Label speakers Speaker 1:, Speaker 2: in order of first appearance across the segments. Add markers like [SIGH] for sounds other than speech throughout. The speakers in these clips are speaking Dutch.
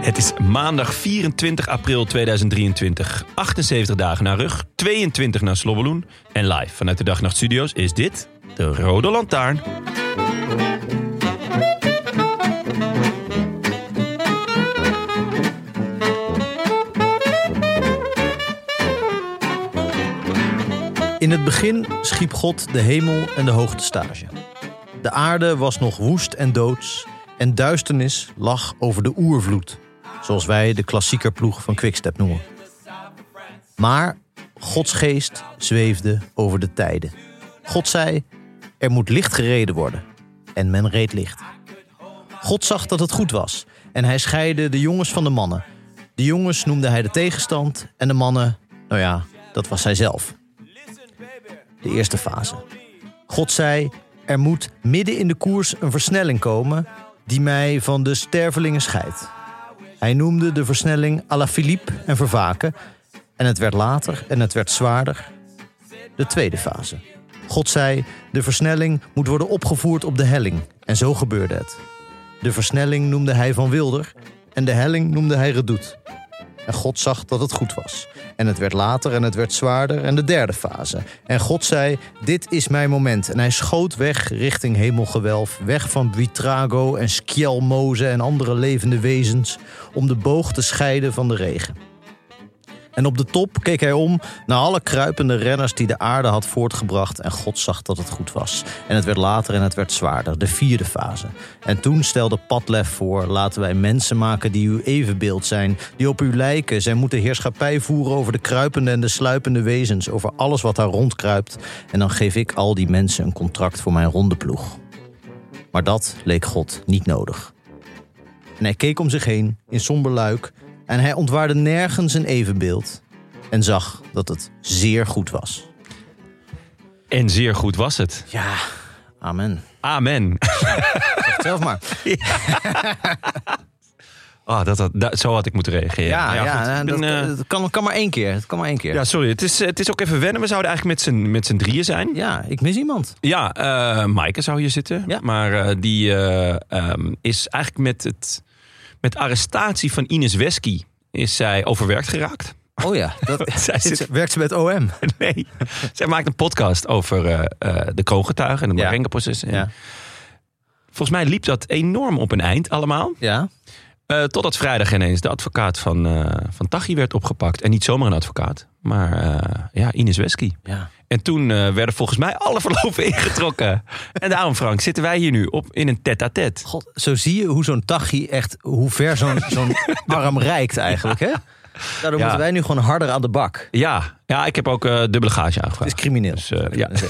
Speaker 1: Het is maandag 24 april 2023. 78 dagen naar rug, 22 naar Slobbeloen. En live vanuit de Dagnacht Studios is dit de Rode Lantaarn.
Speaker 2: In het begin schiep God de hemel en de hoogte stage. De aarde was nog woest en doods en duisternis lag over de oervloed, zoals wij de klassieker ploeg van Quickstep noemen. Maar Gods geest zweefde over de tijden. God zei, er moet licht gereden worden. En men reed licht. God zag dat het goed was en hij scheidde de jongens van de mannen. De jongens noemde hij de tegenstand en de mannen, nou ja, dat was hij zelf de eerste fase. God zei: Er moet midden in de koers een versnelling komen die mij van de stervelingen scheidt. Hij noemde de versnelling à la Philippe en Vervaken. En het werd later en het werd zwaarder. De tweede fase. God zei: De versnelling moet worden opgevoerd op de helling. En zo gebeurde het. De versnelling noemde hij Van Wilder en de helling noemde hij Redoute. En God zag dat het goed was. En het werd later en het werd zwaarder en de derde fase. En God zei, dit is mijn moment. En hij schoot weg richting hemelgewelf, weg van Buitrago en Skjelmoze en andere levende wezens... om de boog te scheiden van de regen. En op de top keek hij om naar alle kruipende renners die de aarde had voortgebracht. En God zag dat het goed was. En het werd later en het werd zwaarder, de vierde fase. En toen stelde Padlef voor: laten wij mensen maken die uw evenbeeld zijn, die op u lijken. Zij moeten heerschappij voeren over de kruipende en de sluipende wezens, over alles wat daar rondkruipt. En dan geef ik al die mensen een contract voor mijn rondeploeg. Maar dat leek God niet nodig. En hij keek om zich heen in somber luik en hij ontwaarde nergens een evenbeeld en zag dat het zeer goed was.
Speaker 1: En zeer goed was het.
Speaker 2: Ja, amen.
Speaker 1: Amen. [LAUGHS]
Speaker 2: Zelf maar.
Speaker 1: Ah, dat, had- dat- zo had ik moeten reageren.
Speaker 2: Ja, ja, nou,
Speaker 1: goed. Ik
Speaker 2: dat,
Speaker 1: ben, eh,
Speaker 2: dat kan, kan maar één keer. Dat kan maar één keer.
Speaker 1: ja
Speaker 2: Ja,
Speaker 1: sorry. Het is, het is ook even wennen. We zouden eigenlijk met z'n- met z'n drieën zijn.
Speaker 2: ik mis iemand.
Speaker 1: Ja, eh Maaike zou hier zitten.
Speaker 2: Ja.
Speaker 1: Maar eh, die eh, ehm, is eigenlijk met, het, met arrestatie van Ines Wesky is zij overwerkt geraakt.
Speaker 2: Oh
Speaker 1: [LAUGHS]
Speaker 2: ja, dat,
Speaker 1: Zij
Speaker 2: zit,
Speaker 1: zit-
Speaker 2: werkt ze bij het OM.
Speaker 1: [LAUGHS] Nee, zij maakt een podcast over eh, eh, de kroongetuigen en het
Speaker 2: Ja.
Speaker 1: Marengo-proces. En
Speaker 2: Ja.
Speaker 1: Volgens mij liep dat enorm op een eind allemaal.
Speaker 2: Ja,
Speaker 1: Eh, totdat vrijdag ineens de advocaat van, eh van Tachi werd opgepakt. En niet zomaar een advocaat, maar eh, ja, Ines Wesky.
Speaker 2: ja.
Speaker 1: En toen eh, werden volgens mij alle [LAUGHS] verloven ingetrokken. En daarom, Frank, zitten wij hier nu op in een tête-à-tête.
Speaker 2: God, zo zie je hoe zo'n tachi echt, hoe ver
Speaker 1: [LAUGHS]
Speaker 2: zo'n zo'n arm reikt eigenlijk. Hè? Daardoor
Speaker 1: Ja.
Speaker 2: moeten wij nu gewoon harder aan de bak. Het
Speaker 1: Ja, ja, ik heb ook eh dubbele gage
Speaker 2: is
Speaker 1: aangevraagd.
Speaker 2: crimineel.
Speaker 1: Dus, eh, ja.
Speaker 2: Ja,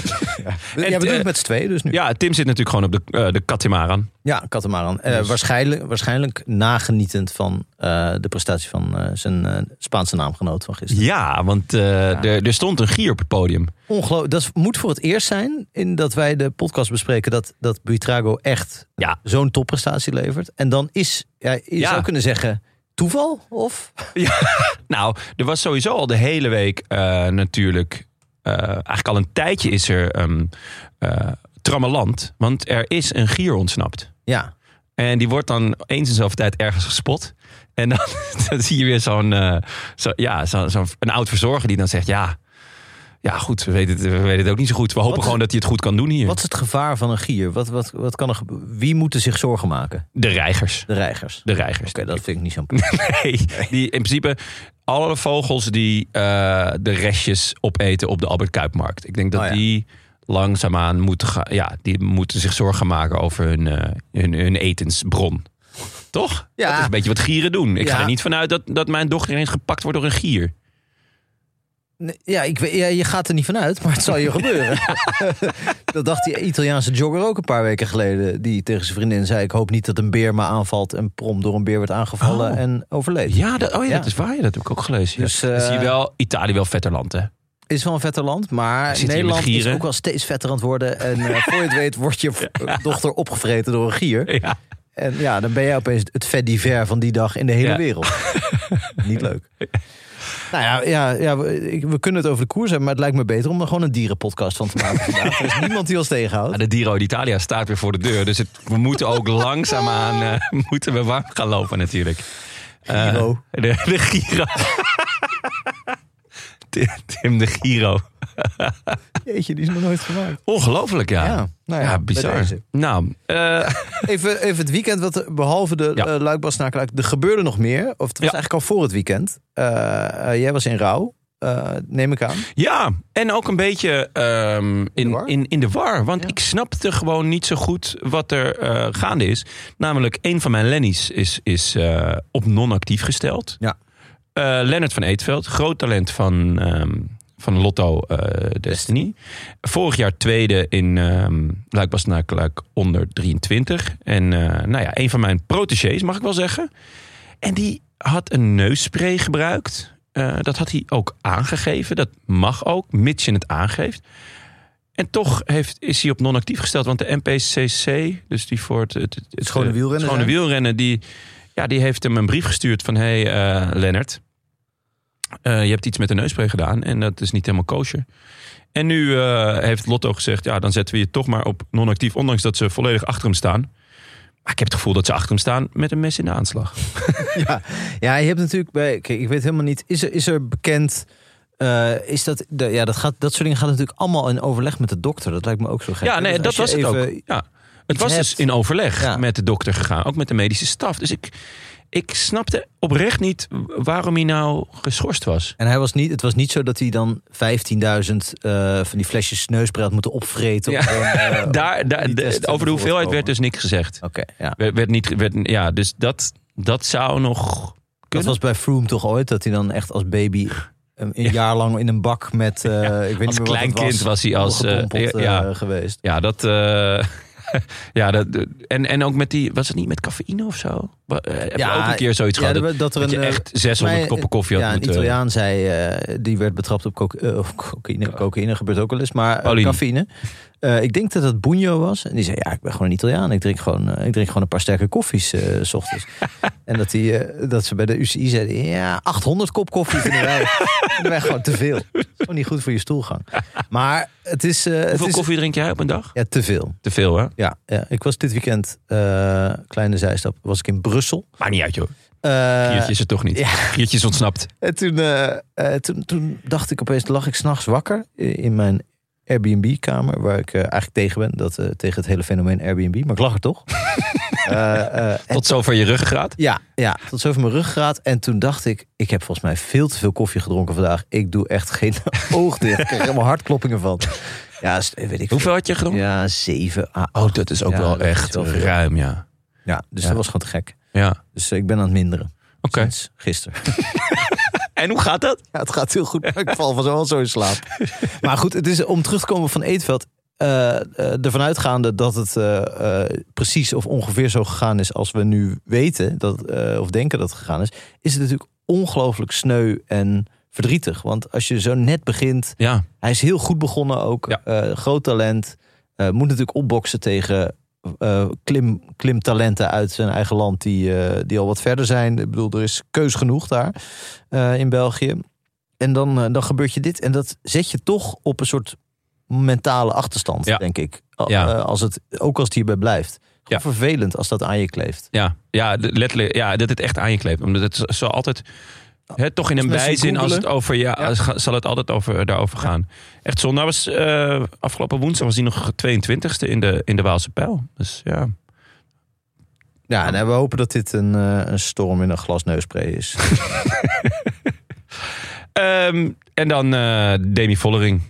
Speaker 2: we
Speaker 1: En,
Speaker 2: doen
Speaker 1: eh,
Speaker 2: het met z'n tweeën dus nu.
Speaker 1: ja, Tim zit natuurlijk gewoon op de, eh, de Katimaran.
Speaker 2: Ja, Katamaran. Eh, waarschijnlijk, waarschijnlijk nagenietend van eh, de prestatie van eh, zijn eh, Spaanse naamgenoot van gisteren.
Speaker 1: Ja, want eh, Er, er stond een gier op het podium.
Speaker 2: Ongelooflijk. Dat is- moet voor het eerst zijn in dat wij de podcast bespreken dat, dat Buitrago echt
Speaker 1: Ja.
Speaker 2: zo'n topprestatie levert. En dan is, ja, je
Speaker 1: Ja.
Speaker 2: zou kunnen zeggen, Toeval? Of?
Speaker 1: Nou, er was sowieso al de hele week eh, natuurlijk. eh, eigenlijk al een tijdje is er ehm eh, trammeland. Want er is een gier ontsnapt.
Speaker 2: Ja.
Speaker 1: En die wordt dan eens in zoveel tijd ergens gespot. En dan, [LAUGHS] dan zie je weer zo'n eh, zo, ja, zo, zo'n- een oud verzorger die dan zegt: Ja, ja goed, we weten, het, we weten het ook niet zo goed. We hopen
Speaker 2: Wat-
Speaker 1: gewoon dat hij het goed kan doen hier.
Speaker 2: Wat is het gevaar van een gier? Wat, wat, wat kan er gebe- Wie moeten zich zorgen maken?
Speaker 1: De reigers.
Speaker 2: De reigers.
Speaker 1: De reigers.
Speaker 2: Oké, dat vind ik niet zo'n probleem.
Speaker 1: Nee, die in principe alle vogels die eh, de restjes opeten op de Albert Kuipmarkt. Ik denk dat
Speaker 2: Oh ja.
Speaker 1: die langzaamaan moeten gaan. Ja, die moeten zich zorgen maken over hun, eh, hun, hun etensbron. Toch?
Speaker 2: Ja.
Speaker 1: Dat is een beetje wat gieren doen. Ik
Speaker 2: Ja.
Speaker 1: ga er niet vanuit dat, dat mijn dochter ineens gepakt wordt door een gier.
Speaker 2: Nee, Ja, ik, weet- ja, je gaat er niet van uit, maar het zal je gebeuren. [LAUGHS] dat dacht die Italiaanse jogger ook een paar weken geleden. Die tegen zijn vriendin zei: Ik hoop niet dat een beer me aanvalt. En prompt door een beer werd aangevallen
Speaker 1: Oh.
Speaker 2: en overleed.
Speaker 1: Ja, dat, oh ja,
Speaker 2: Ja.
Speaker 1: dat is waar. Ja, dat heb ik ook gelezen. ja.
Speaker 2: Dus, eh,
Speaker 1: Dan zie je wel Italië wel vetterland, hè?
Speaker 2: Is wel een vetter land,
Speaker 1: Zit
Speaker 2: maar
Speaker 1: hier met
Speaker 2: Nederland is
Speaker 1: gieren?
Speaker 2: ook wel steeds vetter aan het worden. En eh,
Speaker 1: [LAUGHS]
Speaker 2: voor je het weet, wordt je v- dochter opgevreten door een gier.
Speaker 1: Ja.
Speaker 2: En ja, dan ben jij opeens het vet divers van die dag in de hele
Speaker 1: Ja. [LAUGHS]
Speaker 2: wereld. Niet leuk. Nou ja, ja, ja we, ik- we kunnen het over de koers hebben, maar het lijkt me beter om er gewoon een dierenpodcast van te maken.
Speaker 1: [LAUGHS]
Speaker 2: vandaag. Er is niemand die ons tegenhoudt.
Speaker 1: Maar de Giro d'Italia staat weer voor de deur. Dus het, we moeten [LAUGHS] ook langzaamaan eh, moeten we warm gaan lopen natuurlijk. Eh,
Speaker 2: Giro.
Speaker 1: de, de Giro. Tim, Tim de Giro.
Speaker 2: Ah. Jeetje, die is nog nooit gemaakt.
Speaker 1: Ongelooflijk, ja.
Speaker 2: Ja,
Speaker 1: Ja,
Speaker 2: nou ja, bij
Speaker 1: bizar.
Speaker 2: deze.
Speaker 1: Nou, eh,
Speaker 2: Even, even het weekend, wat er- behalve de
Speaker 1: Ja.
Speaker 2: eh, Luik-Bas Nakeluik, er gebeurde nog meer. Of het was eigenlijk al voor het weekend. Eh, eh, jij was in rouw, eh, neem ik aan.
Speaker 1: ja, en ook een beetje ehm,
Speaker 2: de
Speaker 1: in,
Speaker 2: war?
Speaker 1: in, in de war. Want
Speaker 2: Ja.
Speaker 1: ik snapte gewoon niet zo goed wat er eh, gaande is. Namelijk, een van mijn Lennies is, is eh, op non-actief gesteld.
Speaker 2: Ja.
Speaker 1: Eh, Lennart van Eetveld, groot talent van, ehm, van Lotto eh, Destiny. Vorig jaar tweede in ehm Luik onder 23. En eh, nou ja, een van mijn protégés, mag ik wel zeggen. En die had een neusspray gebruikt. Eh, dat had hij ook aangegeven. Dat mag ook, mits je het aangeeft. En toch heeft, is hij op non-actief gesteld. Want de NPCC, dus die voor het, het, het,
Speaker 2: schone
Speaker 1: eh,
Speaker 2: wielrennen
Speaker 1: schone
Speaker 2: zijn.
Speaker 1: wielrennen, die, ja, die heeft hem een brief gestuurd van... hé, hey, eh, Lennart, eh, je hebt iets met de neusspray gedaan en dat is niet helemaal kosher. En nu eh, heeft Lotto gezegd, ja, dan zetten we je toch maar op non-actief... ondanks dat ze volledig achter hem staan. Maar ik heb het gevoel dat ze achter hem staan met een mes in de aanslag.
Speaker 2: [LAUGHS] Ja, je hebt natuurlijk bij. Kijk, ik weet helemaal niet. Is er, is er bekend. eh, is dat, de- ja, dat, gaat, dat soort dingen gaat natuurlijk allemaal in overleg met de dokter. Dat lijkt me ook zo gek.
Speaker 1: Ja,
Speaker 2: hè?
Speaker 1: nee,
Speaker 2: Dus
Speaker 1: dat
Speaker 2: als
Speaker 1: was
Speaker 2: je
Speaker 1: het ook.
Speaker 2: even-
Speaker 1: Ja. Het
Speaker 2: iets
Speaker 1: was dus
Speaker 2: hebt.
Speaker 1: in overleg
Speaker 2: Ja.
Speaker 1: met de dokter gegaan, ook met de medische staf. Dus ik, ik snapte oprecht niet waarom hij nou geschorst was.
Speaker 2: En hij was niet, het was niet zo dat hij dan 15.000 eh, van die flesjes neuspray had moeten opvreten.
Speaker 1: Ja.
Speaker 2: om, eh,
Speaker 1: [LAUGHS] Daar, daar,
Speaker 2: die
Speaker 1: de-
Speaker 2: testen
Speaker 1: over de
Speaker 2: te
Speaker 1: hoeveelheid
Speaker 2: voorkomen.
Speaker 1: werd dus niks gezegd.
Speaker 2: Oké, ja.
Speaker 1: Werd, werd niet, werd, ja, dus dat, dat zou nog
Speaker 2: Dat
Speaker 1: kunnen.
Speaker 2: was bij Froome toch ooit dat hij dan echt als baby een, een
Speaker 1: Ja.
Speaker 2: jaar lang in een bak met. eh, ik weet
Speaker 1: als
Speaker 2: niet meer wat het
Speaker 1: kleinkind
Speaker 2: was,
Speaker 1: was hij als, eh,
Speaker 2: opgepompeld,
Speaker 1: ja.
Speaker 2: eh, geweest.
Speaker 1: Ja, dat. eh, [LAUGHS] ja, dat, en, en ook met die. Was het niet met cafeïne of zo? Wa- eh, Heb
Speaker 2: Ja,
Speaker 1: je ook een keer zoiets
Speaker 2: ja,
Speaker 1: gehad? Dat,
Speaker 2: er werd- dat er
Speaker 1: dat je
Speaker 2: een, eh,
Speaker 1: echt 600
Speaker 2: Mij,
Speaker 1: koppen koffie had
Speaker 2: ja,
Speaker 1: moeten.
Speaker 2: Een Italiaan zei, eh, die werd betrapt op coca- eh, of cocaïne. Cocaïne gebeurt ook wel eens, maar eh,
Speaker 1: Pauline.
Speaker 2: cafeïne. Eh, ik denk dat het Bugno was. En die zei, ja, ik ben gewoon een Italiaan. Ik drink gewoon, eh, ik drink gewoon een paar sterke koffies eh,
Speaker 1: [LAUGHS]
Speaker 2: s ochtends. en dat, die, eh, dat ze bij de UCI zeiden, ja, 800 kop koffie vinden
Speaker 1: [LAUGHS]
Speaker 2: wij, vinden wij gewoon te veel. Dat is gewoon niet goed voor je stoelgang. Maar het is, eh, het
Speaker 1: Hoeveel
Speaker 2: is
Speaker 1: koffie drink jij op een dag?
Speaker 2: ja, te veel.
Speaker 1: Te veel, hè?
Speaker 2: Ja, ja, ik was dit weekend, eh, kleine zijstap, was ik in Brussel.
Speaker 1: Maakt niet uit, joh.
Speaker 2: Eh,
Speaker 1: Giertje is het toch niet.
Speaker 2: ja.
Speaker 1: Giertje is
Speaker 2: [LAUGHS]
Speaker 1: ontsnapt.
Speaker 2: En toen, eh, eh, toen, toen dacht ik opeens, lag ik s'nachts wakker eh, in mijn Airbnb-kamer, waar ik eh, eigenlijk tegen ben, dat, eh, tegen het hele fenomeen Airbnb, maar ik lag er toch. Eh, eh, en-
Speaker 1: Tot zover je ruggengraat.
Speaker 2: ja, ja, tot zover mijn ruggraat. En toen dacht ik, ik heb volgens mij veel te veel koffie gedronken vandaag. Ik doe echt geen [LAUGHS] oog dicht. Ik krijg helemaal hartkloppingen van. Ja, s- weet ik veel.
Speaker 1: Hoeveel had je gedronken?
Speaker 2: Ja, zeven. ah, ah.
Speaker 1: Oh, dat is ook
Speaker 2: Ja,
Speaker 1: wel
Speaker 2: dat is
Speaker 1: echt
Speaker 2: wel veel.
Speaker 1: ruim, ja.
Speaker 2: ja, dus
Speaker 1: Ja.
Speaker 2: dat was gewoon te gek.
Speaker 1: Ja, oké.
Speaker 2: Dus eh, ik ben aan het minderen sinds gisteren.
Speaker 1: En hoe gaat dat?
Speaker 2: Ja, het gaat heel goed, maar ik val van zo al zo in slaap. [LAUGHS] maar goed, het is om terug te komen van Eetveld. eh, eh, ervan uitgaande dat het eh, eh, precies of ongeveer zo gegaan is als we nu weten dat, eh, of denken dat het gegaan is, is het natuurlijk ongelooflijk sneu en verdrietig. Want als je zo net begint,
Speaker 1: Ja,
Speaker 2: hij is heel goed begonnen ook,
Speaker 1: Ja.
Speaker 2: eh, groot talent, eh, moet natuurlijk opboksen tegen eh, klim, klimtalenten uit zijn eigen land die, eh, die al wat verder zijn. Ik bedoel, er is keus genoeg daar eh, in België. En dan, eh, dan gebeurt je dit. En dat zet je toch op een soort mentale achterstand,
Speaker 1: Ja.
Speaker 2: denk ik. Al-
Speaker 1: Ja.
Speaker 2: eh, als het, ook als het hierbij blijft. Gewoon
Speaker 1: Ja.
Speaker 2: Vervelend als dat aan je kleeft.
Speaker 1: Ja, ja, de- letterlijk. Ja, dat het echt aan je kleeft. Omdat het zal altijd. hè, toch in een
Speaker 2: mensen
Speaker 1: bijzin als het
Speaker 2: googelen.
Speaker 1: over. Ja, als ga- zal het altijd over, daarover gaan. Echt zonde. Nou was eh, afgelopen woensdag was hij nog 22ste in de, in de Waalse pijl. Dus ja.
Speaker 2: Ja, en we hopen dat dit een, eh, een storm in een glas neuspray is.
Speaker 1: Ehm, en dan eh, Demi Vollering.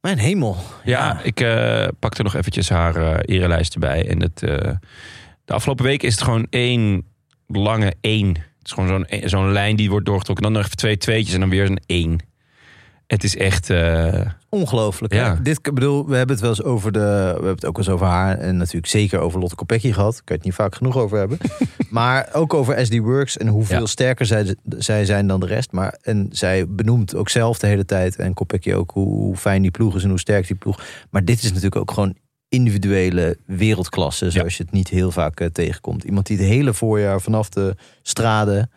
Speaker 2: Mijn hemel.
Speaker 1: Ja, ik eh, pakte nog eventjes haar eh erelijst erbij. En het, eh, de afgelopen week is het gewoon één lange één. Het is gewoon zo'n, eh, zo'n lijn die wordt doorgetrokken. Dan nog even twee tweetjes en dan weer een één. Het is echt... eh,
Speaker 2: Ongelooflijk.
Speaker 1: Ja.
Speaker 2: Ja. Dit, ik bedoel, we hebben het wel eens over de. We hebben het ook wel eens over haar. En natuurlijk zeker over Lotte Kopecky gehad. Ik kan het niet vaak genoeg
Speaker 1: [LAUGHS]
Speaker 2: over hebben. maar ook over SD Works en hoeveel
Speaker 1: Ja.
Speaker 2: sterker zij, zij zijn dan de rest. Maar, en zij benoemt ook zelf de hele tijd. En Kopecky ook hoe, hoe fijn die ploeg is en hoe sterk die ploeg. Maar dit is natuurlijk ook gewoon individuele wereldklasse. Zoals je het niet heel vaak eh, tegenkomt. Iemand die het hele voorjaar vanaf de straden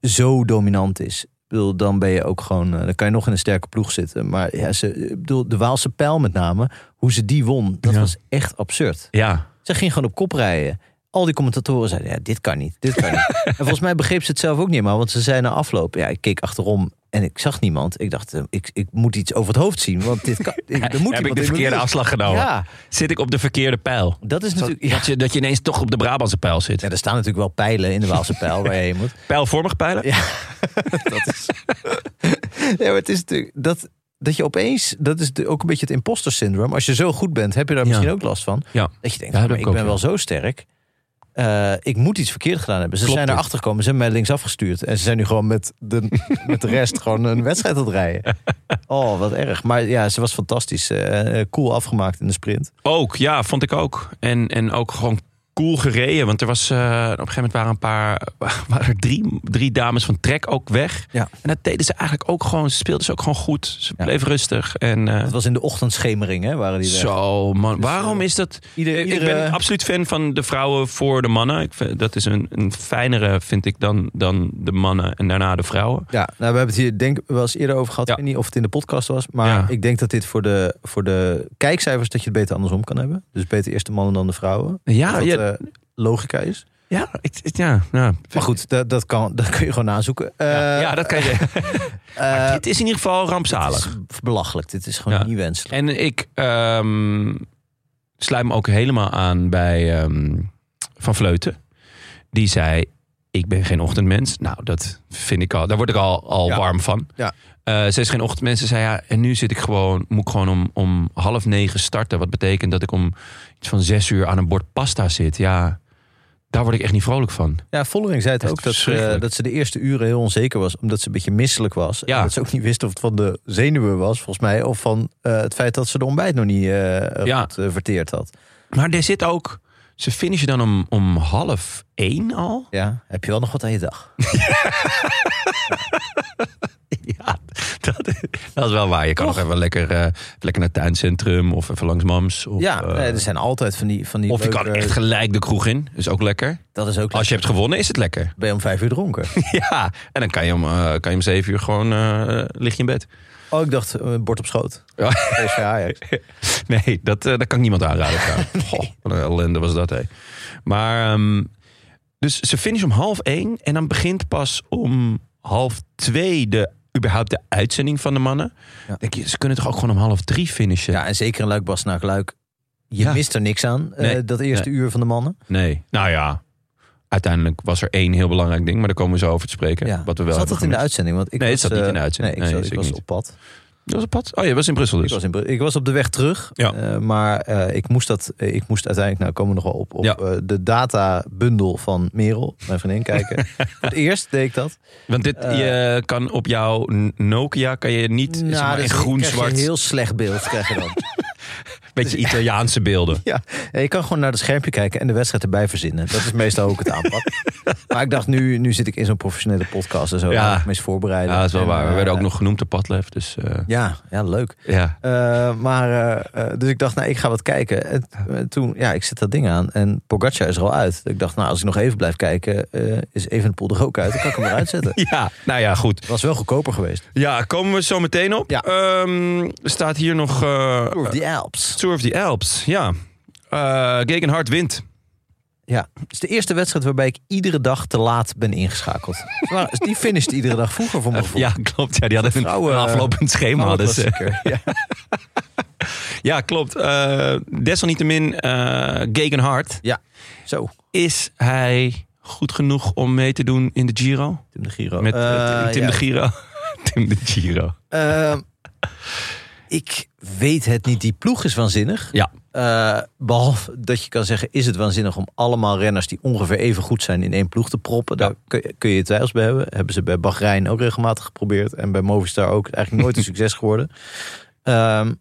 Speaker 2: zo dominant is. Ik bedoel, dan ben je ook gewoon, eh, dan kan je nog in een sterke ploeg zitten. Maar ja, ze, ik bedoel, de Waalse pijl met name, hoe ze die won, dat
Speaker 1: Ja.
Speaker 2: was echt absurd.
Speaker 1: ja,
Speaker 2: Ze ging gewoon op kop rijden. Al die commentatoren zeiden, ja, dit kan niet, dit kan
Speaker 1: [LAUGHS]
Speaker 2: niet. en volgens mij begreep ze het zelf ook niet maar want ze zei na afloop, ja, ik keek achterom en ik zag niemand. Ik dacht, eh, ik, ik moet iets over het hoofd zien,
Speaker 1: [LAUGHS]
Speaker 2: want dit kan, ik, er moet
Speaker 1: heb ik
Speaker 2: iemand
Speaker 1: de
Speaker 2: in
Speaker 1: verkeerde
Speaker 2: mijn
Speaker 1: afslag
Speaker 2: buurt.
Speaker 1: genomen.
Speaker 2: Ja,
Speaker 1: Zit ik op de verkeerde pijl?
Speaker 2: dat is natuurlijk... Ja,
Speaker 1: Dat, je, dat je ineens toch op de Brabantse pijl zit.
Speaker 2: ja, er staan natuurlijk wel pijlen in de Waalse pijl waar je heen moet.
Speaker 1: Pijlvormig pijlen?
Speaker 2: Ja. dat is. ja, maar het is natuurlijk. Dat, dat je opeens. Dat is de- ook een beetje het imposter syndroom. Als je zo goed bent, heb je daar
Speaker 1: Ja.
Speaker 2: misschien ook last van.
Speaker 1: Ja.
Speaker 2: Dat je denkt:
Speaker 1: Ja, dat
Speaker 2: "Ah, maar ik
Speaker 1: ook,
Speaker 2: ben
Speaker 1: ja.
Speaker 2: wel zo sterk. Eh, ik moet iets verkeerd gedaan hebben. Ze
Speaker 1: Klopt
Speaker 2: zijn
Speaker 1: het.
Speaker 2: erachter gekomen. Ze hebben mij links afgestuurd. En ze zijn nu gewoon met de,
Speaker 1: [LAUGHS]
Speaker 2: met de rest gewoon een wedstrijd aan het rijden. Oh, wat erg. Maar ja, ze was fantastisch. Eh, cool afgemaakt in de sprint.
Speaker 1: Ook, ja, vond ik ook. En, en ook gewoon cool gereden. Want er was, eh, op een gegeven moment waren, een paar, [LAUGHS] waren er drie, drie dames van Trek ook weg.
Speaker 2: Ja.
Speaker 1: En dat deden ze eigenlijk ook gewoon. Ze speelden ze ook gewoon goed. Ze
Speaker 2: Ja.
Speaker 1: bleef rustig. En eh,
Speaker 2: Het was in de ochtendschemering, hè? Waren die weg.
Speaker 1: zo, man. Waarom is dat...
Speaker 2: Ieder-
Speaker 1: Dus, eh, Ik ben
Speaker 2: iedere-
Speaker 1: absoluut fan van de vrouwen voor de mannen. Ik vind- dat is een, een fijnere, vind ik, dan, dan de mannen en daarna de vrouwen.
Speaker 2: Ja, nou, we hebben het hier denk ik wel eens eerder over gehad.
Speaker 1: Ja.
Speaker 2: Ik weet niet of het in de podcast was. Maar
Speaker 1: Ja.
Speaker 2: ik denk dat dit voor de, voor de kijkcijfers... dat je het beter andersom kan hebben. Dus beter eerst de mannen dan de vrouwen.
Speaker 1: Ja,
Speaker 2: dat
Speaker 1: ja,
Speaker 2: dat, eh, logica is.
Speaker 1: ja, ik, ik- ja, ja.
Speaker 2: Maar goed, dat, dat, kan, dat kun je gewoon nazoeken. Eh,
Speaker 1: ja, dat [LAUGHS] kan je.
Speaker 2: eh,
Speaker 1: het is in ieder geval rampzalig.
Speaker 2: het is belachelijk. Dit is gewoon
Speaker 1: Ja.
Speaker 2: niet wenselijk.
Speaker 1: En ik ehm, sluit me ook helemaal aan bij ehm, Van Vleuten. Die zei, ik ben geen ochtendmens. Nou, dat vind ik al, daar word ik al, al
Speaker 2: Ja.
Speaker 1: warm van.
Speaker 2: Ja.
Speaker 1: Eh, ze is geen ochtendmens. Ze zei, ja, en nu zit ik gewoon, moet ik gewoon om, om half negen starten. Wat betekent dat ik om iets van zes uur aan een bord pasta zit. Ja, daar word ik echt niet vrolijk van.
Speaker 2: Ja, Vollering zei het
Speaker 1: Echt
Speaker 2: ook dat ze,
Speaker 1: verschrikkelijk.
Speaker 2: dat ze de eerste uren heel onzeker was. Omdat ze een beetje misselijk was.
Speaker 1: Ja.
Speaker 2: En dat ze ook niet wist of het van de zenuwen was, volgens mij. Of van eh, het feit dat ze de ontbijt nog niet eh,
Speaker 1: Ja.
Speaker 2: goed eh, verteerd had.
Speaker 1: Maar er zit ook, ze finishen dan om, om half één al.
Speaker 2: Ja, heb je wel nog wat aan je dag?
Speaker 1: [LAUGHS] Ja, dat, dat is wel waar. Je kan nog even lekker, eh, lekker naar het tuincentrum of even langs Mams. Of,
Speaker 2: Ja,
Speaker 1: eh,
Speaker 2: nee, er zijn altijd van die. Van die
Speaker 1: of je kan
Speaker 2: leuke-
Speaker 1: echt gelijk de kroeg in. Is ook lekker.
Speaker 2: Dat is ook.
Speaker 1: Als je hebt gewonnen, is het lekker. [LAUGHS]
Speaker 2: ben je om vijf uur dronken.
Speaker 1: ja, en dan kan je om, eh, kan je om zeven uur gewoon eh, lig je in bed. [LAUGHS]
Speaker 2: oh, ik dacht, eh, bord op schoot.
Speaker 1: Ja.
Speaker 2: PSV Ajax.
Speaker 1: Nee, dat, eh, dat kan ik niemand aanraden.
Speaker 2: [LAUGHS]
Speaker 1: trouwens. Goh, wat een ellende was dat, hé. Maar, ehm, dus ze finish om half één. En dan begint pas om half twee de, überhaupt de uitzending van de mannen.
Speaker 2: Ja.
Speaker 1: Denk je, ze kunnen toch ook gewoon om half drie finishen?
Speaker 2: Ja, en zeker een luik Basnaak luik. Je
Speaker 1: Ja.
Speaker 2: mist er niks aan, eh,
Speaker 1: Nee,
Speaker 2: dat eerste uur van de mannen.
Speaker 1: Nee. Nou ja, uiteindelijk was er één heel belangrijk ding, maar daar komen we zo over te spreken.
Speaker 2: Ja.
Speaker 1: Wat we wel hebben
Speaker 2: zat dat in de
Speaker 1: gemist.
Speaker 2: uitzending? Want ik
Speaker 1: Nee, het zat
Speaker 2: was,
Speaker 1: niet
Speaker 2: eh,
Speaker 1: in de uitzending.
Speaker 2: Nee, ik,
Speaker 1: Nee,
Speaker 2: zat- ik
Speaker 1: zeker
Speaker 2: was
Speaker 1: niet.
Speaker 2: op pad.
Speaker 1: Dat was op pad? Oh, je was in Brussel
Speaker 2: Ik,
Speaker 1: dus.
Speaker 2: was in, Bru- ik was op de weg terug.
Speaker 1: Ja.
Speaker 2: Eh, maar eh, ik moest dat, eh, ik moest uiteindelijk, nou komen we nog wel op, op
Speaker 1: Ja.
Speaker 2: eh, de databundel van Merel, mijn vriendin,
Speaker 1: [LAUGHS]
Speaker 2: kijken. Voor het eerst deed ik dat.
Speaker 1: Want dit,
Speaker 2: Eh,
Speaker 1: je kan op jouw N- Nokia kan je niet zeg maar,
Speaker 2: dus
Speaker 1: in
Speaker 2: krijg je
Speaker 1: groen-zwart...
Speaker 2: een heel slecht beeld krijg je dan. [LAUGHS]
Speaker 1: Beetje Italiaanse beelden.
Speaker 2: Ja, ja, je kan gewoon naar het schermpje kijken en de wedstrijd erbij verzinnen. Dat is meestal ook het
Speaker 1: [LAUGHS]
Speaker 2: aanpak. maar ik dacht, nu, nu zit ik in zo'n professionele podcast en zo.
Speaker 1: Ja.
Speaker 2: Ja. Ik me eens voorbereiden.
Speaker 1: Ja, dat is wel
Speaker 2: En,
Speaker 1: waar. We
Speaker 2: eh,
Speaker 1: werden ook nog genoemd de padlef. Dus eh,
Speaker 2: Ja, ja
Speaker 1: [LAUGHS]
Speaker 2: leuk.
Speaker 1: ja.
Speaker 2: Eh, maar, eh, eh, dus ik dacht, nou, ik ga wat kijken. En eh, toen, ja, ik zet dat ding aan en Pogacar is er al uit. Ik dacht, nou, als ik nog even blijf kijken, eh is Evenepoel er ook uit. Dan kan ik hem eruit
Speaker 1: [LAUGHS]
Speaker 2: zetten.
Speaker 1: ja, nou ja, goed.
Speaker 2: Het was wel goedkoper geweest.
Speaker 1: Ja, komen we zo meteen op.
Speaker 2: Ja.
Speaker 1: Ehm, er staat hier nog... eh,
Speaker 2: Tour of the Alps.
Speaker 1: Tour of the Alps, ja. Eh Gegenhard wint.
Speaker 2: Ja, het is de eerste wedstrijd waarbij ik iedere dag te laat ben
Speaker 1: [LAUGHS]
Speaker 2: ingeschakeld. Ze waren- Die finished iedere dag vroeger voor mijn gevoel.
Speaker 1: Ja, klopt. Ja, die hadden een,
Speaker 2: Vrouwen-
Speaker 1: een aflopend schema. dus, eh,
Speaker 2: Maar
Speaker 1: hadden ze.
Speaker 2: dat
Speaker 1: [LAUGHS]
Speaker 2: was zeker. Ja.
Speaker 1: ja, klopt. Eh, desalniettemin, eh Gegenhard.
Speaker 2: Zo,
Speaker 1: Is hij goed genoeg om mee te doen in de Giro?
Speaker 2: Tim de Giro.
Speaker 1: Met eh,
Speaker 2: Eh,
Speaker 1: Tim
Speaker 2: ja.
Speaker 1: de Giro. [LAUGHS] Tim de Giro.
Speaker 2: Eh, ik weet het niet. Die ploeg is waanzinnig.
Speaker 1: Ja.
Speaker 2: Eh, behalve dat je kan zeggen, is het waanzinnig om allemaal renners die ongeveer even goed zijn in één ploeg te proppen. Daar kun je, kun je twijfels bij hebben. Hebben ze bij Bahrein ook regelmatig geprobeerd. En bij Movistar ook. Eigenlijk
Speaker 1: [LAUGHS]
Speaker 2: nooit een succes geworden. Ehm,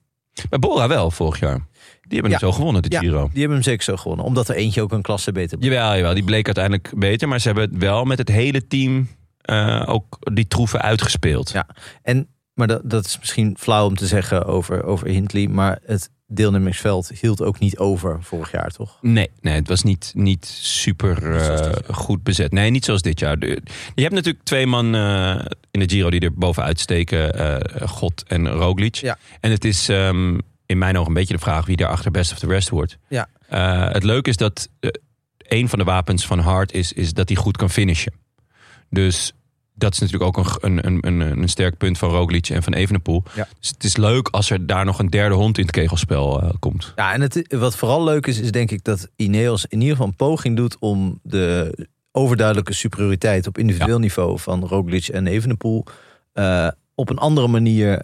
Speaker 1: Maar Bora wel, vorig jaar. Die hebben het
Speaker 2: Ja.
Speaker 1: zo gewonnen, de
Speaker 2: ja, die
Speaker 1: Giro.
Speaker 2: hebben hem zeker zo gewonnen. Omdat er eentje ook een klasse beter
Speaker 1: Jawel, jawel, die bleek uiteindelijk beter. Maar ze hebben het wel met het hele team eh, ook die troeven uitgespeeld.
Speaker 2: Ja. En, maar dat, dat is misschien flauw om te zeggen over, over Hindley. Maar het deelnemingsveld hield ook niet over vorig jaar, toch?
Speaker 1: Nee, nee, het was niet, niet super
Speaker 2: Niet zoals
Speaker 1: eh,
Speaker 2: dit
Speaker 1: goed bezet. Nee, niet zoals dit jaar. De- Je hebt natuurlijk twee man eh, in de Giro die er bovenuit steken. eh, God en Roglic.
Speaker 2: Ja.
Speaker 1: En het is ehm, in mijn ogen een beetje de vraag wie daar achter best of the rest wordt.
Speaker 2: Ja.
Speaker 1: Eh, het leuke is dat eh, een van de wapens van Hart is, is dat hij goed kan finishen. Dus dat is natuurlijk ook een, een, een, een, een sterk punt van Roglic en van Evenepoel.
Speaker 2: Ja.
Speaker 1: Dus het is leuk als er daar nog een derde hond in het kegelspel eh, komt.
Speaker 2: Ja, en het, wat vooral leuk is, is denk ik dat Ineos in ieder geval een poging doet om de overduidelijke superioriteit op individueel niveau van Roglic en Evenepoel eh, op een andere manier eh,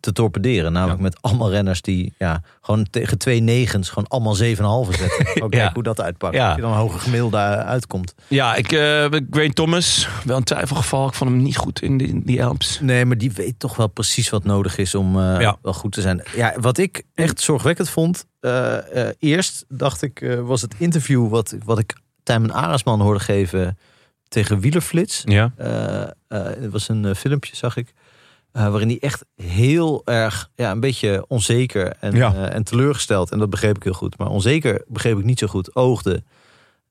Speaker 2: te torpederen. Namelijk met allemaal renners die ja, gewoon tegen twee negens gewoon allemaal 7,5
Speaker 1: [LAUGHS]
Speaker 2: zetten. Ook
Speaker 1: Ja.
Speaker 2: kijk hoe dat uitpakt.
Speaker 1: Ja.
Speaker 2: Als je dan een hoger gemiddelde uitkomt.
Speaker 1: Ja, ik, eh Grain Thomas, wel een twijfelgeval. Ik vond hem niet goed in die, in die Alps.
Speaker 2: Nee, maar die weet toch wel precies wat nodig is om eh,
Speaker 1: Ja.
Speaker 2: wel goed te zijn. Ja, wat ik echt zorgwekkend vond. eh, eh, eerst dacht ik, eh, was het interview wat, wat ik Tijmen Arasman hoorde geven tegen Wielerflits.
Speaker 1: Ja.
Speaker 2: Eh, eh, het was een eh, filmpje, zag ik. eh, waarin hij echt heel erg, ja, een beetje onzeker en,
Speaker 1: Ja.
Speaker 2: eh, en teleurgesteld. En dat begreep ik heel goed. Maar onzeker begreep ik niet zo goed. Oogde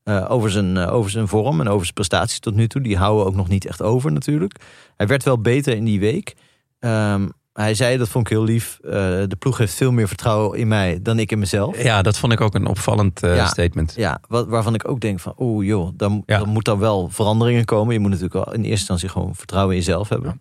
Speaker 2: eh, over, zijn, eh, over zijn vorm en over zijn prestaties tot nu toe. Die houden ook nog niet echt over natuurlijk. Hij werd wel beter in die week. Ehm, hij zei, dat vond ik heel lief, eh, de ploeg heeft veel meer vertrouwen in mij dan ik in mezelf.
Speaker 1: ja, dat vond ik ook een opvallend eh,
Speaker 2: Ja.
Speaker 1: statement.
Speaker 2: Ja, wat, waarvan ik ook denk van, oh joh, dan,
Speaker 1: Ja.
Speaker 2: dan moet dan wel veranderingen komen. Je moet natuurlijk wel in eerste instantie gewoon vertrouwen in jezelf hebben.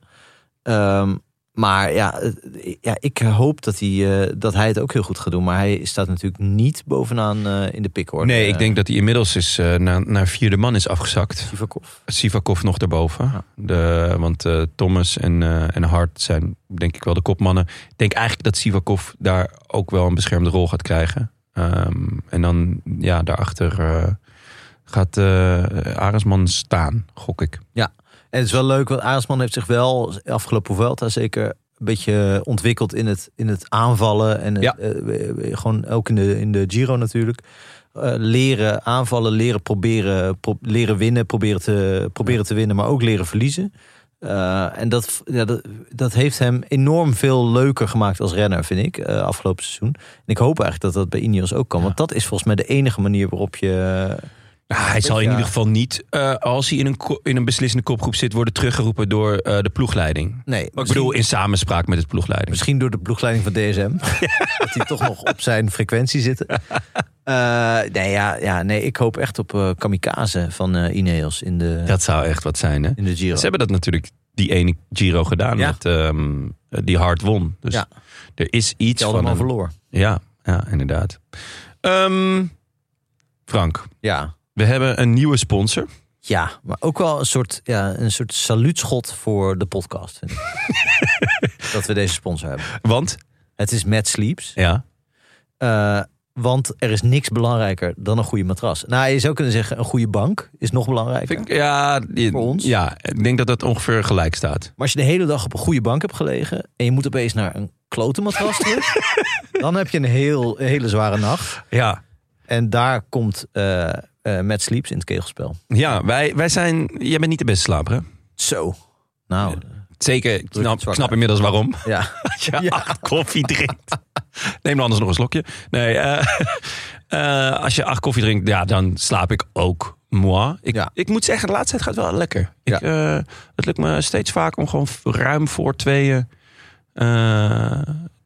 Speaker 2: Ehm, maar ja, het- ja, ik hoop dat hij, eh, dat hij het ook heel goed gaat doen. Maar hij staat natuurlijk niet bovenaan eh, in de pickorde.
Speaker 1: Nee, ik
Speaker 2: Eh,
Speaker 1: denk dat hij inmiddels is, eh, naar, naar vierde man is afgezakt.
Speaker 2: Sivakov.
Speaker 1: Sivakov nog daarboven.
Speaker 2: Ja.
Speaker 1: De, want eh, Thomas en, eh, en Hart zijn denk ik wel de kopmannen. Ik denk eigenlijk dat Sivakov daar ook wel een beschermde rol gaat krijgen. Ehm, en dan ja, daarachter eh, gaat eh Aresman staan, gok ik.
Speaker 2: En het is wel leuk, want Aresman heeft zich wel afgelopen Vuelta zeker een beetje ontwikkeld in het, in het aanvallen. En het,
Speaker 1: Ja.
Speaker 2: eh, eh, gewoon ook in de, in de Giro natuurlijk. Eh, leren aanvallen, leren proberen, pro- leren winnen, proberen te, proberen te winnen, maar ook leren verliezen. Eh, en dat, ja, dat, dat heeft hem enorm veel leuker gemaakt als renner, vind ik, eh, afgelopen seizoen. En ik hoop eigenlijk dat dat bij Ineos ook kan. Want dat is volgens mij de enige manier waarop je... eh,
Speaker 1: Nou, hij zal in
Speaker 2: Ja.
Speaker 1: ieder geval niet, eh, als hij in een, ko- in een beslissende kopgroep zit, worden teruggeroepen door eh, de ploegleiding.
Speaker 2: Nee,
Speaker 1: Maar ik
Speaker 2: misschien-
Speaker 1: bedoel, in samenspraak met het ploegleiding.
Speaker 2: Misschien door de ploegleiding van DSM.
Speaker 1: [LAUGHS]
Speaker 2: dat die toch nog op zijn frequentie zitten. Eh, nee, ja, ja, nee, ik hoop echt op eh, kamikaze van eh, Ineos in de,
Speaker 1: Dat zou echt wat zijn, hè?
Speaker 2: in de Giro.
Speaker 1: Ze hebben dat natuurlijk die ene Giro gedaan,
Speaker 2: Ja.
Speaker 1: met, ehm, die hard won. Dus
Speaker 2: Ja.
Speaker 1: er is iets
Speaker 2: Die
Speaker 1: van
Speaker 2: allemaal
Speaker 1: een-
Speaker 2: verloor.
Speaker 1: Ja, ja, inderdaad. Ehm, Frank,
Speaker 2: Ja.
Speaker 1: we hebben een nieuwe sponsor.
Speaker 2: ja, maar ook wel een soort, ja, een soort saluutschot voor de podcast. vind
Speaker 1: [LAUGHS]
Speaker 2: ik. dat we deze sponsor hebben.
Speaker 1: Want,
Speaker 2: Het is Mad Sleeps.
Speaker 1: ja,
Speaker 2: Eh, want er is niks belangrijker dan een goede matras. Nou, je zou kunnen zeggen, een goede bank is nog belangrijker.
Speaker 1: vind ik- ja, die-
Speaker 2: Voor ons?
Speaker 1: ja, ik denk dat dat ongeveer gelijk staat.
Speaker 2: Maar als je de hele dag op een goede bank hebt gelegen en je moet opeens naar een klote matras [LAUGHS] terug. dan heb je een, heel, een hele zware nacht.
Speaker 1: Ja,
Speaker 2: En daar komt eh eh Matt Sleeps in het kegelspel.
Speaker 1: ja wij, wij zijn... Jij bent niet de beste slaper, hè?
Speaker 2: Zo. Nou,
Speaker 1: Zeker, ik snap,
Speaker 2: het zwak
Speaker 1: snap
Speaker 2: uit.
Speaker 1: inmiddels waarom. [LAUGHS]
Speaker 2: ja.
Speaker 1: Als je acht [LAUGHS] koffie drinkt. [LAUGHS] Neem dan anders nog een slokje. Nee, eh, [LAUGHS] eh, als je acht koffie drinkt, ja, dan slaap ik ook. Moi. Ik,
Speaker 2: Ja.
Speaker 1: ik moet zeggen, de laatste tijd gaat wel lekker. Ik, eh, het lukt me steeds vaker om gewoon f- ruim voor tweeën eh,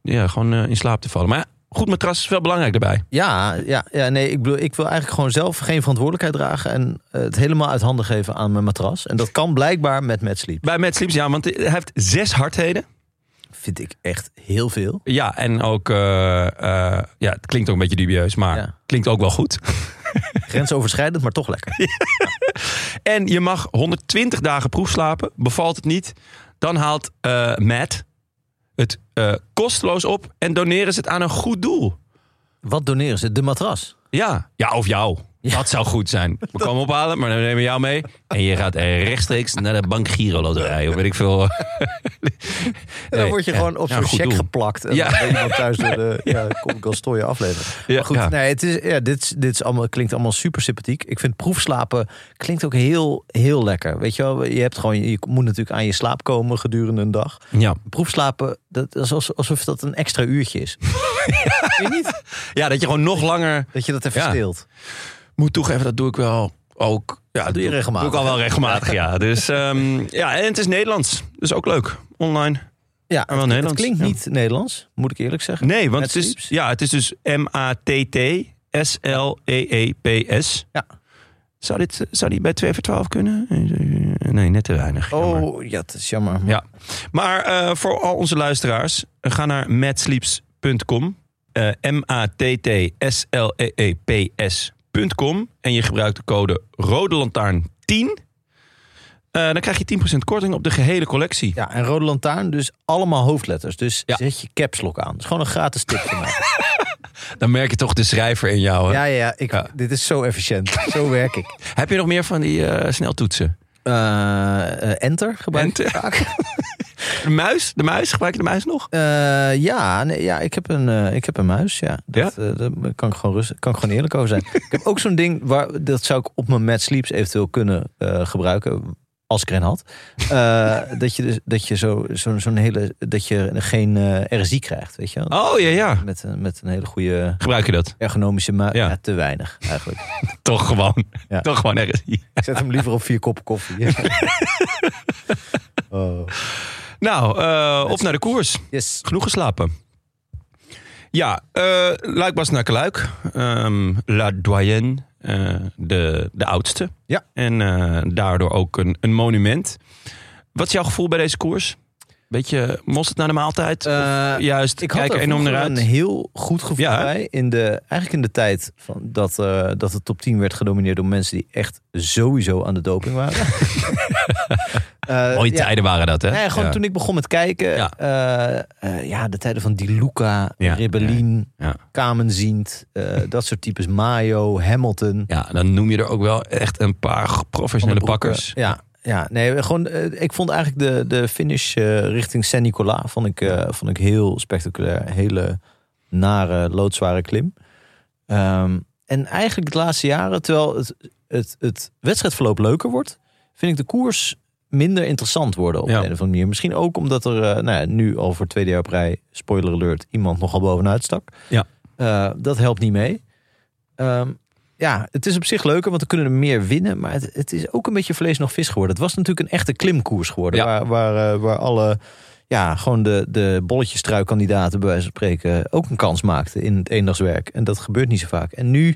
Speaker 1: ja, gewoon, eh, in slaap te vallen. Maar ja, goed matras is wel belangrijk daarbij.
Speaker 2: Ja, ja, ja, nee, ik, bedoel, ik wil eigenlijk gewoon zelf geen verantwoordelijkheid dragen en eh, het helemaal uit handen geven aan mijn matras. En dat kan blijkbaar met Mad Sleep.
Speaker 1: Bij Matt Sleeps, ja, want hij heeft zes hardheden.
Speaker 2: Vind ik echt heel veel.
Speaker 1: Ja, en ook, eh, eh, ja, het klinkt ook een beetje dubieus, maar
Speaker 2: Ja.
Speaker 1: klinkt ook wel goed.
Speaker 2: Grensoverschrijdend, maar toch lekker.
Speaker 1: En je mag 120 dagen proefslapen. Bevalt het niet, dan haalt eh Matt het eh, kosteloos op en doneren ze het aan een goed doel.
Speaker 2: Wat doneren ze? De matras.
Speaker 1: Ja, ja of jou. Dat zou goed zijn. We komen ophalen, maar dan nemen we jou mee. En je gaat eh, rechtstreeks naar de bank Giro Loterij. Of weet ik
Speaker 2: [LAUGHS]
Speaker 1: veel.
Speaker 2: En dan word je gewoon op
Speaker 1: Ja,
Speaker 2: zo'n
Speaker 1: goed
Speaker 2: check
Speaker 1: doel.
Speaker 2: geplakt. En
Speaker 1: Ja.
Speaker 2: dan ben je dan thuis door
Speaker 1: [LAUGHS]
Speaker 2: de ja. Golstoye afleveren.
Speaker 1: Ja,
Speaker 2: maar goed,
Speaker 1: ja.
Speaker 2: nee, het is, ja, dit, is- dit is allemaal, klinkt allemaal super sympathiek. Ik vind proefslapen klinkt ook heel, heel lekker. Weet je wel, je, hebt gewoon, je moet natuurlijk aan je slaap komen gedurende een dag.
Speaker 1: Ja.
Speaker 2: Proefslapen, dat is alsof, alsof dat een extra uurtje
Speaker 1: [LAUGHS]
Speaker 2: is. Vind je niet?
Speaker 1: ja, dat je gewoon nog langer
Speaker 2: Dat je dat even
Speaker 1: Ja.
Speaker 2: steelt.
Speaker 1: moet toegeven, dat doe ik wel ook. Ja, dat
Speaker 2: doe je regelmatig,
Speaker 1: Doe ik al wel regelmatig,
Speaker 2: [LAUGHS]
Speaker 1: ja. Dus ehm, ja, en het is Nederlands. Dus ook leuk. Online.
Speaker 2: Ja,
Speaker 1: wel
Speaker 2: het- het,
Speaker 1: Nederlands,
Speaker 2: klinkt
Speaker 1: ja.
Speaker 2: niet Nederlands, moet ik eerlijk zeggen.
Speaker 1: Nee, want
Speaker 2: Met
Speaker 1: het is,
Speaker 2: sleeps?
Speaker 1: ja, het is dus M-A-T-T-S-L-E-E-P-S.
Speaker 2: Ja.
Speaker 1: E Zou, dit, zou die bij 2 voor 12 kunnen? Nee, net te weinig. jammer.
Speaker 2: Oh, ja, dat is jammer.
Speaker 1: Ja. Maar eh, voor al onze luisteraars, eh, ga naar matsleeps.com. eh, E M-A-T-T-S-L-E-E-P-S.com. En je gebruikt de code Rode Lantaarn 10. Eh, dan krijg je 10% korting op de gehele collectie.
Speaker 2: Ja, en rode lantaarn, dus allemaal hoofdletters. Dus
Speaker 1: Ja.
Speaker 2: zet je caps lock aan. Dat is gewoon een gratis tip voor mij.
Speaker 1: Dan merk je toch de schrijver in jou. hè?
Speaker 2: Ja, ja, ja, ik,
Speaker 1: Ja.
Speaker 2: dit is zo efficiënt. zo [LAUGHS] werk ik.
Speaker 1: Heb je nog meer van die eh, sneltoetsen?
Speaker 2: Eh, eh, enter gebruik ik
Speaker 1: Enter.
Speaker 2: vaak.
Speaker 1: [LAUGHS] De muis? De muis? Gebruik je de muis nog?
Speaker 2: Eh, ja, nee, ja ik, heb een, eh, ik heb een muis. Ja. Dat, eh, daar kan ik, gewoon rustig, kan ik gewoon eerlijk over zijn. ik heb ook zo'n ding, waar, dat zou ik op mijn Mad Sleeps eventueel kunnen eh, gebruiken. Als ik er een had. Eh, dat je, dus, dat je zo, zo'n zo'n hele. dat je geen eh, RSI krijgt, weet je wel.
Speaker 1: Oh ja, ja.
Speaker 2: Met, een- met een hele goede
Speaker 1: Gebruik je dat? [LAUGHS]
Speaker 2: ergonomische muis.
Speaker 1: Ja.
Speaker 2: Ja. te weinig eigenlijk.
Speaker 1: Toch gewoon.
Speaker 2: Ja.
Speaker 1: Toch gewoon ergens.
Speaker 2: ik zet hem liever op vier koppen koffie.
Speaker 1: [LAUGHS]
Speaker 2: oh.
Speaker 1: Nou, eh, op naar de koers.
Speaker 2: Yes.
Speaker 1: Genoeg geslapen. Ja, eh Luik Bas naar Keluik. Ehm, La Doyenne, eh, de, de oudste.
Speaker 2: Ja.
Speaker 1: En eh, daardoor ook een, een monument. Wat is jouw gevoel bij deze koers? Beetje mosterd naar de maaltijd?
Speaker 2: Eh,
Speaker 1: Juist,
Speaker 2: Ik
Speaker 1: ik
Speaker 2: had
Speaker 1: kijk
Speaker 2: er
Speaker 1: er enorm naar
Speaker 2: vroeger
Speaker 1: uit.
Speaker 2: een heel goed gevoel
Speaker 1: Ja, hè?
Speaker 2: bij. In de, eigenlijk in de tijd van dat, eh, dat de top 10 werd gedomineerd door mensen die echt sowieso aan de doping
Speaker 1: [LAUGHS]
Speaker 2: waren. Eh,
Speaker 1: Mooie
Speaker 2: ja.
Speaker 1: tijden waren dat, hè?
Speaker 2: Nee, gewoon
Speaker 1: Ja.
Speaker 2: toen ik begon met kijken.
Speaker 1: Ja.
Speaker 2: eh, eh, ja, de tijden van Di Luca,
Speaker 1: Ja,
Speaker 2: Rebellin,
Speaker 1: ja, ja.
Speaker 2: Kamenziend. eh, dat soort types. Mayo, Hamilton.
Speaker 1: Ja, dan noem je er ook wel echt een paar professionele
Speaker 2: Onderbroeken.
Speaker 1: pakkers.
Speaker 2: Ja, ja nee, gewoon, eh, ik vond eigenlijk de, de finish eh, richting Saint-Nicolas vond ik, eh, vond ik heel spectaculair. Hele nare, loodzware klim. Ehm, en eigenlijk de laatste jaren, terwijl het, het, het wedstrijdverloop leuker wordt, vind ik de koers minder interessant worden op
Speaker 1: Ja.
Speaker 2: de een of andere manier. Misschien ook omdat er eh, nou ja, nu al voor het tweede jaar op rij, spoiler alert, iemand nogal bovenuit stak.
Speaker 1: Ja.
Speaker 2: Eh, dat helpt niet mee. Ehm, ja, het is op zich leuker, want er kunnen er meer winnen. Maar het, het is ook een beetje vlees nog vis geworden. Het was natuurlijk een echte klimkoers geworden.
Speaker 1: Ja.
Speaker 2: Waar, waar, eh, waar alle, ja, gewoon de, de bolletjestruikandidaten bij wijze van spreken ook een kans maakten in het eendagswerk. En dat gebeurt niet zo vaak. En nu,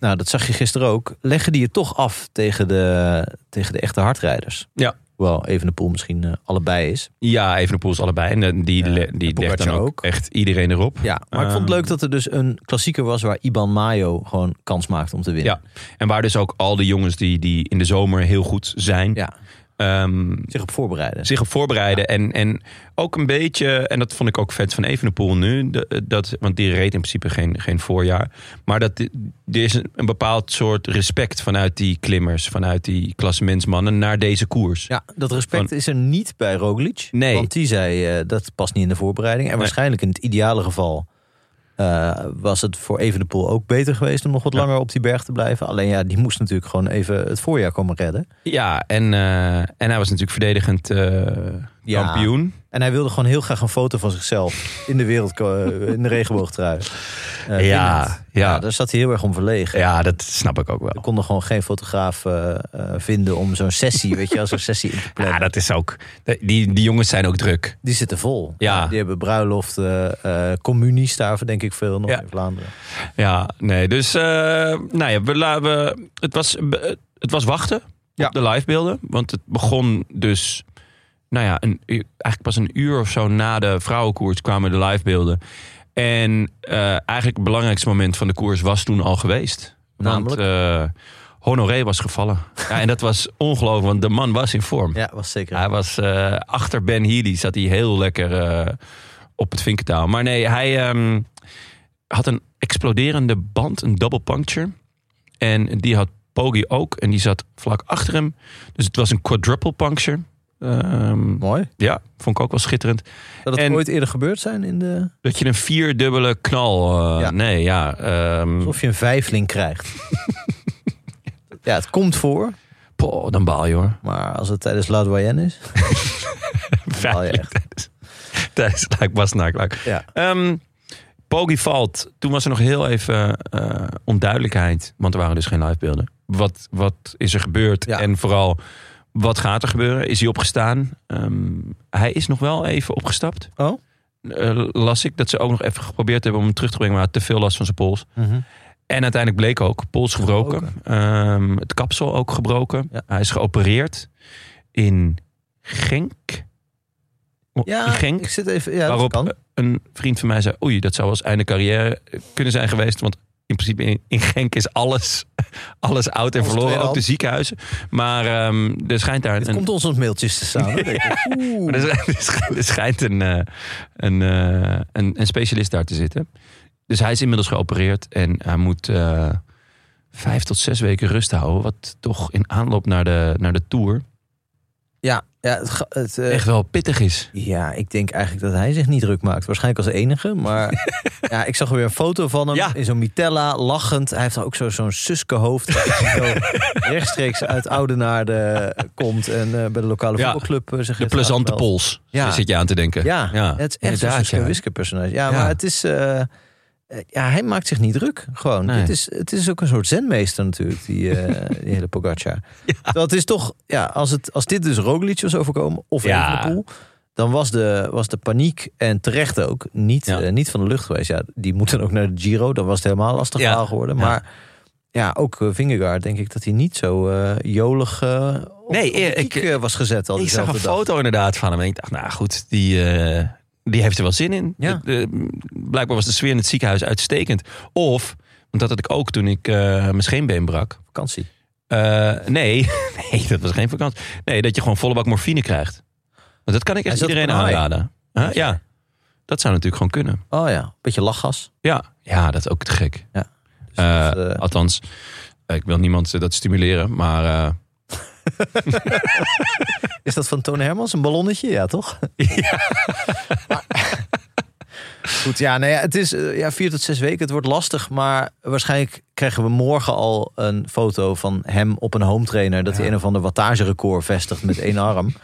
Speaker 2: nou dat zag je gisteren ook, leggen die het toch af tegen de, tegen de echte hardrijders.
Speaker 1: Ja.
Speaker 2: Wel, even de pool misschien eh, allebei is.
Speaker 1: Ja, even de pools allebei. En eh, die,
Speaker 2: Ja,
Speaker 1: le- die
Speaker 2: en
Speaker 1: legt dan
Speaker 2: Pogacar
Speaker 1: ook,
Speaker 2: ook.
Speaker 1: echt iedereen erop.
Speaker 2: Ja, maar ik vond het
Speaker 1: Ehm.
Speaker 2: leuk dat er dus een klassieker was waar Iban Mayo gewoon kans maakte om te winnen.
Speaker 1: Ja. En waar dus ook al de jongens die, die in de zomer heel goed zijn,
Speaker 2: Ja.
Speaker 1: ehm,
Speaker 2: Zich op voorbereiden.
Speaker 1: zich op voorbereiden. En, en ook een beetje, en dat vond ik ook vet van Evenepoel nu. de- eh, Dat, want die reed in principe geen, geen voorjaar. Maar dat, er is een, een bepaald soort respect vanuit die klimmers, vanuit die klassementsmannen naar deze koers.
Speaker 2: Ja, dat respect is er niet bij Roglic.
Speaker 1: Nee.
Speaker 2: Want die zei, eh, dat past niet in de voorbereiding. En waarschijnlijk in het ideale geval eh, was het voor Evenepoel ook beter geweest... om nog wat
Speaker 1: Ja.
Speaker 2: langer op die berg te blijven. Alleen ja, die moest natuurlijk gewoon even het voorjaar komen redden.
Speaker 1: Ja, en, eh, en hij was natuurlijk verdedigend eh,
Speaker 2: Ja.
Speaker 1: kampioen.
Speaker 2: En hij wilde gewoon heel graag een foto van zichzelf in de wereld, eh, in de regenboogtrui. Eh,
Speaker 1: Ja,
Speaker 2: winnend.
Speaker 1: ja.
Speaker 2: daar zat hij heel erg om verlegen.
Speaker 1: Ja, dat snap ik ook wel.
Speaker 2: We konden gewoon geen fotograaf eh, eh, vinden om zo'n sessie, weet je wel, zo'n sessie in te plannen.
Speaker 1: Ja, dat is ook. Die, die jongens zijn ook druk.
Speaker 2: Die zitten vol.
Speaker 1: Ja.
Speaker 2: Die hebben bruiloften, eh communies daar denk ik veel nog
Speaker 1: Ja.
Speaker 2: in Vlaanderen.
Speaker 1: Ja, nee. Dus, eh, nou ja, we, la- we, het, was, be- het was wachten
Speaker 2: Ja.
Speaker 1: op de livebeelden. Want het begon dus, nou ja, een, u- eigenlijk pas een uur of zo na de vrouwenkoers kwamen de livebeelden. En eh, eigenlijk het belangrijkste moment van de koers was toen al geweest.
Speaker 2: Namelijk?
Speaker 1: Want eh, Honoré was gevallen. Ja, en dat was ongelooflijk, want de man was in vorm.
Speaker 2: Ja, was zeker.
Speaker 1: Hij was eh, achter Ben Healy, zat hij heel lekker eh, op het vinkentaal. Maar nee, hij ehm, had een exploderende band, een double puncture. En die had Poggi ook, en die zat vlak achter hem. Dus het was een quadruple puncture. Ehm,
Speaker 2: Mooi.
Speaker 1: ja, vond ik ook wel schitterend.
Speaker 2: Dat het
Speaker 1: En-
Speaker 2: ooit eerder gebeurd zijn in de...
Speaker 1: Dat je een vierdubbele knal... eh,
Speaker 2: Ja.
Speaker 1: Nee, ja. ehm,
Speaker 2: Alsof je een vijfling
Speaker 1: [LAUGHS]
Speaker 2: krijgt. ja, het komt voor.
Speaker 1: poh, dan baal je hoor.
Speaker 2: Maar als het tijdens La Doyenne is... baal je
Speaker 1: Veilig [LAUGHS] tijdens-
Speaker 2: echt.
Speaker 1: Tijdens Luik Bastenaak, Luik.
Speaker 2: Ja.
Speaker 1: Ehm Poggi valt. Toen was er nog heel even eh, onduidelijkheid. Want er waren dus geen livebeelden. Wat, wat is er gebeurd?
Speaker 2: Ja.
Speaker 1: En vooral, wat gaat er gebeuren? Is hij opgestaan? Ehm, hij is nog wel even opgestapt.
Speaker 2: Oh?
Speaker 1: Eh, las ik dat ze ook nog even geprobeerd hebben om hem terug te brengen. Maar hij had te veel last van zijn pols. En uiteindelijk bleek ook, pols gebroken. Ehm, het kapsel ook gebroken.
Speaker 2: Ja.
Speaker 1: Hij is geopereerd in Genk.
Speaker 2: Ja,
Speaker 1: in Genk.
Speaker 2: ik zit even... Ja,
Speaker 1: Waarop
Speaker 2: dat kan.
Speaker 1: een vriend van mij zei: Oei, dat zou als einde carrière eh, kunnen zijn geweest. Want in principe in, in Genk is alles, [LAUGHS] alles oud en
Speaker 2: Alles
Speaker 1: verloren. Ook
Speaker 2: tweedehand.
Speaker 1: de ziekenhuizen. Maar ehm, er schijnt daar
Speaker 2: Het
Speaker 1: een.
Speaker 2: komt ons op mailtjes te staan.
Speaker 1: [LAUGHS]
Speaker 2: hè, denk ik. Oeh.
Speaker 1: maar [LAUGHS] er schijnt- er schijnt, er schijnt een, eh, een, eh, een, een specialist daar te zitten. Dus hij is inmiddels geopereerd en hij moet eh, vijf tot zes weken rust houden. Wat toch in aanloop naar de, naar de tour
Speaker 2: Ja, ja, het, ga- het, eh,
Speaker 1: echt wel pittig is.
Speaker 2: Ja, ik denk eigenlijk dat hij zich niet druk maakt. Waarschijnlijk als enige.
Speaker 1: [LAUGHS]
Speaker 2: Maar ja, ik zag weer een foto van hem
Speaker 1: Ja.
Speaker 2: in zo'n Mitella, lachend. Hij heeft dan ook zo- zo'n suske hoofd. dat hij
Speaker 1: [LAUGHS]
Speaker 2: zo rechtstreeks uit Oudenaarde komt en eh, bij de lokale
Speaker 1: Ja.
Speaker 2: voetbalclub eh, zich
Speaker 1: De
Speaker 2: heeft
Speaker 1: plezante
Speaker 2: aangemeld.
Speaker 1: pols,
Speaker 2: Ja.
Speaker 1: daar zit je aan te denken.
Speaker 2: Ja, het is echt zo'n
Speaker 1: inderdaad,
Speaker 2: suske
Speaker 1: ja.
Speaker 2: wiske personage. Ja,
Speaker 1: Ja.
Speaker 2: maar het is... eh, eh, ja, hij maakt zich niet druk. Gewoon.
Speaker 1: Nee.
Speaker 2: Het, is, het is ook een soort zenmeester natuurlijk, die,
Speaker 1: [LAUGHS]
Speaker 2: eh, die hele Pogacar. Dat is toch, ja, als, het, als dit dus Roglic was overkomen, of
Speaker 1: Ja.
Speaker 2: Evenepoel, dan was de, was de paniek, en terecht ook, niet,
Speaker 1: Ja.
Speaker 2: eh, niet van de lucht geweest. Ja, die moeten ook naar de Giro, dan was het helemaal lastig
Speaker 1: Ja.
Speaker 2: verhaal geworden.
Speaker 1: Ja.
Speaker 2: Maar ja, ook eh, Vingegaard, denk ik, dat hij niet zo eh, jolig eh, op,
Speaker 1: Nee,
Speaker 2: op de
Speaker 1: eh,
Speaker 2: kiek,
Speaker 1: ik-
Speaker 2: eh, was gezet al
Speaker 1: Ik zag
Speaker 2: diezelfde
Speaker 1: een
Speaker 2: dag.
Speaker 1: foto inderdaad van hem. En ik dacht, nou goed, die, eh, die heeft er wel zin in.
Speaker 2: Ja.
Speaker 1: De- de- blijkbaar was de sfeer in het ziekenhuis uitstekend. Of, want dat had ik ook toen ik eh, mijn scheenbeen brak.
Speaker 2: Vakantie.
Speaker 1: Eh, nee, [LAUGHS] nee, dat was geen vakantie. Nee, dat je gewoon volle bak morfine krijgt. Want dat kan ik
Speaker 2: Hij
Speaker 1: echt
Speaker 2: zat
Speaker 1: iedereen
Speaker 2: op een haai.
Speaker 1: aanraden. Huh? Ja, dat zou natuurlijk gewoon kunnen.
Speaker 2: Oh ja, beetje lachgas.
Speaker 1: Ja, ja dat is ook te gek.
Speaker 2: Ja.
Speaker 1: Eh,
Speaker 2: Dus dat, eh,
Speaker 1: Althans, eh, ik wil niemand eh, dat stimuleren, maar... eh,
Speaker 2: Is dat van Toon Hermans? Een ballonnetje? Ja, toch? Ja. [LAUGHS]
Speaker 1: [LAUGHS]
Speaker 2: Goed, ja, nou ja, het is eh, ja, vier tot zes weken. Het wordt lastig, maar waarschijnlijk krijgen we morgen al een foto van hem op een home trainer. Dat hij een of ander wattagerecord vestigt met één
Speaker 1: [LAUGHS]
Speaker 2: arm.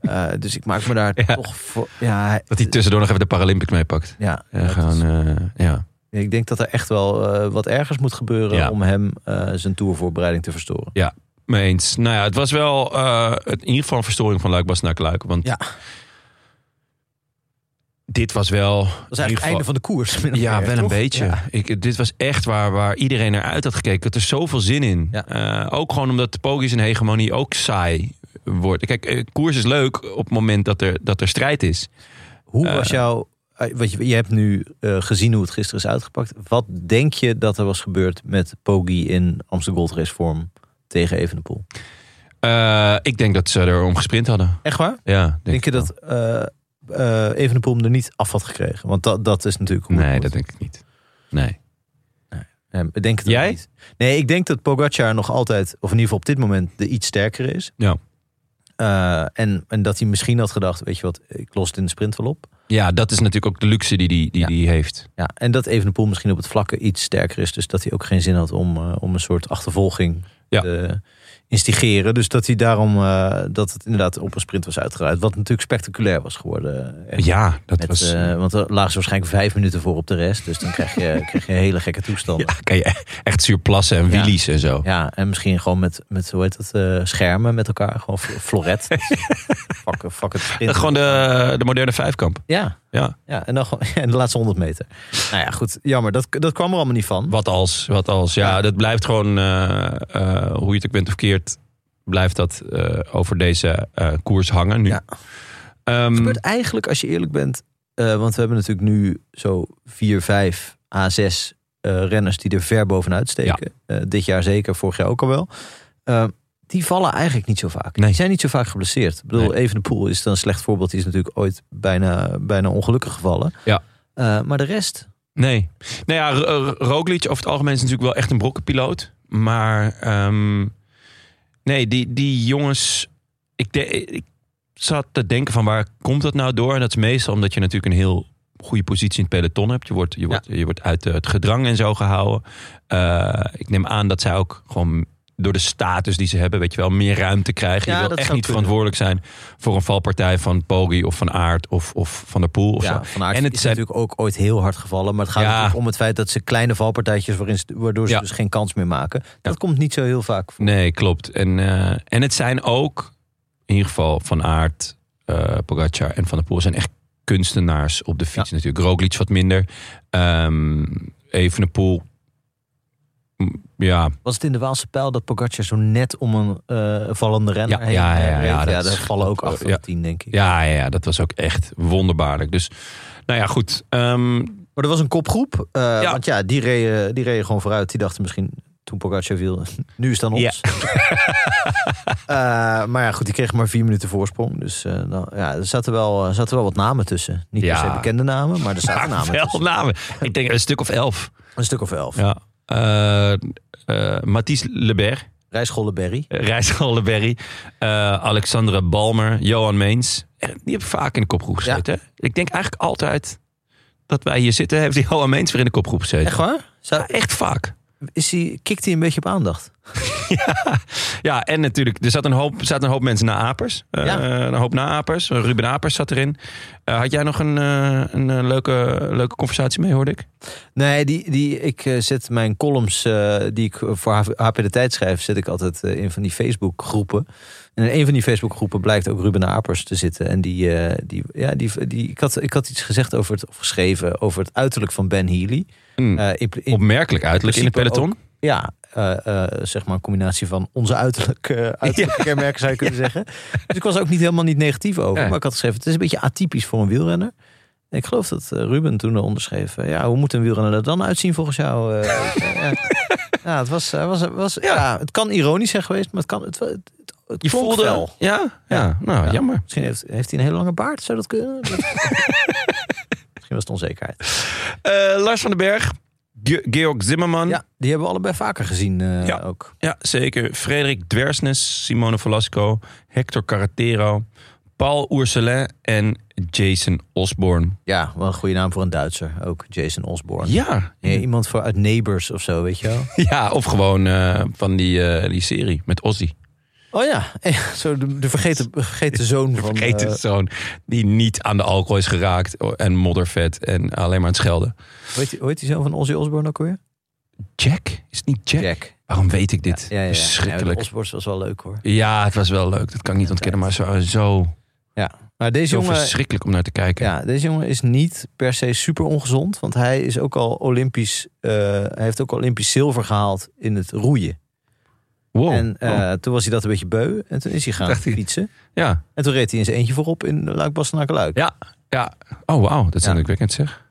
Speaker 2: Eh, dus ik maak me daar
Speaker 1: Ja.
Speaker 2: toch voor. Ja, hij-
Speaker 1: dat hij tussendoor nog even de Paralympics meepakt.
Speaker 2: ja,
Speaker 1: Ja,
Speaker 2: dat is-
Speaker 1: gewoon, eh, ja.
Speaker 2: ik denk dat er echt wel eh, wat ergers moet gebeuren
Speaker 1: Ja.
Speaker 2: om hem eh, zijn tourvoorbereiding te verstoren.
Speaker 1: Mee eens. Nou ja, het was wel eh, het, in ieder geval een verstoring van Luik Bas naar Kluik. Want
Speaker 2: Ja.
Speaker 1: dit was wel...
Speaker 2: Dat is eigenlijk het einde van de koers. min of
Speaker 1: Ja,
Speaker 2: meer,
Speaker 1: wel een
Speaker 2: toch?
Speaker 1: beetje.
Speaker 2: Ja.
Speaker 1: Ik, dit was echt waar, waar iedereen naar uit had gekeken. Ik had er zoveel zin in.
Speaker 2: Ja.
Speaker 1: Eh, ook gewoon omdat de pogies en hegemonie ook saai wordt. Kijk, eh, koers is leuk op het moment dat er, dat er strijd is.
Speaker 2: Hoe
Speaker 1: Eh.
Speaker 2: was jouw. eh, Want je, je hebt nu eh, gezien hoe het gisteren is uitgepakt. Wat denk je dat er was gebeurd met Poggi in Amsterdam Gold Race vorm tegen Evenepoel?
Speaker 1: Eh, Eh, ik denk dat ze erom gesprint hadden.
Speaker 2: Echt waar?
Speaker 1: Ja, denk,
Speaker 2: Denk,
Speaker 1: ik
Speaker 2: je
Speaker 1: wel.
Speaker 2: dat eh eh Evenepoel hem er niet af had gekregen? Want dat, dat is natuurlijk hoe het
Speaker 1: Nee,
Speaker 2: moet.
Speaker 1: dat denk ik niet. Nee.
Speaker 2: Ehm, ik denk het ook
Speaker 1: Jij?
Speaker 2: niet. Nee, ik denk dat Pogacar nog altijd, of in ieder geval op dit moment, de iets sterker is.
Speaker 1: Ja.
Speaker 2: Eh, en, en dat hij misschien had gedacht, weet je wat, ik los het in de sprint wel op.
Speaker 1: Ja, dat is natuurlijk ook de luxe die die, die,
Speaker 2: Ja.
Speaker 1: die heeft.
Speaker 2: Ja, en dat Evenepoel misschien op het vlakke iets sterker is. Dus dat hij ook geen zin had om, eh, om een soort achtervolging
Speaker 1: Ja.
Speaker 2: te instigeren. Dus dat hij daarom, eh, dat het inderdaad op een sprint was uitgedraaid. Wat natuurlijk spectaculair was geworden. Echt.
Speaker 1: Ja, dat
Speaker 2: Met,
Speaker 1: was...
Speaker 2: eh, want er lagen ze waarschijnlijk vijf minuten voor op de rest. Dus dan krijg
Speaker 1: [LAUGHS]
Speaker 2: je, krijg je hele gekke toestanden.
Speaker 1: ja, kan je e- echt zuurplassen en
Speaker 2: Ja.
Speaker 1: wheelies en zo.
Speaker 2: Ja, en misschien gewoon met, met hoe heet dat, eh, schermen met elkaar. Gewoon fl-
Speaker 1: [LAUGHS]
Speaker 2: floret. fuck, fuck het sprint.
Speaker 1: Gewoon de, de moderne vijfkamp.
Speaker 2: Ja,
Speaker 1: Ja.
Speaker 2: ja en, dan gewoon, [LAUGHS] en de laatste 100 meter. Nou ja, goed. Jammer, dat, dat kwam er allemaal niet van.
Speaker 1: Wat als, wat als. Ja,
Speaker 2: Ja.
Speaker 1: dat blijft gewoon, eh, eh, hoe je het ook bent of keert, blijft dat eh, over deze eh, koers hangen nu.
Speaker 2: Ja.
Speaker 1: Ehm,
Speaker 2: gebeurt eigenlijk, als je eerlijk bent... eh, want we hebben natuurlijk nu zo 4, 5, A6 eh, renners die er ver bovenuit steken. Eh, dit jaar zeker, vorig jaar ook al wel. Eh, die vallen eigenlijk niet zo vaak.
Speaker 1: Nee.
Speaker 2: Die zijn niet zo vaak geblesseerd. Ik bedoel,
Speaker 1: Nee.
Speaker 2: Evenepoel is dan een slecht voorbeeld. Die is natuurlijk ooit bijna, bijna ongelukkig gevallen.
Speaker 1: Ja.
Speaker 2: Eh, maar de rest...
Speaker 1: nee. Nou ja, R- R- Roglic over het algemeen is natuurlijk wel echt een brokkenpiloot. Maar ehm, nee, die, die jongens, ik, de- ik zat te denken van waar komt dat nou door? En dat is meestal omdat je natuurlijk een heel goede positie in het peloton hebt. Je wordt, je wordt, je wordt uit eh, het gedrang en zo gehouden. Eh, ik neem aan dat zij ook gewoon door de status die ze hebben, weet je wel, meer ruimte krijgen.
Speaker 2: Ja,
Speaker 1: je wil
Speaker 2: dat
Speaker 1: echt
Speaker 2: zou
Speaker 1: niet
Speaker 2: kunnen.
Speaker 1: verantwoordelijk zijn voor een valpartij van Poggi of van Aert of, of van der Poel of zo.
Speaker 2: Ja, van Aert
Speaker 1: En het
Speaker 2: is
Speaker 1: zijn-
Speaker 2: natuurlijk ook ooit heel hard gevallen. Maar het gaat
Speaker 1: Ja.
Speaker 2: natuurlijk om het feit dat ze kleine valpartijtjes... Waarin ze, waardoor ze
Speaker 1: Ja.
Speaker 2: dus geen kans meer maken. Dat komt niet zo heel vaak voor.
Speaker 1: Nee, klopt. En, eh, en het zijn ook, in ieder geval Van Aert, eh Pogacar en Van der Poel... zijn echt kunstenaars op de fiets natuurlijk. Roglic wat minder. Ehm Evenepoel, m, ja,
Speaker 2: Was het in de Waalse pijl dat Pogacar zo net om een eh, vallende renner
Speaker 1: Ja,
Speaker 2: heen
Speaker 1: ja, ja,
Speaker 2: eh, reed?
Speaker 1: ja, dat
Speaker 2: ja daar
Speaker 1: is-
Speaker 2: vallen ook
Speaker 1: dat-
Speaker 2: achter
Speaker 1: ja.
Speaker 2: de tien, denk ik.
Speaker 1: ja, ja, ja, dat was ook echt wonderbaarlijk. Dus, nou ja, goed. ehm,
Speaker 2: Maar er was een kopgroep, eh,
Speaker 1: Ja.
Speaker 2: want ja, die reden, die reden gewoon vooruit. Die dachten misschien, toen Pogacar viel, [LAUGHS] nu is het aan ons.
Speaker 1: Ja. [LAUGHS]
Speaker 2: Eh, maar ja, goed, die kreeg maar vier minuten voorsprong. Dus eh, dan, ja, er zaten wel, er zaten wel wat namen tussen. Niet
Speaker 1: Ja.
Speaker 2: per se bekende namen, maar
Speaker 1: [LAUGHS]
Speaker 2: er zaten
Speaker 1: maar
Speaker 2: namen
Speaker 1: wel
Speaker 2: tussen.
Speaker 1: namen. Ik denk een stuk of elf.
Speaker 2: Een stuk of elf.
Speaker 1: Ja. Eh eh, Mathies Lebert,
Speaker 2: Rijs Golleberry.
Speaker 1: eh, Rijs Berry, Alexandra Balmer, Johan Meens. Eh, Die hebben vaak in de kopgroep
Speaker 2: Ja.
Speaker 1: gezeten. Ik denk eigenlijk altijd dat wij hier zitten, heeft die Johan Meens weer in de kopgroep gezeten.
Speaker 2: Echt waar?
Speaker 1: Ja,
Speaker 2: Zou,
Speaker 1: echt vaak.
Speaker 2: is die, kikt hij een beetje op aandacht?
Speaker 1: Ja, en natuurlijk, er zat een hoop, zat een hoop mensen na Apers. Eh,
Speaker 2: Ja.
Speaker 1: Een hoop na Apers. Ruben Apers zat erin. Eh, had jij nog een, eh, een eh, leuke, leuke conversatie mee, hoorde ik?
Speaker 2: Nee, die, die, ik eh, zet mijn columns eh, die ik voor HP De Tijd schrijf... zet ik altijd eh, in van die Facebookgroepen. En in een van die Facebookgroepen blijkt ook Ruben Apers te zitten. En die, eh, die, ja, die, die, ik, had, ik had iets gezegd over het, of geschreven over het uiterlijk van Ben Healy.
Speaker 1: Een
Speaker 2: Eh, in- in-
Speaker 1: opmerkelijk uiterlijk in het
Speaker 2: principe
Speaker 1: peloton.
Speaker 2: ja, eh, eh, zeg maar een combinatie van onze uiterlijk, eh,
Speaker 1: [LAUGHS]
Speaker 2: uiterlijke kenmerken zou je kunnen zeggen. Dus ik was er ook niet helemaal niet negatief over.
Speaker 1: Ja.
Speaker 2: Maar ik had geschreven, het is een beetje atypisch voor een wielrenner. En ik geloof dat eh, Ruben toen eronder schreef. eh, ja, hoe moet een wielrenner er dan uitzien volgens jou? eh, ja.
Speaker 1: [LAUGHS]
Speaker 2: ja, het was, eh, was, was ja. het kan ironisch zijn geweest, maar het kan, het, het, het, het
Speaker 1: Je
Speaker 2: klonk
Speaker 1: voelde...
Speaker 2: wel.
Speaker 1: Ja, ja,
Speaker 2: Ja.
Speaker 1: nou,
Speaker 2: Ja.
Speaker 1: jammer.
Speaker 2: Misschien heeft, heeft hij een hele lange baard, zou dat
Speaker 1: [LAUGHS]
Speaker 2: kunnen? Misschien was het onzekerheid.
Speaker 1: Eh, Lars van den Berg, Ge- Georg Zimmerman.
Speaker 2: Ja, die hebben we allebei vaker gezien eh,
Speaker 1: Ja.
Speaker 2: ook.
Speaker 1: Ja, zeker. Frederik Dwersnes, Simone Velasco, Hector Carretero, Paul Ourselin en Jason Osborne.
Speaker 2: Ja, wel een goede naam voor een Duitser. Ook Jason Osborne.
Speaker 1: Ja,
Speaker 2: Ja, Eh, iemand voor, uit Neighbors of zo, weet je wel.
Speaker 1: [LAUGHS] ja of gewoon eh, van die, eh, die serie met Ozzy.
Speaker 2: Oh ja, [LAUGHS] zo de, de vergeten, vergeten zoon van...
Speaker 1: Vergeet
Speaker 2: eh,
Speaker 1: het zo'n die niet aan de alcohol is geraakt en moddervet en alleen maar aan het schelden.
Speaker 2: hoe, heet, die- hoe heet die zoon van Ozzy Osborne ook weer?
Speaker 1: Jack? Is het niet Jack? Waarom weet ik dit?
Speaker 2: Ja, ja, ja.
Speaker 1: Verschrikkelijk.
Speaker 2: Ja, Osborne was wel leuk hoor.
Speaker 1: Ja, het was wel leuk. Dat kan ik niet ontkennen. Maar zo, zo,
Speaker 2: Maar deze
Speaker 1: zo
Speaker 2: jongen,
Speaker 1: verschrikkelijk om naar te kijken.
Speaker 2: ja, deze jongen is niet per se super ongezond. Want hij is ook al Olympisch... eh, hij heeft ook Olympisch zilver gehaald in het roeien.
Speaker 1: Wow.
Speaker 2: en eh,
Speaker 1: Wow.
Speaker 2: toen was hij dat een beetje beu. En toen is hij gaan
Speaker 1: Oh, Dacht hij-
Speaker 2: fietsen.
Speaker 1: ja.
Speaker 2: En toen reed hij in zijn eentje voorop in Luik-Bastenaken-Luik.
Speaker 1: Ja. Ja. Oh, wauw. Dat is
Speaker 2: Ja.
Speaker 1: indrukwekkend zeg.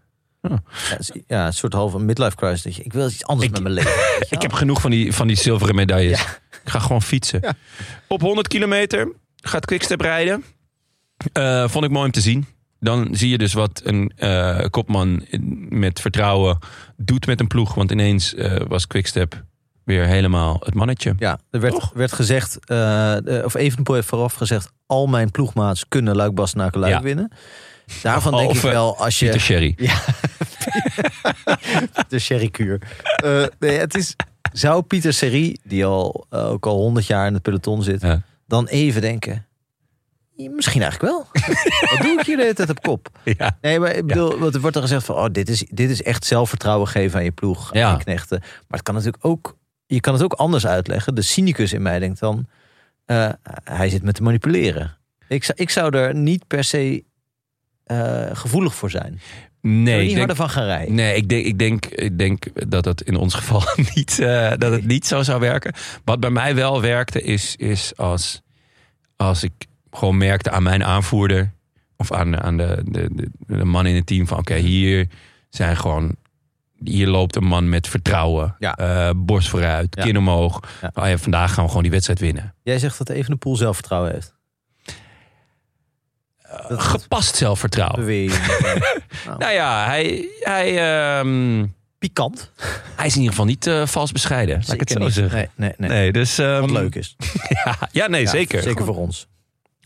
Speaker 2: Ja, het is- ja, een soort halve midlife crisis. dat je- Ik wil iets anders
Speaker 1: Ik-
Speaker 2: met mijn leven. weet je wel?
Speaker 1: [LAUGHS] Ik heb genoeg van die, van die zilveren medailles. Ik ga gewoon fietsen.
Speaker 2: Ja.
Speaker 1: Op 100 kilometer gaat Quickstep rijden. Eh, vond ik mooi om te zien. Dan zie je dus wat een eh, kopman in- met vertrouwen doet met een ploeg. Want ineens eh, was Quickstep weer helemaal het mannetje.
Speaker 2: Ja, er werd, werd gezegd, eh, eh, of Evenepoel heeft vooraf gezegd... al mijn ploegmaats kunnen Luik Bastenaken Luik
Speaker 1: Ja.
Speaker 2: winnen. Daarvan denk ik
Speaker 1: Behalve
Speaker 2: wel, als je...
Speaker 1: Pieter Sherry.
Speaker 2: de sherrykuur. Eh, nee, het is, zou Pieter Serie, die al, eh, ook al 100 jaar in het peloton zit,
Speaker 1: Ja.
Speaker 2: dan even denken... Misschien eigenlijk wel. [LAUGHS] Wat doe ik hier de hele tijd op kop?
Speaker 1: Ja.
Speaker 2: Nee, maar ik bedoel, want er wordt dan gezegd van... Oh, dit, is, dit is echt zelfvertrouwen geven aan je ploeg, aan
Speaker 1: Ja.
Speaker 2: je knechten. Maar het kan natuurlijk ook, je kan het ook anders uitleggen. De cynicus in mij denkt dan... eh, hij zit me te manipuleren. Ik, zou- ik zou er niet per se eh, gevoelig voor zijn. Ik zou er
Speaker 1: Nee,
Speaker 2: niet
Speaker 1: ik denk,
Speaker 2: harder van gaan rijden.
Speaker 1: nee ik, denk, ik, denk, ik denk dat het in ons geval [LAUGHS] niet, eh, dat het niet zo zou werken. Wat bij mij wel werkte is, is als, als ik gewoon merkte aan mijn aanvoerder... of aan, aan de, de, de, de man in het team van... oké, hier zijn gewoon... Hier loopt een man met vertrouwen.
Speaker 2: Ja.
Speaker 1: Eh, borst vooruit,
Speaker 2: Ja.
Speaker 1: kin omhoog.
Speaker 2: Ja.
Speaker 1: Oh ja, vandaag gaan we gewoon die wedstrijd winnen.
Speaker 2: Jij zegt dat Evenepoel zelfvertrouwen heeft.
Speaker 1: Eh,
Speaker 2: Dat
Speaker 1: Gepast zelfvertrouwen.
Speaker 2: beweer
Speaker 1: [LAUGHS]
Speaker 2: je.
Speaker 1: Nou ja, hij, hij, ehm,
Speaker 2: Pikant.
Speaker 1: hij is in ieder geval niet eh, vals bescheiden. Laat ik het
Speaker 2: Zeker
Speaker 1: zo
Speaker 2: niet.
Speaker 1: zeggen.
Speaker 2: Nee, nee, nee.
Speaker 1: Nee, dus... ehm,
Speaker 2: Wat leuk is.
Speaker 1: Ja, [LAUGHS] ja nee,
Speaker 2: Ja,
Speaker 1: zeker.
Speaker 2: Zeker voor ons.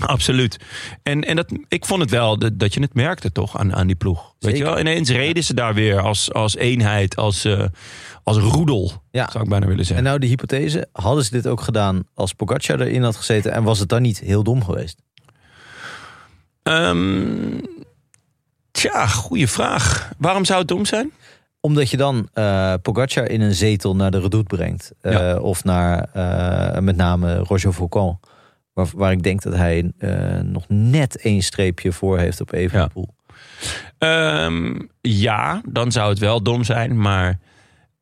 Speaker 1: Absoluut. En, en dat, ik vond het wel dat, dat je het merkte toch aan, aan die ploeg. Weet
Speaker 2: Zeker.
Speaker 1: je wel, ineens reden ze daar weer als, als eenheid, als, eh, als roedel,
Speaker 2: Ja.
Speaker 1: zou ik bijna willen
Speaker 2: En
Speaker 1: zeggen.
Speaker 2: nou de hypothese, hadden ze dit ook gedaan als Pogacar erin had gezeten en was het dan niet heel dom geweest?
Speaker 1: Ehm, tja, goede vraag. Waarom zou het dom zijn?
Speaker 2: Omdat je dan eh Pogacar in een zetel naar de redoute brengt. Eh,
Speaker 1: Ja.
Speaker 2: Of naar eh, met name Roger Foucault. Waar, waar ik denk dat hij eh, nog net één streepje voor heeft op Evenepoel.
Speaker 1: Ehm, ja, dan zou het wel dom zijn, maar...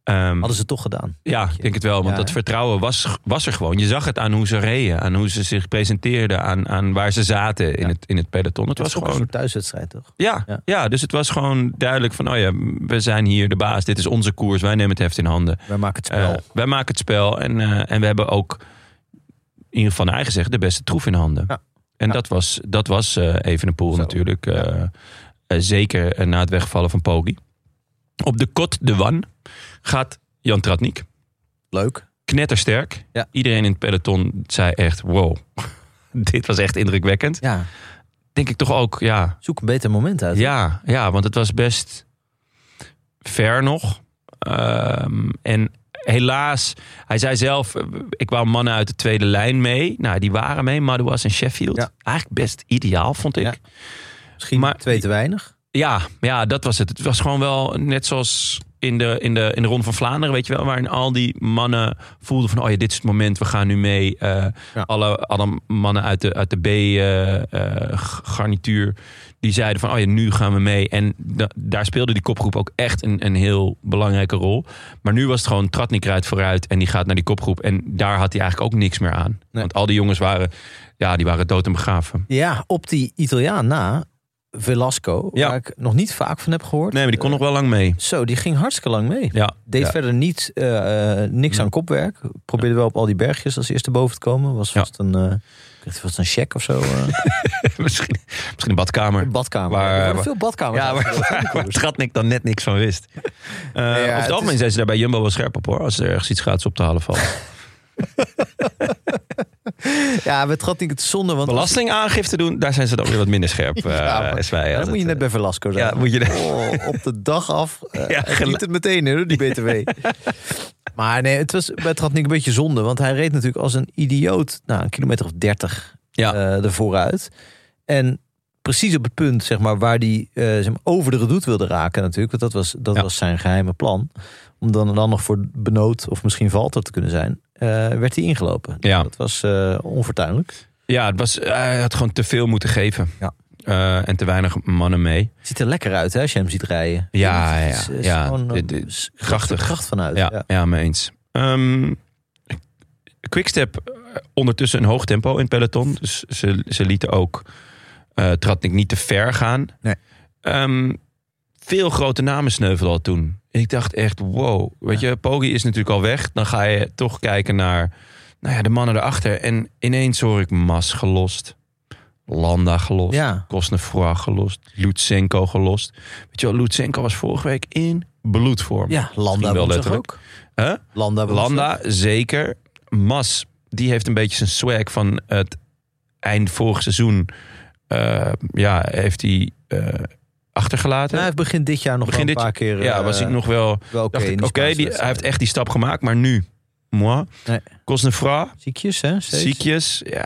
Speaker 1: ehm,
Speaker 2: Hadden ze het toch gedaan.
Speaker 1: Ja, ik denk het wel. Want
Speaker 2: Ja,
Speaker 1: dat
Speaker 2: hè?
Speaker 1: vertrouwen was, was er gewoon. Je zag het aan hoe ze reden, aan hoe ze zich presenteerden, aan, aan waar ze zaten in,
Speaker 2: Ja.
Speaker 1: het, in het peloton. Het
Speaker 2: Dat
Speaker 1: was
Speaker 2: is toch een
Speaker 1: gewoon.
Speaker 2: soort thuiswedstrijd toch?
Speaker 1: Ja,
Speaker 2: Ja.
Speaker 1: ja. dus het was gewoon duidelijk van, oh ja, we zijn hier de baas. Dit is onze koers. Wij nemen het heft in handen.
Speaker 2: Wij maken het
Speaker 1: Eh,
Speaker 2: spel.
Speaker 1: wij maken het spel en, eh, en we hebben ook, in ieder geval naar eigen zeggen, de beste troef in handen.
Speaker 2: Ja.
Speaker 1: En
Speaker 2: Ja.
Speaker 1: dat was, dat was eh Evenepoel
Speaker 2: Zo.
Speaker 1: natuurlijk. eh, eh, zeker eh, na het wegvallen van Poggi. Op de Côte de Wan gaat Jan Tratnik
Speaker 2: Leuk.
Speaker 1: knettersterk.
Speaker 2: Ja.
Speaker 1: Iedereen in het peloton zei echt, wow, [LAUGHS] dit was echt indrukwekkend.
Speaker 2: Ja,
Speaker 1: Denk ik toch ook, ja.
Speaker 2: zoek een beter moment uit.
Speaker 1: Ja, ja want het was best ver nog. Ehm, en helaas, hij zei zelf, eh, ik wou mannen uit de tweede lijn mee. Nou, die waren mee, Madouas en Sheffield.
Speaker 2: Ja.
Speaker 1: Eigenlijk best ideaal, vond ik.
Speaker 2: Ja. Misschien
Speaker 1: Maar-
Speaker 2: twee te weinig.
Speaker 1: Ja, ja, dat was het. Het was gewoon wel net zoals in de, in de, in de Ronde van Vlaanderen, weet je wel. Waarin al die mannen voelden van, oh ja, dit is het moment, we gaan nu mee. Eh,
Speaker 2: Ja.
Speaker 1: alle, alle mannen uit de, uit de eh, B-garnituur, die zeiden van, oh ja, nu gaan we mee. En da- daar speelde die kopgroep ook echt een, een heel belangrijke rol. Maar nu was het gewoon, Tratnik rijdt vooruit en die gaat naar die kopgroep. En daar had hij eigenlijk ook niks meer aan.
Speaker 2: Nee.
Speaker 1: Want al die jongens waren, ja, die waren dood en begraven.
Speaker 2: Ja, op die Italiaan na, Velasco,
Speaker 1: Ja.
Speaker 2: waar ik nog niet vaak van heb gehoord.
Speaker 1: Nee, maar die kon nog wel lang mee.
Speaker 2: Zo, die ging hartstikke lang mee.
Speaker 1: Eh, Ja,
Speaker 2: Deed
Speaker 1: ja.
Speaker 2: verder niet, eh, eh, niks aan kopwerk. Probeerde wel op al die bergjes als eerste boven te komen. Was
Speaker 1: Ja.
Speaker 2: vast een, eh, kreeg hij vast een check of
Speaker 1: [LAUGHS]
Speaker 2: zo. eh,
Speaker 1: misschien, misschien een badkamer.
Speaker 2: een badkamer.
Speaker 1: Waar-
Speaker 2: er worden
Speaker 1: waar-
Speaker 2: veel badkamers.
Speaker 1: Ja, waar,
Speaker 2: uitgedeeld.
Speaker 1: waar, [LAUGHS] waar Tratnik dan net niks van wist. Eh over
Speaker 2: het
Speaker 1: het algemeen
Speaker 2: is-
Speaker 1: zijn ze daar bij Jumbo wel scherp op hoor. Als er ergens iets gratis op te halen
Speaker 2: [LAUGHS]
Speaker 1: valt.
Speaker 2: Ja, we trad niet het zonde. Want
Speaker 1: Belastingaangifte doen, daar zijn ze dan weer wat minder scherp. eh
Speaker 2: [LAUGHS] Ja, maar-
Speaker 1: als wij.
Speaker 2: Ja,
Speaker 1: altijd,
Speaker 2: dan moet je net
Speaker 1: eh,
Speaker 2: bij Velasco zijn.
Speaker 1: ja, moet je
Speaker 2: [LAUGHS]
Speaker 1: net-
Speaker 2: Oh, op de dag af. eh
Speaker 1: Ja,
Speaker 2: hij
Speaker 1: gelijk.
Speaker 2: liet het meteen hoor, die BTW. maar nee, het was bij Tratnik een beetje zonde. Want hij reed natuurlijk als een idioot. Nou, een kilometer of dertig
Speaker 1: Ja.
Speaker 2: eh ervoor uit. En precies op het punt, zeg maar, waar hij eh, zeg maar, over de redoute wilde raken natuurlijk. Want dat was, dat
Speaker 1: Ja.
Speaker 2: was zijn geheime plan. Om dan, dan nog voor benood of misschien valter te kunnen zijn. eh, werd hij ingelopen.
Speaker 1: Ja.
Speaker 2: Dat was eh onfortuinlijk.
Speaker 1: ja, het was, hij had gewoon te veel moeten geven.
Speaker 2: Ja.
Speaker 1: Eh, en te weinig mannen mee.
Speaker 2: Het ziet er lekker uit hè, als je hem ziet rijden.
Speaker 1: Ja,
Speaker 2: Het
Speaker 1: ja,
Speaker 2: is- het is
Speaker 1: ja.
Speaker 2: gewoon, eh,
Speaker 1: Dit- dit-
Speaker 2: s-
Speaker 1: krachtig.
Speaker 2: Kracht vanuit.
Speaker 1: Ja, ja. mee eens. Ehm, Quickstep eh, ondertussen een hoog tempo in het peloton. Dus ze, ze lieten ook eh Tratnik niet te ver gaan.
Speaker 2: Nee.
Speaker 1: Ehm, veel grote namen sneuvelden al toen. Ik dacht echt, wow. Weet je, Poggi is natuurlijk al weg. Dan ga je toch kijken naar nou ja, de mannen erachter. En ineens hoor ik Mas gelost. Landa gelost.
Speaker 2: Ja.
Speaker 1: Kostnefroa gelost. Lutsenko gelost. Weet je wel, Lutsenko was vorige week in bloedvorm.
Speaker 2: Ja, Landa
Speaker 1: Misschien wel
Speaker 2: woensdag
Speaker 1: letterlijk.
Speaker 2: ook.
Speaker 1: Huh?
Speaker 2: Landa, woensdag.
Speaker 1: Landa, zeker. Mas, die heeft een beetje zijn swag van het eind vorig seizoen. eh, ja, heeft hij eh, achtergelaten.
Speaker 2: Nou, hij begint dit jaar nog
Speaker 1: Begin
Speaker 2: wel een
Speaker 1: dit-
Speaker 2: paar keer. eh,
Speaker 1: ja, was ik nog wel. Dacht ik, oké, die- hij heeft echt die stap gemaakt, maar nu. Moi.
Speaker 2: Nee.
Speaker 1: Cosnefra,
Speaker 2: Ziekjes, hè? steeds.
Speaker 1: ziekjes. Ja,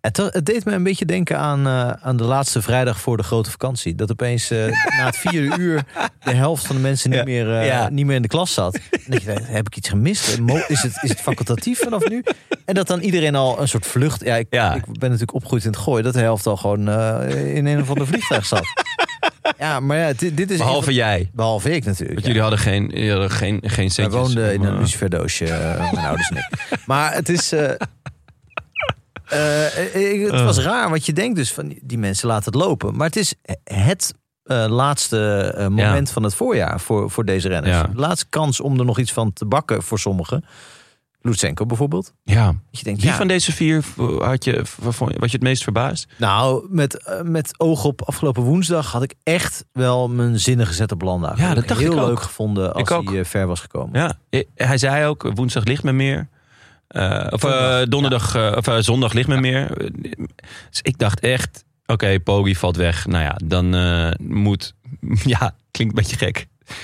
Speaker 2: Het, het deed me een beetje denken aan, eh, aan de laatste vrijdag voor de grote vakantie. Dat opeens eh, [LAUGHS] na het vierde uur de helft van de mensen niet,
Speaker 1: Ja.
Speaker 2: meer, eh,
Speaker 1: Ja.
Speaker 2: niet meer in de klas zat. En dat je denkt, heb ik iets gemist? Mo- Is het, is het facultatief vanaf nu? En dat dan iedereen al een soort vlucht... Ja, ik,
Speaker 1: Ja.
Speaker 2: ik ben natuurlijk opgegroeid in het gooien. Dat de helft al gewoon eh, in een of ander vliegtuig
Speaker 1: [LAUGHS]
Speaker 2: zat. Ja, maar ja, dit, dit is...
Speaker 1: behalve jij.
Speaker 2: Behalve ik
Speaker 1: Want
Speaker 2: natuurlijk. ja.
Speaker 1: jullie hadden geen, jullie hadden geen, geen
Speaker 2: Wij
Speaker 1: centjes.
Speaker 2: woonden in
Speaker 1: om,
Speaker 2: een
Speaker 1: eh,
Speaker 2: luciferdoosje, eh, mijn ouders en ik. Maar het is... eh, eh, ik- het was raar, want je denkt dus van die mensen laten het lopen. Maar het is het eh, laatste eh, moment van het voorjaar voor, voor deze renners.
Speaker 1: Ja.
Speaker 2: De laatste kans om er nog iets van te bakken voor sommigen. Lutsenko bijvoorbeeld.
Speaker 1: Ja.
Speaker 2: Dat je denkt,
Speaker 1: Wie
Speaker 2: ja,
Speaker 1: van deze vier had je, waarvan- was je het meest verbaasd?
Speaker 2: nou, met, eh, met oog op afgelopen woensdag had ik echt wel mijn zinnen gezet op Landa.
Speaker 1: Ja, dat dacht
Speaker 2: Heel
Speaker 1: ik ook.
Speaker 2: leuk gevonden als
Speaker 1: Ik
Speaker 2: hij
Speaker 1: ook.
Speaker 2: eh, ver was gekomen.
Speaker 1: Ja, eh, hij zei ook, woensdag ligt me meer. Eh, of eh,
Speaker 2: Zondag.
Speaker 1: donderdag, eh, of eh, zondag ligt me meer. Eh, Dus ik dacht echt, oké, Poggi valt weg. Nou ja, dan eh, moet, [LAUGHS] ja, klinkt een beetje gek. Eh,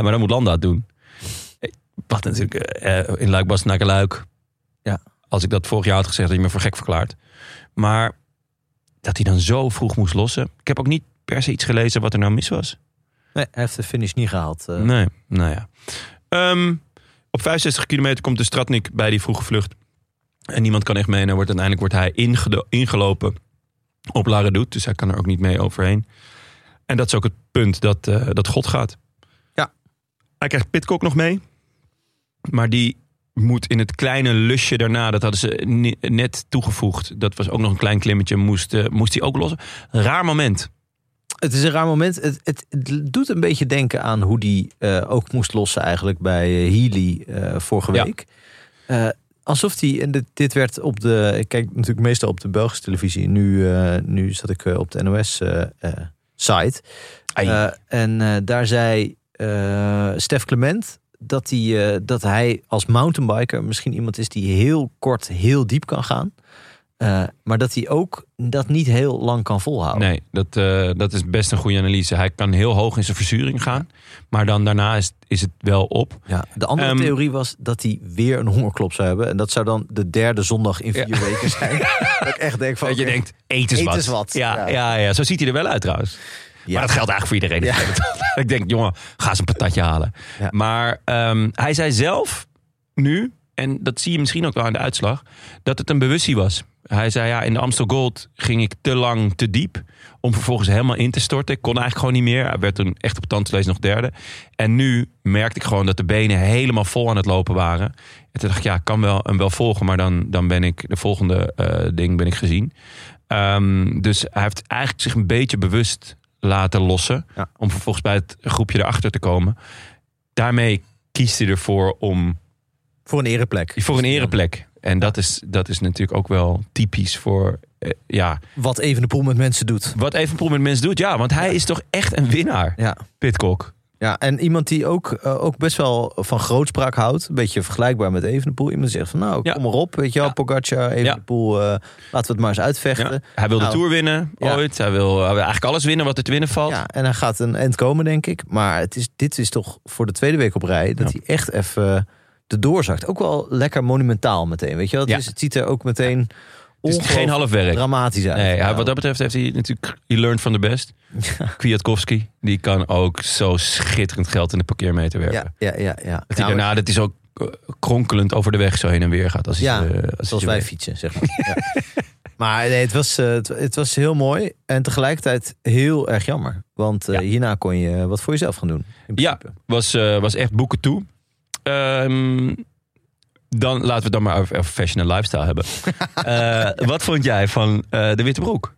Speaker 1: maar dan moet Landa het doen. Eh, Wat natuurlijk, eh, eh, in Luik Bas naar Luik.
Speaker 2: Ja.
Speaker 1: Als ik dat vorig jaar had gezegd, had je me voor gek verklaard. Maar dat hij dan zo vroeg moest lossen. Ik heb ook niet per se iets gelezen wat er nou mis was.
Speaker 2: Nee, hij heeft de finish niet gehaald. eh.
Speaker 1: Nee, nou ja. Ehm, op 65 kilometer komt de Stratnik bij die vroege vlucht. En niemand kan echt mee. En dan wordt, uiteindelijk wordt hij ingedo- ingelopen op Laradoet. Dus hij kan er ook niet mee overheen. En dat is ook het punt dat, eh, dat God gaat.
Speaker 2: Ja.
Speaker 1: Hij krijgt Pitcock nog mee. Maar die moet in het kleine lusje daarna, dat hadden ze ni- net toegevoegd. Dat was ook nog een klein klimmetje, moest, eh, moest hij ook lossen. Raar moment.
Speaker 2: Het is een raar moment. Het, het, het doet een beetje denken aan hoe die eh, ook moest lossen eigenlijk bij eh, Healy eh, vorige
Speaker 1: Ja.
Speaker 2: week. Eh, alsof die, en dit, dit werd op de, ik kijk natuurlijk meestal op de Belgische televisie. Nu, eh, nu zat ik eh, op de NOS eh, eh, site.
Speaker 1: Ai.
Speaker 2: Eh, en eh, daar zei eh, Stef Clement dat, die, eh, dat hij als mountainbiker misschien iemand is die heel kort heel diep kan gaan. Eh, maar dat hij ook dat niet heel lang kan volhouden.
Speaker 1: Nee, dat, eh, dat is best een goede analyse. Hij kan heel hoog in zijn verzuring gaan. Maar dan daarna is, is het wel op.
Speaker 2: Ja, de andere
Speaker 1: Ehm,
Speaker 2: theorie was dat hij weer een hongerklop zou hebben. En dat zou dan de derde zondag in vier
Speaker 1: Ja.
Speaker 2: weken
Speaker 1: [LAUGHS]
Speaker 2: zijn. dat ik echt denk van...
Speaker 1: Dat je
Speaker 2: oké,
Speaker 1: denkt, eet eens
Speaker 2: Eet
Speaker 1: wat.
Speaker 2: eens wat,
Speaker 1: Ja,
Speaker 2: ja.
Speaker 1: ja. Ja, zo ziet hij er wel uit trouwens.
Speaker 2: ja.
Speaker 1: Maar dat geldt eigenlijk voor iedereen. [LAUGHS] Ik denk, jongen, ga eens een patatje halen.
Speaker 2: Ja.
Speaker 1: Maar ehm, hij zei zelf nu, en dat zie je misschien ook wel aan de uitslag, dat het een bewustie was. Hij zei, ja, in de Amstel Gold ging ik te lang te diep om vervolgens helemaal in te storten. Ik kon eigenlijk gewoon niet meer. Hij werd toen echt op tandvlees nog derde. En nu merkte ik gewoon dat de benen helemaal vol aan het lopen waren. En toen dacht ik, ja, ik kan wel hem wel volgen, maar dan, dan ben ik de volgende eh, ding ben ik gezien. Ehm, dus hij heeft eigenlijk zich een beetje bewust laten lossen.
Speaker 2: Ja.
Speaker 1: Om vervolgens bij het groepje erachter te komen. Daarmee kiest hij ervoor om
Speaker 2: Voor een ereplek. Dus,
Speaker 1: voor een ereplek. En dat is, dat is natuurlijk ook wel typisch voor eh, ja.
Speaker 2: Wat even de poel met mensen doet.
Speaker 1: wat Evenpoel met mensen doet. Ja, want hij is toch echt een winnaar,
Speaker 2: Ja.
Speaker 1: Pitcock.
Speaker 2: Ja, en iemand die ook, eh, ook best wel van grootspraak houdt. Een beetje vergelijkbaar met Evenepoel. Iemand zegt van nou,
Speaker 1: Ja.
Speaker 2: kom maar op. Weet je wel,
Speaker 1: Ja.
Speaker 2: Pogacar, Evenepoel. eh, laten we het maar eens uitvechten.
Speaker 1: Ja.
Speaker 2: Ja.
Speaker 1: Hij wil
Speaker 2: Nou,
Speaker 1: de Tour winnen,
Speaker 2: ja.
Speaker 1: ooit. Hij wil, hij wil eigenlijk alles winnen wat er te winnen valt.
Speaker 2: en hij gaat een eind komen, denk ik. Maar het is, dit is toch voor de tweede week op rij... dat hij echt even de doorzakt. Ook wel lekker monumentaal meteen, weet je wel. Het,
Speaker 1: Ja.
Speaker 2: is, het ziet er ook meteen...
Speaker 1: het is geen
Speaker 2: ongelooflijk
Speaker 1: half werk.
Speaker 2: dramatisch uit.
Speaker 1: Nee, hij-
Speaker 2: Nou,
Speaker 1: wat dat betreft heeft hij natuurlijk... He learned from the best. Kwiatkowski, die kan ook zo schitterend geld in de parkeermeter werpen.
Speaker 2: ja, ja, ja, ja.
Speaker 1: Dat hij
Speaker 2: Nou,
Speaker 1: daarna, dat is ook eh, kronkelend over de weg zo heen en weer gaat. Als hij,
Speaker 2: Ja,
Speaker 1: eh, als hij
Speaker 2: zoals
Speaker 1: weer-
Speaker 2: wij fietsen, zeg maar. ja. [LAUGHS] Maar nee, het was, eh, het, het was heel mooi en tegelijkertijd heel erg jammer. Want eh,
Speaker 1: Ja.
Speaker 2: hierna kon je wat voor jezelf gaan doen. in
Speaker 1: Ja,
Speaker 2: principe.
Speaker 1: was, eh, was echt boeken toe. Ehm, dan laten we het dan maar over, over fashion en
Speaker 2: [LAUGHS]
Speaker 1: lifestyle hebben. Eh, wat vond jij van eh, de witte broek?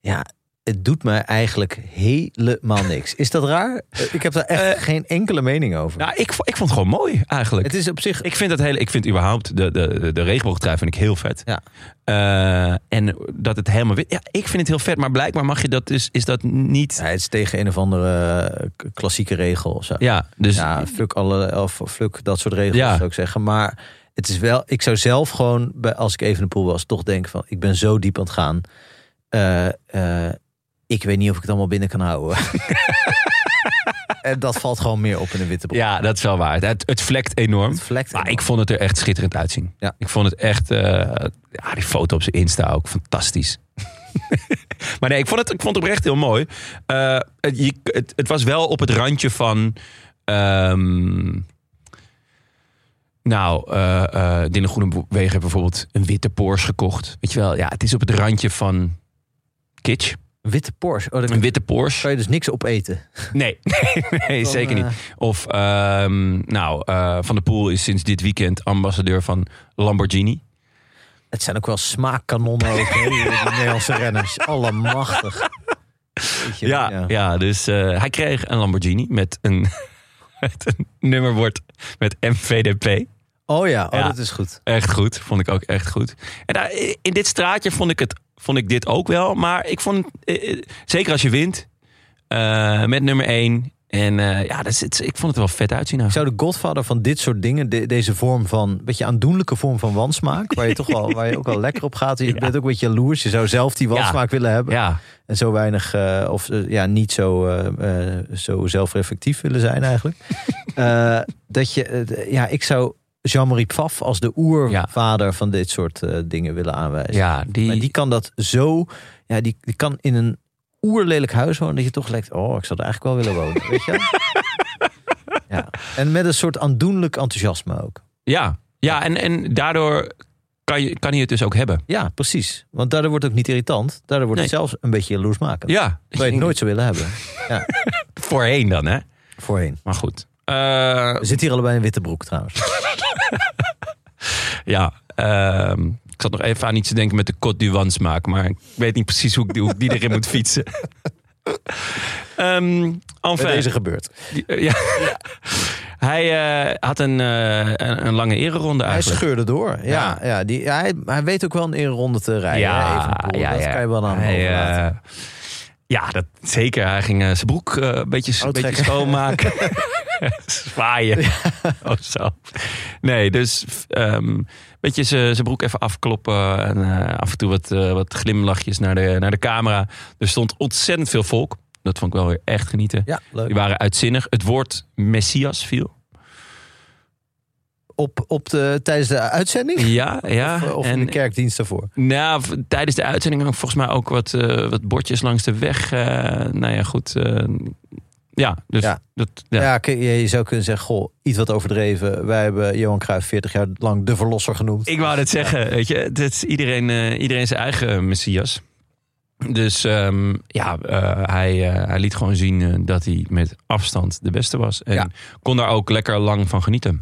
Speaker 2: ja het doet mij eigenlijk helemaal niks. Is dat raar? Eh, Ik heb daar echt geen enkele mening over.
Speaker 1: Nou, ik, vo- ik vond het gewoon mooi eigenlijk.
Speaker 2: het is op zich...
Speaker 1: Ik vind dat hele, ik vind überhaupt de, de, de regenboogtrui vind ik heel vet.
Speaker 2: Ja.
Speaker 1: Eh, en dat het helemaal wit. Ja, ik vind het heel vet, maar blijkbaar mag je dat dus, is dat niet.
Speaker 2: Ja, het is tegen een of andere eh, k- klassieke regel of zo.
Speaker 1: Ja, dus
Speaker 2: Ja, fluk, alle, of fluk dat soort regels
Speaker 1: Ja.
Speaker 2: zou ik zeggen. Maar het is wel, ik zou zelf gewoon, bij, als ik even in de pool was, toch denken van, ik ben zo diep aan het gaan. Eh, eh, ik weet niet of ik het allemaal binnen kan [LAUGHS] houden. en dat valt gewoon meer op in een witte broek.
Speaker 1: ja dat is wel waar. Het, het vlekt enorm.
Speaker 2: Het vlekt
Speaker 1: Maar
Speaker 2: enorm.
Speaker 1: ik vond het er echt schitterend uitzien.
Speaker 2: Ja.
Speaker 1: Ik vond het echt, eh, ja, die foto op zijn Insta ook fantastisch. [LAUGHS] maar nee, ik vond het, ik vond het oprecht heel mooi. Eh, het, je- het, het was wel op het randje van. ehm, nou, eh eh Dinne Groenewegen heeft bijvoorbeeld een witte Porsche gekocht. Weet je wel, ja, het is op het randje van kitsch.
Speaker 2: Witte Porsche. Oh, daar
Speaker 1: Een witte Porsche.
Speaker 2: kan je dus niks op eten.
Speaker 1: Nee, [LAUGHS] nee, nee,
Speaker 2: Dan,
Speaker 1: zeker niet.
Speaker 2: eh,
Speaker 1: Of, ehm, nou, eh, Van der Poel is sinds dit weekend ambassadeur van Lamborghini.
Speaker 2: Het zijn ook wel smaakkanonnen ook, hè, die, die Nederlandse renners. Allemachtig. Weet je,
Speaker 1: Ja, ja. dus eh, hij kreeg een Lamborghini met een, [LAUGHS] met een nummerbord met MVDP.
Speaker 2: Oh ja, oh,
Speaker 1: Ja.
Speaker 2: dat is goed.
Speaker 1: Echt goed, vond ik ook echt goed. En daar, in dit straatje vond ik, het, vond ik dit ook wel. Maar ik vond, eh, eh, zeker als je wint, eh, met nummer 1. En eh, ja, dat is, het- ik vond het er wel vet uitzien.
Speaker 2: Ik zou de godvader van dit soort dingen, de- deze vorm van, beetje aandoenlijke vorm van wansmaak, waar je toch wel, waar je ook wel lekker op gaat. Je bent ook een beetje jaloers. Je zou zelf die wansmaak willen hebben.
Speaker 1: Ja,
Speaker 2: En zo weinig, eh, of eh, ja, niet zo, eh, eh, zo zelfreflectief willen zijn
Speaker 1: [LAUGHS]
Speaker 2: eigenlijk. Eh, dat je, eh, d- ja, ik zou Jean-Marie Pfaff als de oervader van dit soort eh, dingen willen aanwijzen.
Speaker 1: ja
Speaker 2: Maar
Speaker 1: die,
Speaker 2: die kan dat zo, ja, die, die kan in een oerlelijk huis wonen dat je toch lijkt, oh, ik zou er eigenlijk wel willen wonen, weet
Speaker 1: [LAUGHS]
Speaker 2: je wel? Ja. En met een soort aandoenlijk enthousiasme ook.
Speaker 1: ja, ja en, en daardoor kan, je, kan hij het dus ook hebben.
Speaker 2: Ja, precies. Want daardoor wordt het ook niet irritant. Daardoor wordt het
Speaker 1: Nee.
Speaker 2: zelfs een beetje jaloersmakend.
Speaker 1: Ja,
Speaker 2: Terwijl je het nooit zou willen hebben. Ja,
Speaker 1: voorheen dan, hè?
Speaker 2: voorheen.
Speaker 1: Maar goed. Eh,
Speaker 2: We zitten hier allebei in witte broek trouwens.
Speaker 1: Ja, ehm, ik zat nog even aan iets te denken met de Côte du Wands maken, maar ik weet niet precies hoe ik die, hoe ik die erin moet [LAUGHS] fietsen. Ehm enfin,
Speaker 2: Bij deze gebeurt.
Speaker 1: die- eh, ja. Hij eh, had een, eh, een, een lange ereronde
Speaker 2: Hij
Speaker 1: eigenlijk.
Speaker 2: scheurde door. Ja, ja. die, hij, hij weet ook wel een ronde te rijden. hè, Evenepoel. dat kan je wel aan hem
Speaker 1: Hij,
Speaker 2: overlaten.
Speaker 1: eh, ja, dat, zeker. Hij ging eh, zijn broek eh, een beetje, een beetje
Speaker 2: Oh, trekken. [LAUGHS]
Speaker 1: schoonmaken. [LAUGHS] Zwaaien. Of zo. Nee, dus ehm, een beetje zijn zijn broek even afkloppen. En eh, af en toe wat, eh, wat glimlachjes naar de, naar de camera. Er stond ontzettend veel volk. Dat vond ik wel weer echt genieten.
Speaker 2: Ja, leuk.
Speaker 1: Die waren uitzinnig. Het woord Messias viel.
Speaker 2: [LAUGHS] Op, op de, tijdens de uitzending?
Speaker 1: Ja, ja.
Speaker 2: Of, of in de
Speaker 1: Ah, en,
Speaker 2: kerkdienst daarvoor?
Speaker 1: Nou, v- tijdens de uitzending hangen volgens mij ook wat, eh, wat bordjes langs de weg. eh, nou ja, goed. eh, ja, dus
Speaker 2: Ja.
Speaker 1: dat.
Speaker 2: Ja,
Speaker 1: Ja.
Speaker 2: k- je- je zou kunnen zeggen, goh, iets wat overdreven. Wij hebben Johan Cruijff 40 jaar lang de verlosser genoemd.
Speaker 1: Ik wou dat zeggen, weet je. Het is iedereen, eh, iedereen zijn eigen messias. Dus ehm, ja, eh, hij, eh, hij liet gewoon zien eh, dat hij met afstand de beste was. En
Speaker 2: Ja.
Speaker 1: kon daar ook lekker lang van genieten.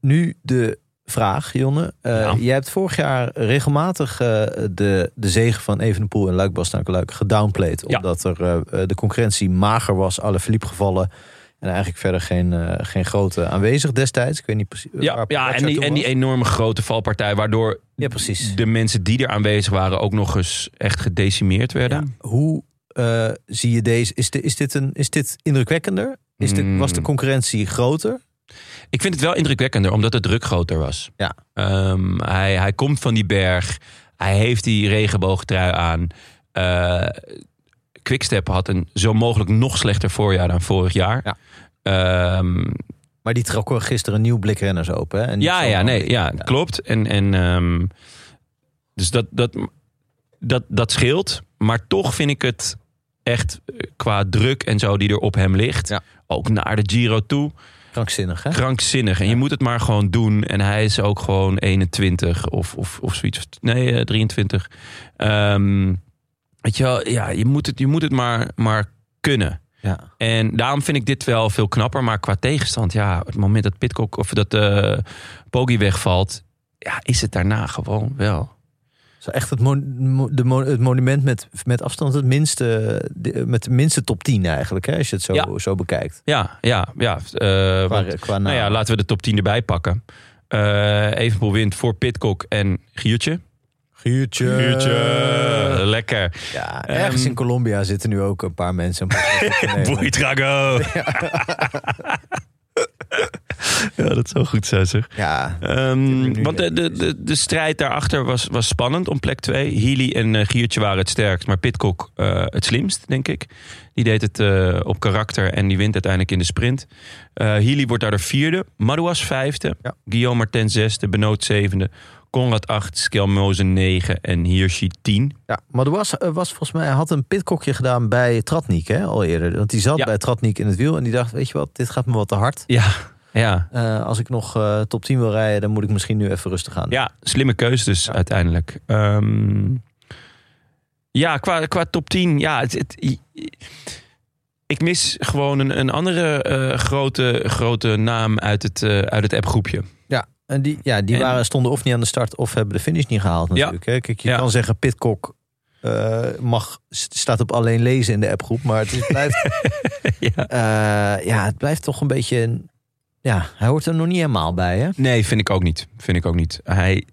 Speaker 2: Nu de vraag, Jonne. Eh,
Speaker 1: Ja.
Speaker 2: Jij hebt vorig jaar regelmatig eh, de, de zegen van Evenepoel en Luik Bastenaken-Luik gedownplayed.
Speaker 1: Ja.
Speaker 2: Omdat er, eh, eh, de concurrentie mager was, alle verliep gevallen. En eigenlijk verder geen, eh, geen grote aanwezig destijds. Ik weet niet precies eh,
Speaker 1: Ja,
Speaker 2: waar
Speaker 1: ja
Speaker 2: Pogacar
Speaker 1: en, die,
Speaker 2: toen
Speaker 1: en die
Speaker 2: was.
Speaker 1: enorme grote valpartij, waardoor
Speaker 2: Ja, precies.
Speaker 1: de mensen die er aanwezig waren ook nog eens echt gedecimeerd werden.
Speaker 2: Hoe eh, zie je deze? Is, de, is, dit, een, is dit indrukwekkender? Is de, was de
Speaker 1: Mm.
Speaker 2: concurrentie groter?
Speaker 1: Ik vind het wel indrukwekkender, omdat de druk groter was.
Speaker 2: Ja.
Speaker 1: Ehm, hij, hij komt van die berg. Hij heeft die regenboogtrui aan. Eh, Quickstep had een zo mogelijk nog slechter voorjaar dan vorig jaar.
Speaker 2: Ja.
Speaker 1: Ehm,
Speaker 2: Maar die trok wel gisteren een nieuw blik renners open. Hè? En niet
Speaker 1: ja,
Speaker 2: zo'n
Speaker 1: ja,
Speaker 2: ander.
Speaker 1: nee, ja, klopt. En, en, ehm, dus dat, dat, dat, dat scheelt. Maar toch vind ik het echt eh, qua druk en zo die er op hem ligt.
Speaker 2: Ja.
Speaker 1: Ook naar de Giro toe.
Speaker 2: Krankzinnig, hè?
Speaker 1: krankzinnig. En je moet het maar gewoon doen. En hij is ook gewoon 21 of, of, of zoiets. Nee, eh, 23. Ehm, weet je wel, ja, je moet het, je moet het maar, maar kunnen.
Speaker 2: Ja.
Speaker 1: En daarom vind ik dit wel veel knapper. Maar qua tegenstand, ja, het moment dat Pitcock of dat eh Poggi wegvalt, ja, is het daarna gewoon wel.
Speaker 2: Het is echt het, mon- mo- de mo- het monument met, met afstand het minste, de- met de minste top 10 eigenlijk, hè, als je het zo,
Speaker 1: Ja.
Speaker 2: zo bekijkt.
Speaker 1: Ja, ja, ja. eh,
Speaker 2: Qua,
Speaker 1: want-
Speaker 2: qua
Speaker 1: nou ja,
Speaker 2: naam.
Speaker 1: laten we de top 10 erbij pakken. Eh Evenpoel wint voor Pitcock en Giertje.
Speaker 2: Guurtje.
Speaker 1: Giertje. Lekker.
Speaker 2: Ja, ergens
Speaker 1: Ehm,
Speaker 2: in Colombia zitten nu ook een paar
Speaker 1: [LAUGHS]
Speaker 2: mensen. een podcast op te nemen.
Speaker 1: Boei Drago. [LAUGHS] ja, dat zou goed zijn zeg.
Speaker 2: ja,
Speaker 1: Ehm,
Speaker 2: nu
Speaker 1: want de,
Speaker 2: net
Speaker 1: de, de, de strijd daarachter was, was spannend om plek 2. Healy en eh, Giertje waren het sterkst, maar Pitcock eh, het slimst, denk ik. Die deed het eh, op karakter en die wint uiteindelijk in de sprint. Eh Healy wordt daardoor vierde, Madouas vijfde,
Speaker 2: Ja.
Speaker 1: Guillaume Martin zesde, Benoot zevende, Conrad acht, Skelmoze negen en Hirschi tien.
Speaker 2: ja, maar er was, eh, was volgens mij, hij had een pitkokje gedaan bij Tratnik hè, al eerder. Want die zat
Speaker 1: Ja.
Speaker 2: bij Tratnik in het wiel en die dacht, weet je wat, dit gaat me wat te hard.
Speaker 1: Ja, ja.
Speaker 2: Eh, als ik nog eh, top 10 wil rijden, dan moet ik misschien nu even rustig aan.
Speaker 1: Ja, slimme keus dus uiteindelijk. Ehm, ja, qua, qua top 10. Ja, het, het- i- i- ik mis gewoon een, een andere eh, grote, grote naam uit het, eh, uit het appgroepje.
Speaker 2: En die, ja, die
Speaker 1: En-
Speaker 2: waren, stonden of niet aan de start of hebben de finish niet gehaald natuurlijk. Hè? Kijk, je
Speaker 1: Ja.
Speaker 2: kan zeggen Pitcock eh, mag, staat op alleen lezen in de appgroep. Maar [LAUGHS] het is- blijft,
Speaker 1: [LAUGHS] ja.
Speaker 2: eh, ja, het blijft toch een beetje... een- Ja, hij hoort er nog niet helemaal bij, hè?
Speaker 1: Nee, vind ik ook niet. Vind ik ook niet. Hij,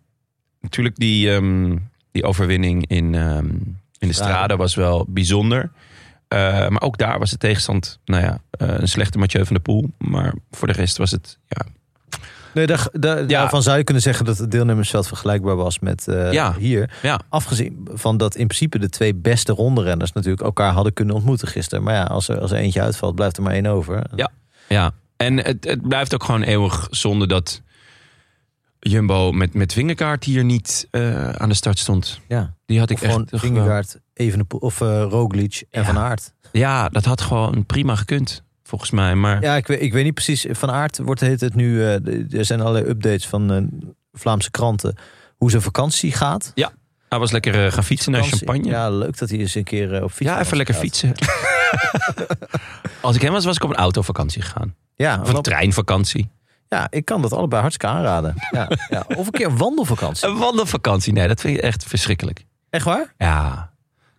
Speaker 1: natuurlijk die, ehm, die overwinning in, ehm, in de strade was wel bijzonder. Eh, maar ook daar was de tegenstand, nou ja, eh, een slechte Mathieu van der Poel. Maar voor de rest was het, ja,
Speaker 2: Nee, daar, daar, daarvan zou je kunnen zeggen dat het deelnemersveld vergelijkbaar was met eh,
Speaker 1: Ja.
Speaker 2: hier.
Speaker 1: Ja.
Speaker 2: Afgezien van dat in principe de twee beste rondrenners natuurlijk elkaar hadden kunnen ontmoeten gisteren. Maar ja, als er, als er eentje uitvalt, blijft er maar één over.
Speaker 1: Ja. Ja, en het, het blijft ook gewoon eeuwig zonde dat Jumbo met, met vingerkaart hier niet eh, aan de start stond.
Speaker 2: ja.
Speaker 1: Die had ik
Speaker 2: Of gewoon
Speaker 1: echt.
Speaker 2: Vingegaard, Evenepoel of eh, Roglic en
Speaker 1: Ja.
Speaker 2: Van Aert.
Speaker 1: Ja, dat had gewoon prima gekund, volgens mij. Maar ja,
Speaker 2: Ja, ik weet, ik weet niet precies. Van Aert wordt heet het nu. eh, de- er zijn allerlei updates van eh, Vlaamse kranten. Hoe zijn vakantie gaat.
Speaker 1: hij was lekker eh, gaan fietsen naar
Speaker 2: Vakantie.
Speaker 1: champagne. Ja,
Speaker 2: Ja, leuk dat hij eens een keer eh, op fiets.
Speaker 1: even lekker
Speaker 2: gaat.
Speaker 1: fietsen. [LAUGHS] Als ik hem was, was ik op een autovakantie gegaan.
Speaker 2: Ja,
Speaker 1: Of een
Speaker 2: want-
Speaker 1: treinvakantie.
Speaker 2: ja, ik kan dat allebei
Speaker 1: [LAUGHS]
Speaker 2: hartstikke aanraden. Ja, ja. Of een keer een wandelvakantie.
Speaker 1: Een wandelvakantie. Nee, dat vind ik echt verschrikkelijk.
Speaker 2: Echt waar?
Speaker 1: Ja,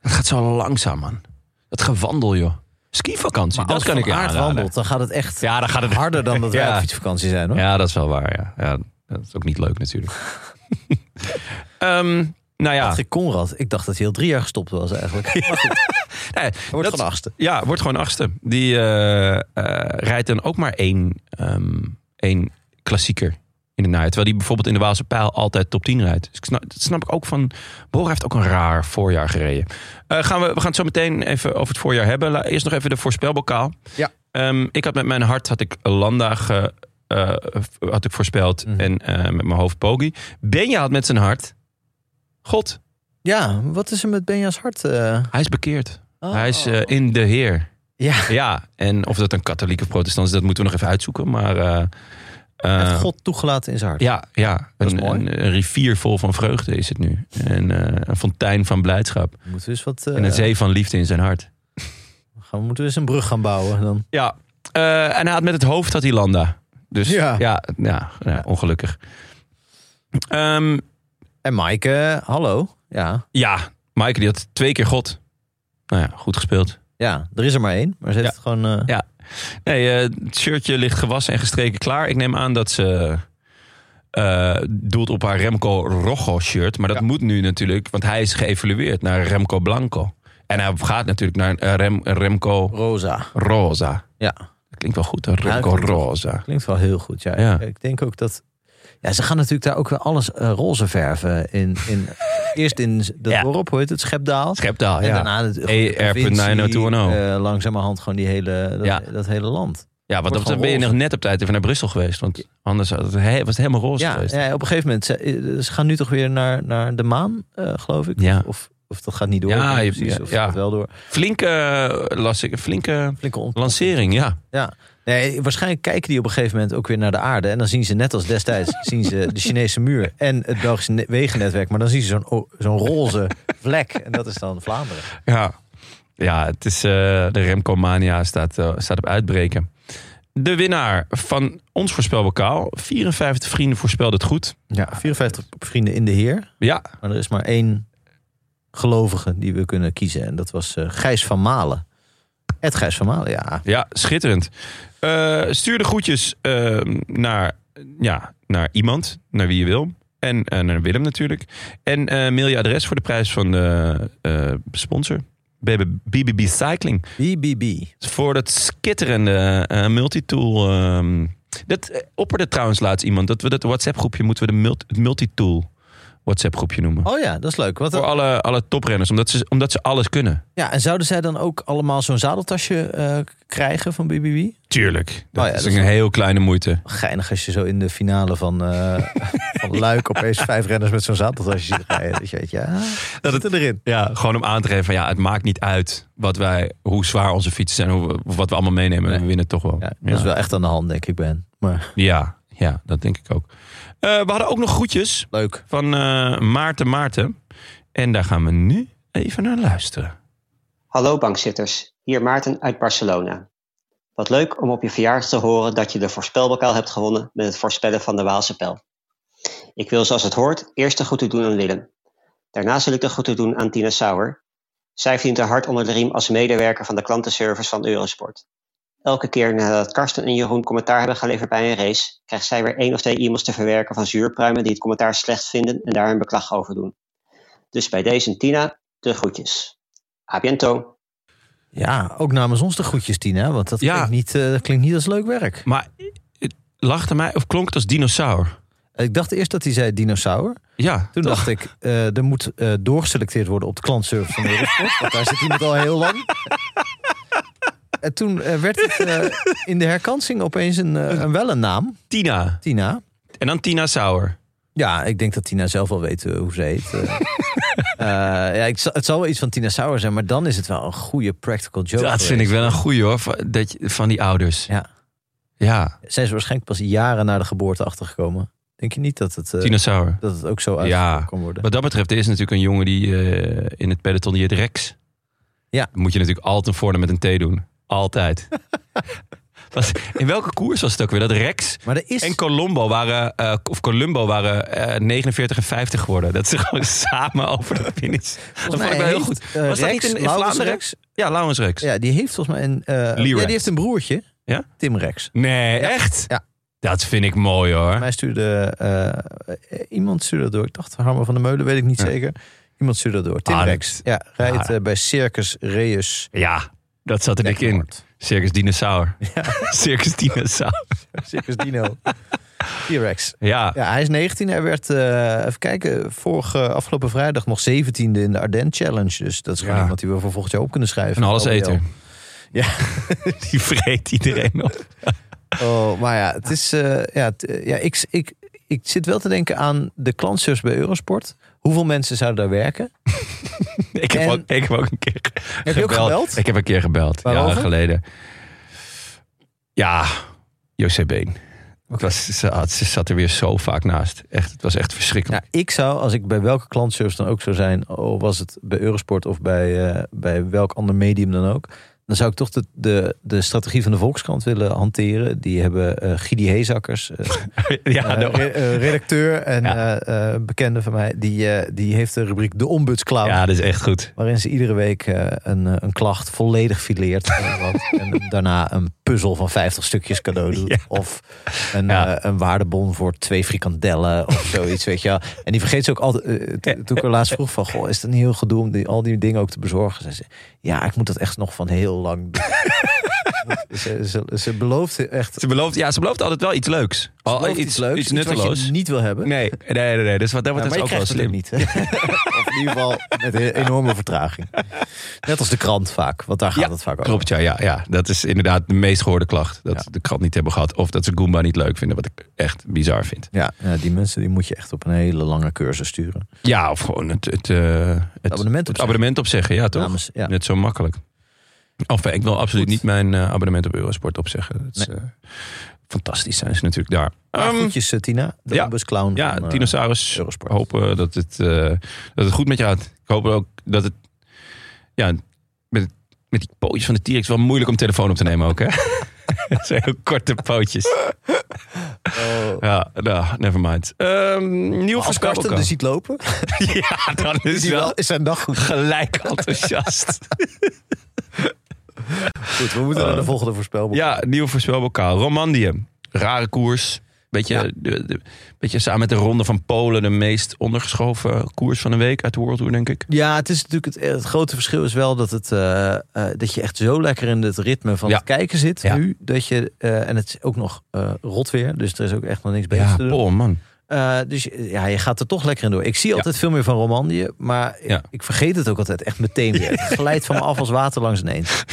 Speaker 1: dat gaat zo langzaam, man. Dat gewandel, joh. Skivakantie, dat
Speaker 2: als
Speaker 1: kan
Speaker 2: Van
Speaker 1: ik je
Speaker 2: Aert
Speaker 1: aanraden.
Speaker 2: wandelt, dan gaat het echt
Speaker 1: Ja, dan gaat het
Speaker 2: harder dan dat wij
Speaker 1: [LAUGHS] Ja.
Speaker 2: op fietsvakantie zijn. Hoor.
Speaker 1: Ja, dat is wel waar. Ja, ja dat is ook niet leuk natuurlijk.
Speaker 2: [LAUGHS]
Speaker 1: Ehm, nou ja,
Speaker 2: Patrick Conrad, ik dacht dat hij al drie jaar gestopt was
Speaker 1: [LAUGHS]
Speaker 2: eigenlijk. Maar goed,
Speaker 1: nee,
Speaker 2: hij wordt
Speaker 1: eh, dat-
Speaker 2: van achtste.
Speaker 1: ja, wordt gewoon achtste. Die eh, eh, rijdt dan ook maar één, ehm, één klassieker in de najaar. Terwijl die bijvoorbeeld in de Waalse Pijl altijd top 10 rijdt. Dus ik snap, dat snap ik ook van... Bora heeft ook een raar voorjaar gereden. Eh, gaan we, we gaan het zo meteen even over het voorjaar hebben. La- Eerst nog even de voorspelbokaal.
Speaker 2: Ja.
Speaker 1: Ehm, ik had met mijn hart had ik Landa ge, eh, had ik voorspeld.
Speaker 2: Mhm.
Speaker 1: En eh, met mijn hoofd Poggi. Benja had met zijn hart... God,
Speaker 2: Ja, wat is er met Benja's hart? eh?
Speaker 1: hij is bekeerd.
Speaker 2: Oh.
Speaker 1: hij is eh, in de heer.
Speaker 2: Ja.
Speaker 1: Ja, en of dat een katholiek of protestant is, dat moeten we nog even uitzoeken. Maar eh, eh,
Speaker 2: Hij heeft God toegelaten in zijn hart.
Speaker 1: ja, ja
Speaker 2: Dat is
Speaker 1: een,
Speaker 2: mooi.
Speaker 1: een- een rivier vol van vreugde is het nu. En eh, een fontein van blijdschap.
Speaker 2: Moeten we eens wat. eh,
Speaker 1: En een zee van liefde in zijn hart.
Speaker 2: gaan, moeten we eens een brug gaan bouwen dan?
Speaker 1: Ja, eh, en hij had met het hoofd had hij Landa. Dus ja,
Speaker 2: Ja.
Speaker 1: ja, ja, ongelukkig. Ehm,
Speaker 2: En Maaike, eh, hallo. Ja,
Speaker 1: ja, Maaike die had twee keer God. Nou ja, goed gespeeld.
Speaker 2: ja, er is er maar één. Maar ze heeft het gewoon. eh,
Speaker 1: Ja. Nee, eh, het shirtje ligt gewassen en gestreken klaar. Ik neem aan dat ze eh, doelt op haar Remco Rojo shirt. Maar dat moet nu natuurlijk, want hij is geëvalueerd naar Remco Blanco. En hij gaat natuurlijk naar eh, Rem- Remco
Speaker 2: Rosa.
Speaker 1: Rosa.
Speaker 2: Ja,
Speaker 1: Dat klinkt wel goed, hè? Remco
Speaker 2: klinkt wel
Speaker 1: Rosa.
Speaker 2: klinkt wel heel goed. Ja,
Speaker 1: Ja.
Speaker 2: Ik, ik denk ook dat. Ja, ze gaan natuurlijk daar ook wel alles eh, roze verven. In, in, [LAUGHS] eerst in dat
Speaker 1: Ja.
Speaker 2: dorp, hoe heet het? Schepdaal.
Speaker 1: Schepdaal,
Speaker 2: En
Speaker 1: ja. E
Speaker 2: daarna het,
Speaker 1: ER.90210.
Speaker 2: eh, langzamerhand gewoon die hele, dat,
Speaker 1: Ja.
Speaker 2: dat hele land.
Speaker 1: ja, want
Speaker 2: wordt
Speaker 1: dan ben je nog
Speaker 2: gewoon
Speaker 1: net op tijd even naar Brussel geweest. Want anders had het he- was het helemaal roze
Speaker 2: Ja,
Speaker 1: geweest.
Speaker 2: ja, op een gegeven moment. Ze, ze gaan nu toch weer naar, naar de maan, eh, geloof ik.
Speaker 1: Ja.
Speaker 2: Of, of, of dat gaat niet door.
Speaker 1: Ja,
Speaker 2: ik weet
Speaker 1: je-
Speaker 2: niet precies. Of
Speaker 1: ja.
Speaker 2: gaat wel door.
Speaker 1: Flinke, eh, las ik, flinke
Speaker 2: Flinke ont-
Speaker 1: lancering, ja.
Speaker 2: Ja. Nee, waarschijnlijk kijken die op een gegeven moment ook weer naar de aarde. En dan zien ze net als destijds zien ze de Chinese muur en het Belgische ne- wegennetwerk. Maar dan zien ze zo'n, o- zo'n roze vlek. En dat is dan Vlaanderen.
Speaker 1: Ja, ja het is, eh, de Remco Mania staat, eh, staat op uitbreken. de winnaar van ons voorspelbokaal. 54 vrienden voorspelden het goed.
Speaker 2: Ja, 54 vrienden in de Heer.
Speaker 1: Ja,
Speaker 2: Maar er is maar één gelovige die we kunnen kiezen. En dat was eh, Gijs van Malen. Ed Gijs van Malen, ja.
Speaker 1: ja schitterend. Eh, stuur de groetjes eh, naar, ja, naar iemand, naar wie je wil. En eh, naar Willem natuurlijk. En eh, mail je adres voor de prijs van de eh, sponsor. BBB Cycling.
Speaker 2: BBB.
Speaker 1: Voor dat skitterende eh, multitool. ehm, dat eh, opperde trouwens laatst iemand. Dat we dat WhatsApp groepje moeten we de mult- het multitool WhatsApp groepje noemen.
Speaker 2: Oh ja, dat is leuk. Wat,
Speaker 1: Voor alle, alle toprenners, omdat ze, omdat ze alles kunnen.
Speaker 2: ja, en zouden zij dan ook allemaal zo'n zadeltasje eh, krijgen van BBB?
Speaker 1: Tuurlijk. Dat
Speaker 2: Oh ja,
Speaker 1: is
Speaker 2: dat
Speaker 1: een heel kleine moeite.
Speaker 2: Geinig als je zo in de finale van, eh, van Luik opeens vijf renners met zo'n zadeltasje ziet rijden. Dat je weet, ja, dat zit erin.
Speaker 1: Ja, gewoon om aan te geven van ja, het maakt niet uit wat wij, hoe zwaar onze fietsen zijn, hoe, we- wat we allemaal meenemen.
Speaker 2: Nee.
Speaker 1: We winnen toch wel.
Speaker 2: Ja,
Speaker 1: Ja,
Speaker 2: dat is wel echt aan de hand, denk ik, Ben. Maar
Speaker 1: ja, ja, dat denk ik ook. Eh, we hadden ook nog groetjes
Speaker 2: leuk.
Speaker 1: van eh, Maarten Maarten. En daar gaan we nu even naar luisteren.
Speaker 3: Hallo bankzitters, hier Maarten uit Barcelona. Wat leuk om op je verjaardag te horen dat je de voorspelbokaal hebt gewonnen met het voorspellen van de Waalse pijl. Ik wil zoals het hoort eerst de groeten doen aan Willem. Daarna zal ik de groeten doen aan Tina Sauer. Zij verdient haar hart onder de riem als medewerker van de klantenservice van Eurosport. Elke keer nadat Karsten en Jeroen commentaar hebben geleverd bij een race, krijgt zij weer één of twee e-mails te verwerken van zuurpruimen die het commentaar slecht vinden en daar een beklag over doen. Dus bij deze Tina, de groetjes. A biento!
Speaker 2: Ja, ook namens ons de groetjes, Tina. Want dat,
Speaker 1: Ja.
Speaker 2: klinkt, niet, eh, dat klinkt niet als leuk werk.
Speaker 1: Maar het lachte mij of klonk het als dinosaur?
Speaker 2: Ik dacht eerst dat hij zei dinosaur.
Speaker 1: Ja,
Speaker 2: Toen dacht ik, eh, er moet eh, doorgeselecteerd worden op de klantservice van Eurosport. want daar zit iemand al heel lang. en toen eh, werd het eh, in de herkansing opeens een, eh, een wel een naam.
Speaker 1: Tina.
Speaker 2: Tina.
Speaker 1: En dan Tina Sauer.
Speaker 2: Ja, ik denk dat Tina zelf wel weet eh, hoe ze heet. Eh, eh, ja, ik, zal- het zal wel iets van Tina Sauer zijn, maar dan is het wel een goede practical joke.
Speaker 1: Dat vind ik
Speaker 2: geweest.
Speaker 1: wel een goeie hoor, van- dat je- van die ouders.
Speaker 2: Ja.
Speaker 1: Ja,
Speaker 2: Zijn ze waarschijnlijk pas jaren na de geboorte achtergekomen? Denk je niet dat het, eh,
Speaker 1: Tina Sauer.
Speaker 2: dat het ook zo uit
Speaker 1: Ja.
Speaker 2: kon worden?
Speaker 1: Wat dat betreft, er is natuurlijk een jongen die eh, in het peloton die heet Rex.
Speaker 2: Ja.
Speaker 1: Dan moet je natuurlijk altijd een voornaam met een T doen.
Speaker 2: [LAUGHS]
Speaker 1: Altijd. Was- in welke koers was het ook weer? Dat Rex
Speaker 2: Maar er is...
Speaker 1: en Colombo waren, eh, of Columbo waren eh, 49 en 50 geworden. Dat ze gewoon [LAUGHS] samen over de finish. Dat vond ik wel heel goed.
Speaker 2: eh,
Speaker 1: Was dat
Speaker 2: Rex,
Speaker 1: niet in- in
Speaker 2: Laurens
Speaker 1: Vlaanderen?
Speaker 2: Rex?
Speaker 1: Ja, Laurens Rex.
Speaker 2: Ja, die heeft volgens mij een... eh, ja, die
Speaker 1: Rex.
Speaker 2: heeft een broertje.
Speaker 1: Ja?
Speaker 2: Tim Rex.
Speaker 1: Nee, echt?
Speaker 2: Ja.
Speaker 1: Dat vind ik mooi hoor.
Speaker 2: Mij stuurde... eh, eh, iemand stuurde dat door. Ik dacht Harmer van der Meulen, weet ik niet zeker. Iemand stuurde dat door. Tim
Speaker 1: Ah, dat-
Speaker 2: Rex. Ja, rijdt
Speaker 1: Ah.
Speaker 2: eh, bij Circus Reus.
Speaker 1: Ja, dat zat er dik in.
Speaker 2: Nekkenhoord.
Speaker 1: Circus Dinosaur. [LAUGHS] Circus Dinosaur.
Speaker 2: Circus Dino. [LAUGHS] T-Rex.
Speaker 1: Ja.
Speaker 2: Ja, hij is 19. Hij werd, eh, even kijken, vorige, afgelopen vrijdag nog 17e in de Ardennes Challenge. Dus dat is gewoon
Speaker 1: Ja.
Speaker 2: iemand die we voor volgend jaar op kunnen schrijven.
Speaker 1: Een alleseter.
Speaker 2: LBL. Oh, Ja.
Speaker 1: [LAUGHS] Die vreet iedereen op.
Speaker 2: Oh, maar ja, het is, eh, ja, het, eh, ja ik, ik, ik zit wel te denken aan de klantservice bij Eurosport. Hoeveel mensen zouden daar werken?
Speaker 1: Ik heb,
Speaker 2: En-
Speaker 1: ook, ik heb ook een keer
Speaker 2: Heb je ook gebeld?
Speaker 1: Ik heb een keer gebeld,
Speaker 2: Waarover?
Speaker 1: jaren geleden. Ja, José Been. Het was, ze, had- ze zat er weer zo vaak naast. Echt, het was echt
Speaker 2: Ja,
Speaker 1: verschrikkelijk.
Speaker 2: Nou, ik zou, als ik bij welke klantservice dan ook zou zijn, of was het bij Eurosport of bij, eh, bij welk ander medium dan ook, dan zou ik toch de, de, de strategie van de Volkskrant willen hanteren. Die hebben eh Gidi
Speaker 1: [LAUGHS]
Speaker 2: Heesakkers, eh,
Speaker 1: Ja,
Speaker 2: eh,
Speaker 1: de-
Speaker 2: re- eh, redacteur en
Speaker 1: Ja.
Speaker 2: eh, eh, bekende van mij, die, eh, die heeft de rubriek De Ombudsclown.
Speaker 1: ja, dat is echt goed.
Speaker 2: Waarin ze iedere week eh, een, eh, een klacht volledig fileert.
Speaker 1: [LAUGHS]
Speaker 2: eh, wat- en daarna een puzzel van 50 stukjes cadeau doet. Of een,
Speaker 1: Ja.
Speaker 2: eh, een waardebon voor twee frikandellen
Speaker 1: [LAUGHS]
Speaker 2: of zoiets, weet je wel. En die vergeet ze ook altijd. eh, to- toen ik er laatst vroeg van, goh, is het niet heel gedoe om die, al die dingen ook te bezorgen? Zei ze, ja, ik moet dat echt nog van heel lang
Speaker 1: [LAUGHS]
Speaker 2: doen. ze, ze, ze belooft echt
Speaker 1: Ze belooft, ja, ze belooft altijd wel iets leuks. Al,
Speaker 2: belooft
Speaker 1: iets, leuks, iets
Speaker 2: wat je
Speaker 1: nutteloos.
Speaker 2: niet wil hebben.
Speaker 1: Nee, nee, nee, nee. Dus wat dat
Speaker 2: Ja,
Speaker 1: wordt
Speaker 2: maar
Speaker 1: is ook wel slim.
Speaker 2: je krijgt het ook niet. [LAUGHS] hè? of in ieder geval met een enorme vertraging. Net als de krant vaak, want daar gaat
Speaker 1: Ja,
Speaker 2: het vaak over.
Speaker 1: Klopt, ja, ja, ja. Dat is inderdaad de meest gehoorde klacht. Dat ze de krant niet hebben gehad. Of dat ze Goomba niet leuk vinden. Wat ik echt bizar vind.
Speaker 2: Ja, ja, die mensen die moet je echt op een hele lange cursus sturen.
Speaker 1: Ja, of gewoon het, het, eh, het,
Speaker 2: abonnement
Speaker 1: het
Speaker 2: opzeggen.
Speaker 1: abonnement opzeggen. Ja, toch?
Speaker 2: Namens- ja.
Speaker 1: Net zo makkelijk. Enfin, ik wil absoluut niet mijn eh, abonnement op Eurosport opzeggen. Dat is, eh, fantastisch zijn ze natuurlijk daar.
Speaker 2: Maar
Speaker 1: Ehm,
Speaker 2: Groetjes, eh, Tina, de
Speaker 1: ja,
Speaker 2: ombudsclown
Speaker 1: ja,
Speaker 2: van, eh,
Speaker 1: dinosaurus.
Speaker 2: Eurosport.
Speaker 1: Hopen dat het, eh, dat het goed met je gaat. Ik hoop ook dat het...
Speaker 2: [LAUGHS]
Speaker 1: Ja, met, met die pootjes van de T-Rex wel moeilijk om telefoon op te nemen ook, hè? Dat zijn heel korte pootjes. Ja, nou, never mind. Ehm nieuw
Speaker 2: Als Oh, Karsten
Speaker 1: voorspelbokaal.
Speaker 2: er ziet lopen,
Speaker 1: [LAUGHS] Ja, dan is
Speaker 2: [LAUGHS] is, hij wel,
Speaker 1: wel
Speaker 2: is zijn dag goed.
Speaker 1: gelijk enthousiast.
Speaker 2: Goed, we moeten naar de volgende voorspelboek.
Speaker 1: Eh, Ja, nieuw voorspelbokaal. Romandië. Rare koers. Beetje, de- de- beetje samen met de ronde van Polen de meest ondergeschoven koers van de week uit de World Tour, denk ik.
Speaker 2: Ja, het is natuurlijk het, het grote verschil is wel dat, het, eh, eh, dat je echt zo lekker in het ritme van
Speaker 1: Ja.
Speaker 2: het kijken zit
Speaker 1: Ja.
Speaker 2: nu. Dat je, eh, en het is ook nog eh rot weer, dus er is ook echt nog niks beter te doen.
Speaker 1: oh man.
Speaker 2: Eh, dus je- ja, je gaat er toch lekker in door. Ik zie altijd veel meer van Romandie, maar ik-
Speaker 1: Ja.
Speaker 2: ik, vergeet het ook altijd echt meteen weer. Het glijdt van me af als water langs een eend.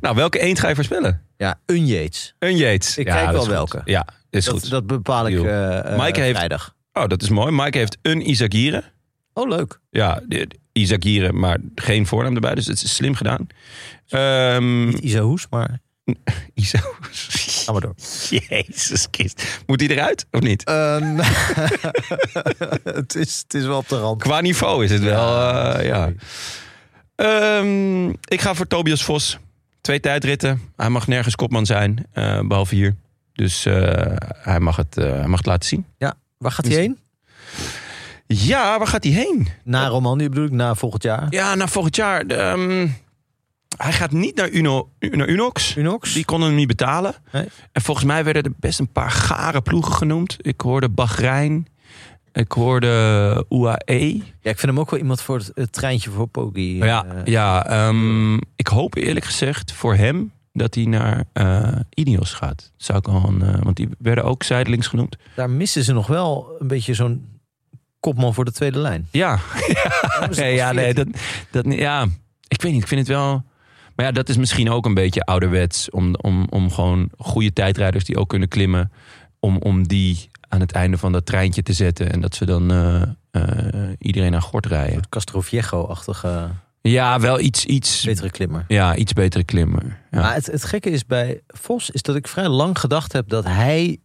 Speaker 1: Nou, welke eend ga je voorspellen?
Speaker 2: Ja, een Yates.
Speaker 1: Een Yates.
Speaker 2: Ik
Speaker 1: Ja,
Speaker 2: kijk
Speaker 1: dat
Speaker 2: wel
Speaker 1: is goed.
Speaker 2: welke.
Speaker 1: Ja, is
Speaker 2: Dat,
Speaker 1: goed.
Speaker 2: dat bepaal ik
Speaker 1: Deal.
Speaker 2: eh, eh,
Speaker 1: Maaike heeft-
Speaker 2: vrijdag.
Speaker 1: Oh, dat is mooi. Mike heeft een Isagire.
Speaker 2: Oh, leuk.
Speaker 1: Ja, de- de Isagire, maar geen voornaam erbij. Dus het is slim gedaan.
Speaker 2: [LAUGHS]
Speaker 1: Ehm
Speaker 2: Niet Isa Hoes, maar
Speaker 1: Isa.
Speaker 2: ga maar door.
Speaker 1: [LAUGHS] Jezus Christus. Moet die eruit of niet?
Speaker 2: Ehm, [LAUGHS] het, is, het is wel op de rand.
Speaker 1: Qua niveau is het wel, eh, ja. Ehm, ik ga voor Tobias Vos. Twee tijdritten. Hij mag nergens kopman zijn, eh, behalve hier. Dus eh, hij, mag het, eh, hij mag het laten zien.
Speaker 2: Waar gaat hij heen?
Speaker 1: Ja, waar gaat hij heen?
Speaker 2: Na Romandie bedoel ik, na volgend jaar.
Speaker 1: Ja, nou volgend jaar. de, ehm, hij gaat niet naar, Uno, naar Unox.
Speaker 2: Unox?
Speaker 1: Die konden hem niet betalen.
Speaker 2: Nee.
Speaker 1: En volgens mij werden er best een paar gare ploegen genoemd. Ik hoorde Bahrein. Ik hoorde E. UAE.
Speaker 2: Ja, ik vind hem ook wel iemand voor het, het treintje voor Pogi.
Speaker 1: Ja,
Speaker 2: eh,
Speaker 1: ja ehm, ik hoop eerlijk gezegd voor hem dat hij naar eh Ineos gaat. Zou ik al een, eh, want die werden ook zijdelings genoemd.
Speaker 2: Daar missen ze nog wel een beetje zo'n kopman voor de tweede lijn.
Speaker 1: Ja,
Speaker 2: Daarom is het
Speaker 1: nee,
Speaker 2: pas
Speaker 1: [LAUGHS] ja, nee
Speaker 2: 14.
Speaker 1: dat, dat, ja, ik weet niet. Ik vind het wel. Maar ja, dat is misschien ook een beetje ouderwets. Om, om, om gewoon goede tijdrijders die ook kunnen klimmen. Om, om die aan het einde van dat treintje te zetten. En dat ze dan eh, eh, iedereen aan gort rijden.
Speaker 2: Het Castroviejo-achtige
Speaker 1: Ja, wel iets, iets,
Speaker 2: betere klimmer.
Speaker 1: ja, iets betere klimmer. Ja.
Speaker 2: Maar het, het gekke is bij Vos, is dat ik vrij lang gedacht heb dat hij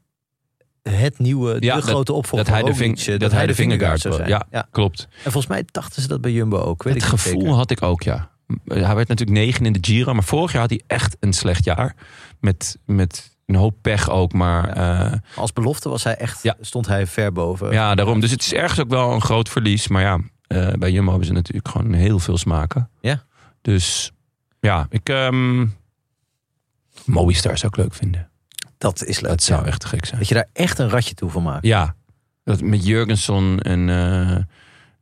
Speaker 2: het nieuwe, de
Speaker 1: Ja, dat-
Speaker 2: grote opvolger
Speaker 1: dat hij de
Speaker 2: Roglic,
Speaker 1: ving-
Speaker 2: eh,
Speaker 1: dat hij de
Speaker 2: vingerguard
Speaker 1: vingerguard was.
Speaker 2: ja.
Speaker 1: Klopt.
Speaker 2: En volgens mij dachten ze dat bij Jumbo ook. Weet
Speaker 1: het
Speaker 2: ik niet
Speaker 1: gevoel
Speaker 2: zeker.
Speaker 1: had ik ook, ja. Hij werd natuurlijk negen in de Giro, maar vorig jaar had hij echt een slecht jaar. Met, met een hoop pech ook, maar eh, ja.
Speaker 2: Als belofte was hij echt,
Speaker 1: Ja.
Speaker 2: stond hij ver boven.
Speaker 1: ja, daarom. Dus het is ergens ook wel een groot verlies. Maar ja, eh, bij Jumbo hebben ze natuurlijk gewoon heel veel smaken.
Speaker 2: Ja.
Speaker 1: Dus ja, ik... ehm Movistar zou ik leuk vinden.
Speaker 2: Dat is leuk.
Speaker 1: Dat zou
Speaker 2: ja.
Speaker 1: echt te gek zijn.
Speaker 2: Dat je daar echt een ratje toe van maakt.
Speaker 1: Ja, dat met Jurgenson en... eh,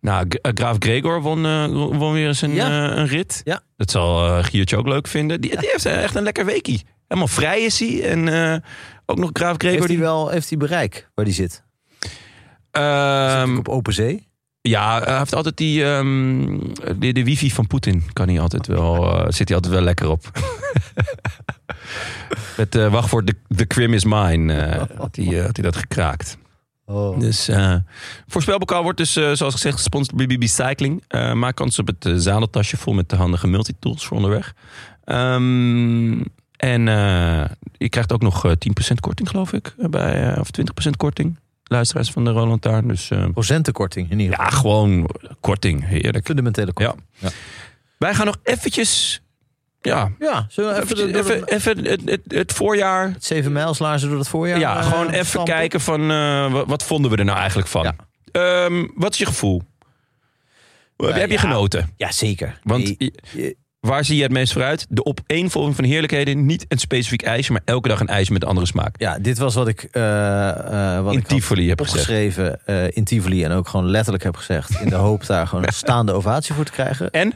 Speaker 1: nou, G- eh, Graaf Gregor won, eh, won weer eens een,
Speaker 2: Ja.
Speaker 1: eh, een rit.
Speaker 2: Ja.
Speaker 1: Dat zal eh, Giertje ook leuk vinden. Die, die heeft echt een lekker weekie. Helemaal vrij is hij. En eh, ook nog Graaf Gregor.
Speaker 2: Heeft hij
Speaker 1: Die,
Speaker 2: wel heeft hij bereik waar die zit? Zit hij
Speaker 1: Ehm,
Speaker 2: op open zee?
Speaker 1: ja, hij heeft altijd die... ehm, de, de wifi van Poetin kan hij altijd wel... eh, zit hij altijd wel lekker op. [LAUGHS] Met eh, wachtwoord The, the Crim is Mine eh, had, hij, eh, had hij dat gekraakt.
Speaker 2: Oh.
Speaker 1: Dus eh voorspelbokaal wordt dus, eh, zoals gezegd, gesponsord door BBB Cycling. Eh, maak kans op het eh, zadeltasje vol met de handige multitools voor onderweg. Ehm, en eh, je krijgt ook nog eh, 10% korting, geloof ik. eh, Bij, eh, of 20% korting. Luisteraars van de Roland Taarn. Dus eh,
Speaker 2: Procentenkorting in ieder geval.
Speaker 1: ja, gewoon korting. Heerlijk.
Speaker 2: Fundamentele korting.
Speaker 1: Wij gaan nog eventjes... Ja,
Speaker 2: Ja, zullen we even,
Speaker 1: even,
Speaker 2: door- door
Speaker 1: even, even het, het, het voorjaar...
Speaker 2: het zeven mijlslaarzen door het voorjaar?
Speaker 1: Ja,
Speaker 2: eh,
Speaker 1: gewoon even
Speaker 2: stampen?
Speaker 1: kijken van... eh, wat, wat vonden we er nou eigenlijk van?
Speaker 2: Ja.
Speaker 1: Ehm, wat is je gevoel?
Speaker 2: Nou,
Speaker 1: Heb je
Speaker 2: ja.
Speaker 1: genoten?
Speaker 2: Ja, zeker.
Speaker 1: Want
Speaker 2: Nee,
Speaker 1: i-
Speaker 2: je-
Speaker 1: waar zie je het meest vooruit? De opeenvolging van heerlijkheden. Niet een specifiek ijsje, maar elke dag een ijsje met een andere smaak.
Speaker 2: ja, dit was wat ik, eh, eh, wat
Speaker 1: In
Speaker 2: ik had
Speaker 1: Tivoli heb gezegd.
Speaker 2: opgeschreven eh, in Tivoli. En ook gewoon letterlijk heb gezegd. In de hoop
Speaker 1: [LAUGHS]
Speaker 2: daar gewoon een staande ovatie voor te krijgen.
Speaker 1: En?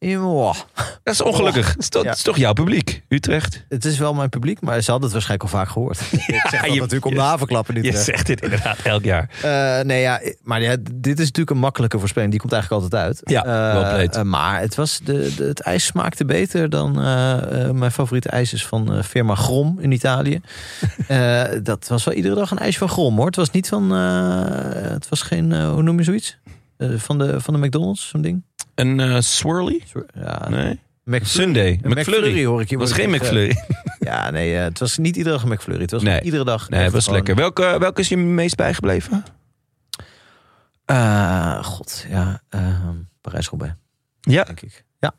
Speaker 2: Ja, wow.
Speaker 1: Dat is ongelukkig. Dat is, toch-
Speaker 2: Oh, Ja.
Speaker 1: dat is toch jouw publiek, Utrecht?
Speaker 2: Het is wel mijn publiek, maar ze hadden het waarschijnlijk al vaak gehoord. ik zeg dat
Speaker 1: je-
Speaker 2: natuurlijk om de
Speaker 1: je-
Speaker 2: havenklappen niet
Speaker 1: Je
Speaker 2: te
Speaker 1: zegt dit inderdaad elk jaar.
Speaker 2: Eh, nee, ja, maar ja, dit is natuurlijk een makkelijke voorspelling. Die komt eigenlijk altijd uit.
Speaker 1: Ja,
Speaker 2: Eh,
Speaker 1: wel played.
Speaker 2: eh, maar het, was de, de- het ijs smaakte beter dan eh, eh, mijn favoriete ijs is van eh, firma Grom in
Speaker 1: [LAUGHS]
Speaker 2: Italië. Eh, dat was wel iedere dag een ijs van Grom, hoor. Het was niet van, eh, het was geen, eh, hoe noem je zoiets? Eh, van, de, van de McDonald's, zo'n ding.
Speaker 1: Een eh, swirly?
Speaker 2: Ja,
Speaker 1: Nee.
Speaker 2: McFlurry.
Speaker 1: Sunday.
Speaker 2: Een
Speaker 1: McFlurry. eh,
Speaker 2: hoor ik hier.
Speaker 1: Het was
Speaker 2: worden
Speaker 1: geen
Speaker 2: gezegd.
Speaker 1: McFlurry. [LAUGHS]
Speaker 2: Ja, nee, eh, het was niet iedere dag een McFlurry. Het was
Speaker 1: Nee.
Speaker 2: gewoon iedere dag.
Speaker 1: Nee, het
Speaker 2: even
Speaker 1: was
Speaker 2: gewoon-
Speaker 1: lekker. Welke, welke is je meest bijgebleven?
Speaker 2: Eh, God, ja. ehm Parijs-Roubaix.
Speaker 1: Ja.
Speaker 2: denk ik. Ja.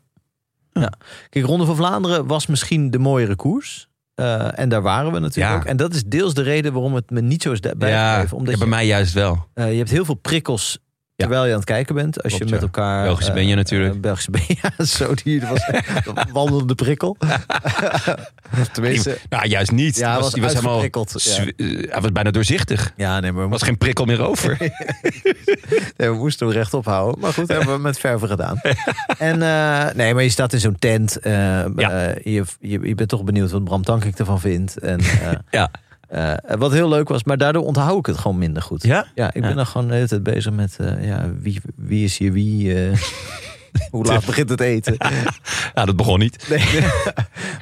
Speaker 2: ja. Kijk, Ronde van Vlaanderen was misschien de mooiere koers. Eh, Eh, en daar waren we natuurlijk
Speaker 1: Ja.
Speaker 2: ook. En dat is deels de reden waarom het me niet zo is da-
Speaker 1: Ja,
Speaker 2: bijgebleven. Omdat
Speaker 1: ja, bij
Speaker 2: je,
Speaker 1: mij juist wel.
Speaker 2: eh, je hebt heel veel prikkels terwijl je aan het kijken bent. Als
Speaker 1: Klopt,
Speaker 2: je
Speaker 1: ja.
Speaker 2: met elkaar...
Speaker 1: Belgische
Speaker 2: eh,
Speaker 1: ben je natuurlijk.
Speaker 2: eh, Belgische ben je, [LAUGHS] ja, zo. Die was
Speaker 1: [LAUGHS]
Speaker 2: de wandelende prikkel. Tenminste...
Speaker 1: Nou, juist niet.
Speaker 2: Ja, hij was
Speaker 1: die was helemaal.
Speaker 2: uitgeprikkeld, ja.
Speaker 1: zwi- eh, Hij was bijna doorzichtig. Er
Speaker 2: Ja, nee, maar we,
Speaker 1: was
Speaker 2: moesten,
Speaker 1: geen prikkel meer over. [LAUGHS]
Speaker 2: nee, Eh, we moesten hem rechtop houden. Maar goed, hebben we met verven gedaan. en eh, nee, maar je staat in zo'n tent. eh, eh, je, je, je bent toch benieuwd wat Bram Tankink ervan vindt. En, eh,
Speaker 1: [LAUGHS] Ja.
Speaker 2: Eh, wat heel leuk was, maar daardoor onthoud ik het gewoon minder goed.
Speaker 1: Ja?
Speaker 2: ik ben dan gewoon de hele tijd bezig met eh, ja, wie, wie is hier wie. eh,
Speaker 1: [LAUGHS]
Speaker 2: hoe laat begint het eten?
Speaker 1: Nou, dat begon niet.
Speaker 2: [LAUGHS] Nee.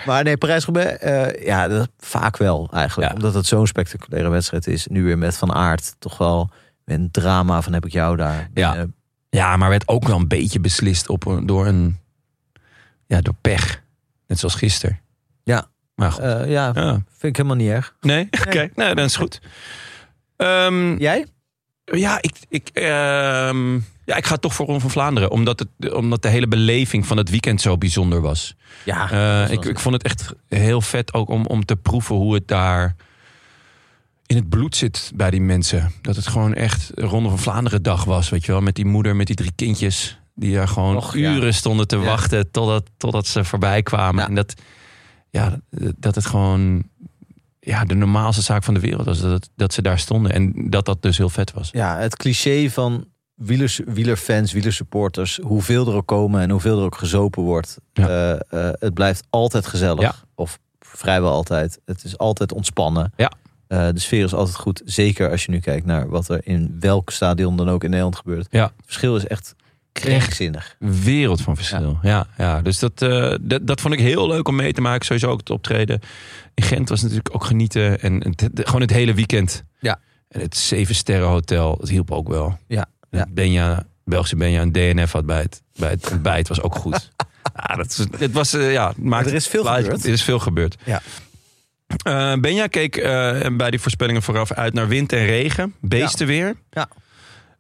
Speaker 2: maar nee, Parijs-Roubaix, eh, ja, dat vaak wel eigenlijk.
Speaker 1: Ja.
Speaker 2: Omdat het zo'n spectaculaire wedstrijd is. Nu weer met Van Aert, toch wel een drama van heb ik jou daar.
Speaker 1: Ja.
Speaker 2: Eh,
Speaker 1: Ja, maar werd ook wel een beetje beslist op, een- door een. Ja, door pech. Net zoals gisteren.
Speaker 2: Ja.
Speaker 1: Maar goed.
Speaker 2: eh, ja,
Speaker 1: Ja.
Speaker 2: vind ik helemaal niet erg.
Speaker 1: Nee? [LAUGHS] Oké, nou, dan is goed. Ehm,
Speaker 2: Jij?
Speaker 1: Ja, ik, ik, ehm, ja, ik ga toch voor Ron van Vlaanderen. Omdat, het, omdat de hele beleving van het weekend zo bijzonder was.
Speaker 2: Ja.
Speaker 1: Eh,
Speaker 2: dat was
Speaker 1: ik, ik vond het echt heel vet ook om, om te proeven hoe het daar in het bloed zit bij die mensen. Dat het gewoon echt Ronde van Vlaanderen dag was, weet je wel. Met die moeder, met die drie kindjes. Die daar gewoon
Speaker 2: Och, ja.
Speaker 1: uren stonden te
Speaker 2: Ja.
Speaker 1: wachten totdat, totdat ze voorbij kwamen.
Speaker 2: Ja.
Speaker 1: En dat, ja, dat het gewoon ja, de normaalste zaak van de wereld was. Dat, dat ze daar stonden en dat dat dus heel vet was.
Speaker 2: Ja, het cliché van wielers, wielerfans, wielersupporters, hoeveel er ook komen en hoeveel er ook gezopen wordt.
Speaker 1: Ja.
Speaker 2: eh, eh, het blijft altijd gezellig.
Speaker 1: Ja.
Speaker 2: Of vrijwel altijd. Het is altijd ontspannen.
Speaker 1: Ja.
Speaker 2: Eh, de sfeer is altijd goed. Zeker als je nu kijkt naar wat er in welk stadion dan ook in Nederland gebeurt.
Speaker 1: Ja.
Speaker 2: Het verschil is echt krankzinnig.
Speaker 1: wereld van verschil. Ja, ja, dus dat, eh, dat, dat vond ik heel leuk om mee te maken. Sowieso ook het optreden in Gent was natuurlijk ook genieten. En, en het- de- gewoon het hele weekend.
Speaker 2: Ja.
Speaker 1: En het Zeven Sterren Hotel, dat hielp ook wel.
Speaker 2: Ja,
Speaker 1: En
Speaker 2: ja.
Speaker 1: Benja, Belgische Benja een DNF had bij het, bij het ontbijt, was ook
Speaker 2: [LAUGHS]
Speaker 1: goed. ja, dat, is- het was, eh, ja, maakt,
Speaker 2: er is veel
Speaker 1: plaats-
Speaker 2: gebeurd.
Speaker 1: Er is veel gebeurd.
Speaker 2: Ja.
Speaker 1: Eh, Benja keek eh, bij die voorspellingen vooraf uit naar wind en regen. Beestenweer.
Speaker 2: Ja.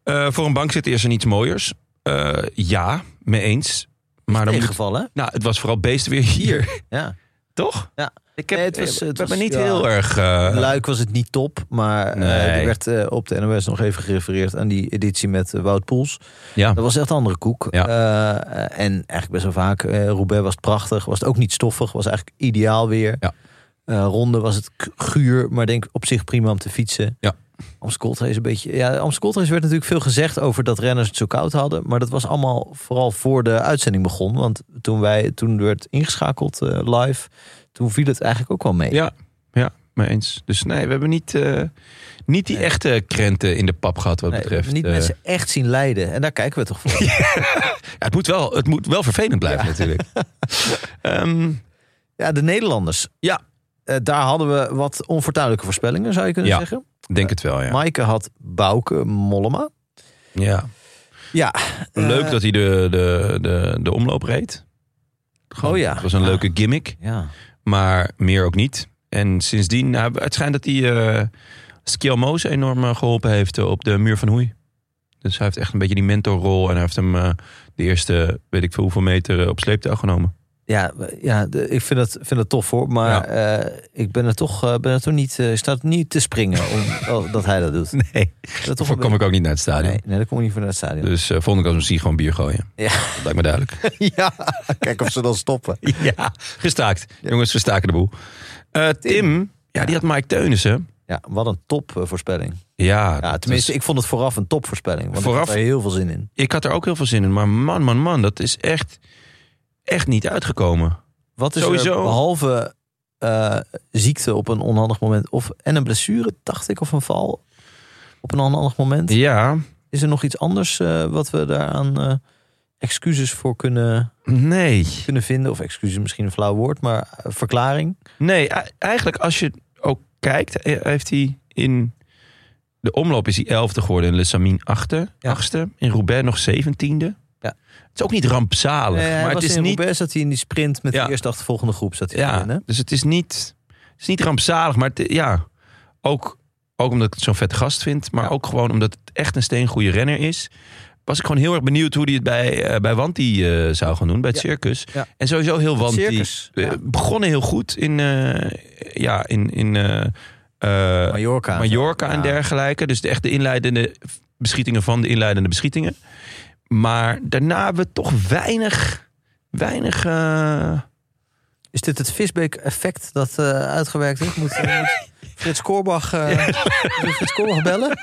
Speaker 1: Eh, voor een bankzitter is er niets mooiers. Eh, ja, mee eens. Maar dan moet,
Speaker 2: Tegengevallen.
Speaker 1: nou, het was vooral beestenweer hier, [LAUGHS]
Speaker 2: Ja.
Speaker 1: toch?
Speaker 2: Ja.
Speaker 1: Ik heb,
Speaker 2: Nee,
Speaker 1: het
Speaker 2: het was- het
Speaker 1: me
Speaker 2: was-
Speaker 1: niet
Speaker 2: ja.
Speaker 1: heel erg... eh,
Speaker 2: Luik was het niet top, maar eh,
Speaker 1: Nee.
Speaker 2: er werd eh, op de NOS nog even gerefereerd aan die editie met eh, Wout Poels.
Speaker 1: ja.
Speaker 2: Dat was echt een andere koek.
Speaker 1: Ja.
Speaker 2: Eh, eh, en eigenlijk best wel vaak. eh Roubaix was prachtig. Was het ook niet stoffig. Was eigenlijk ideaal weer.
Speaker 1: Ja.
Speaker 2: Eh, ronde was het k- guur. Maar denk op zich prima om te fietsen.
Speaker 1: Ja.
Speaker 2: Amstel Gold Race een beetje... Ja, Amstel Gold Race werd natuurlijk veel gezegd over dat renners het zo koud hadden. Maar dat was allemaal vooral voor de uitzending begon. Want toen, wij, toen werd ingeschakeld eh, live... Toen viel het eigenlijk ook wel mee.
Speaker 1: Ja, ja, mee eens. Dus nee, we hebben niet, eh, niet die
Speaker 2: Nee.
Speaker 1: echte krenten in de pap gehad wat
Speaker 2: Nee,
Speaker 1: betreft...
Speaker 2: niet
Speaker 1: eh,
Speaker 2: mensen echt zien lijden. En daar kijken we toch voor.
Speaker 1: ja, het, moet wel, het moet wel vervelend blijven
Speaker 2: [LAUGHS]
Speaker 1: natuurlijk. Ehm,
Speaker 2: Ja, de Nederlanders.
Speaker 1: Ja.
Speaker 2: Eh, daar hadden we wat onfortuinlijke voorspellingen, zou je kunnen
Speaker 1: Ja.
Speaker 2: zeggen.
Speaker 1: denk het wel, ja.
Speaker 2: Maaike had Bouke Mollema.
Speaker 1: ja.
Speaker 2: Ja.
Speaker 1: Leuk
Speaker 2: eh,
Speaker 1: dat hij de, de, de, de omloop reed. Gewoon,
Speaker 2: Oh ja.
Speaker 1: Het was een
Speaker 2: Ja.
Speaker 1: leuke gimmick.
Speaker 2: Ja.
Speaker 1: maar meer ook niet. En sindsdien, nou, het schijnt dat hij eh Skelmoze enorm eh, geholpen heeft eh, op de muur van Hoei. Dus hij heeft echt een beetje die mentorrol en hij heeft hem eh, de eerste, weet ik veel hoeveel meter, eh, op sleeptouw
Speaker 2: [LAUGHS]
Speaker 1: genomen.
Speaker 2: Ja, we- ja de- ik vind het, vind het tof hoor. Maar
Speaker 1: Ja.
Speaker 2: eh, ik ben er toch, eh, ben er toch niet, eh, staat niet te springen
Speaker 1: [LAUGHS]
Speaker 2: om, oh, dat hij dat doet.
Speaker 1: Nee,
Speaker 2: Dat toch
Speaker 1: daarvoor
Speaker 2: een
Speaker 1: kom ik ook niet naar het
Speaker 2: beetje-
Speaker 1: stadion.
Speaker 2: Nee, nee, dat kom ik niet voor naar het stadion.
Speaker 1: Dus eh volgende keer als we zien, gewoon bier gooien.
Speaker 2: Ja. [LAUGHS]
Speaker 1: Dat lijkt me duidelijk.
Speaker 2: ja, kijk of ze dan stoppen.
Speaker 1: ja, gestaakt. Jongens, we staken de boel. Eh, Tim, ja, die had Mike Teunissen.
Speaker 2: Ja, wat een top eh, voorspelling.
Speaker 1: Ja, dat
Speaker 2: Ja,
Speaker 1: was-
Speaker 2: tenminste, ik vond het vooraf een top voorspelling. Want
Speaker 1: Vooraf-
Speaker 2: ik had er heel veel zin in.
Speaker 1: ik had er ook heel veel zin in. Maar man, man, man, dat is echt, echt niet uitgekomen.
Speaker 2: Wat is
Speaker 1: Sowieso.
Speaker 2: er behalve eh, ziekte op een onhandig moment of, en een blessure, dacht ik, of een val op een onhandig moment?
Speaker 1: Ja,
Speaker 2: Is er nog iets anders eh, wat we daaraan eh, excuses voor kunnen,
Speaker 1: nee.
Speaker 2: kunnen vinden? Of excuses misschien een flauw woord, maar eh, verklaring.
Speaker 1: Nee, e- eigenlijk als je ook kijkt, e- heeft hij in de omloop is hij elfde geworden in Le Samin achtste,
Speaker 2: Ja.
Speaker 1: achtste in Roubaix nog zeventiende.
Speaker 2: Ja.
Speaker 1: Het is ook niet rampzalig,
Speaker 2: Eh, hij
Speaker 1: maar
Speaker 2: was
Speaker 1: het is
Speaker 2: in
Speaker 1: niet.
Speaker 2: Roubaix zat hij in die sprint met
Speaker 1: Ja.
Speaker 2: de eerste achtervolgende groep. Zat hij
Speaker 1: Ja,
Speaker 2: erin, hè?
Speaker 1: dus het is niet, het is niet rampzalig, maar het- ja, ook, ook omdat ik het zo'n vet gast vind, maar ook gewoon omdat het echt een steengoede renner is. was ik gewoon heel erg benieuwd hoe hij het bij, eh, bij Wanti eh, zou gaan doen, bij het
Speaker 2: Ja.
Speaker 1: circus.
Speaker 2: Ja.
Speaker 1: En sowieso heel Wanti.
Speaker 2: circus,
Speaker 1: eh,
Speaker 2: ja.
Speaker 1: Begonnen heel goed in, eh, ja, in, in eh, eh,
Speaker 2: Mallorca.
Speaker 1: Mallorca en
Speaker 2: Ja.
Speaker 1: dergelijke. Dus de, echt de inleidende beschietingen van de inleidende beschietingen. Maar daarna hebben we toch weinig, weinig... eh,
Speaker 2: Is dit het Visbeek-effect dat eh, uitgewerkt is? Moet, eh, moet Frits Korbach, eh, moet Frits Korbach bellen?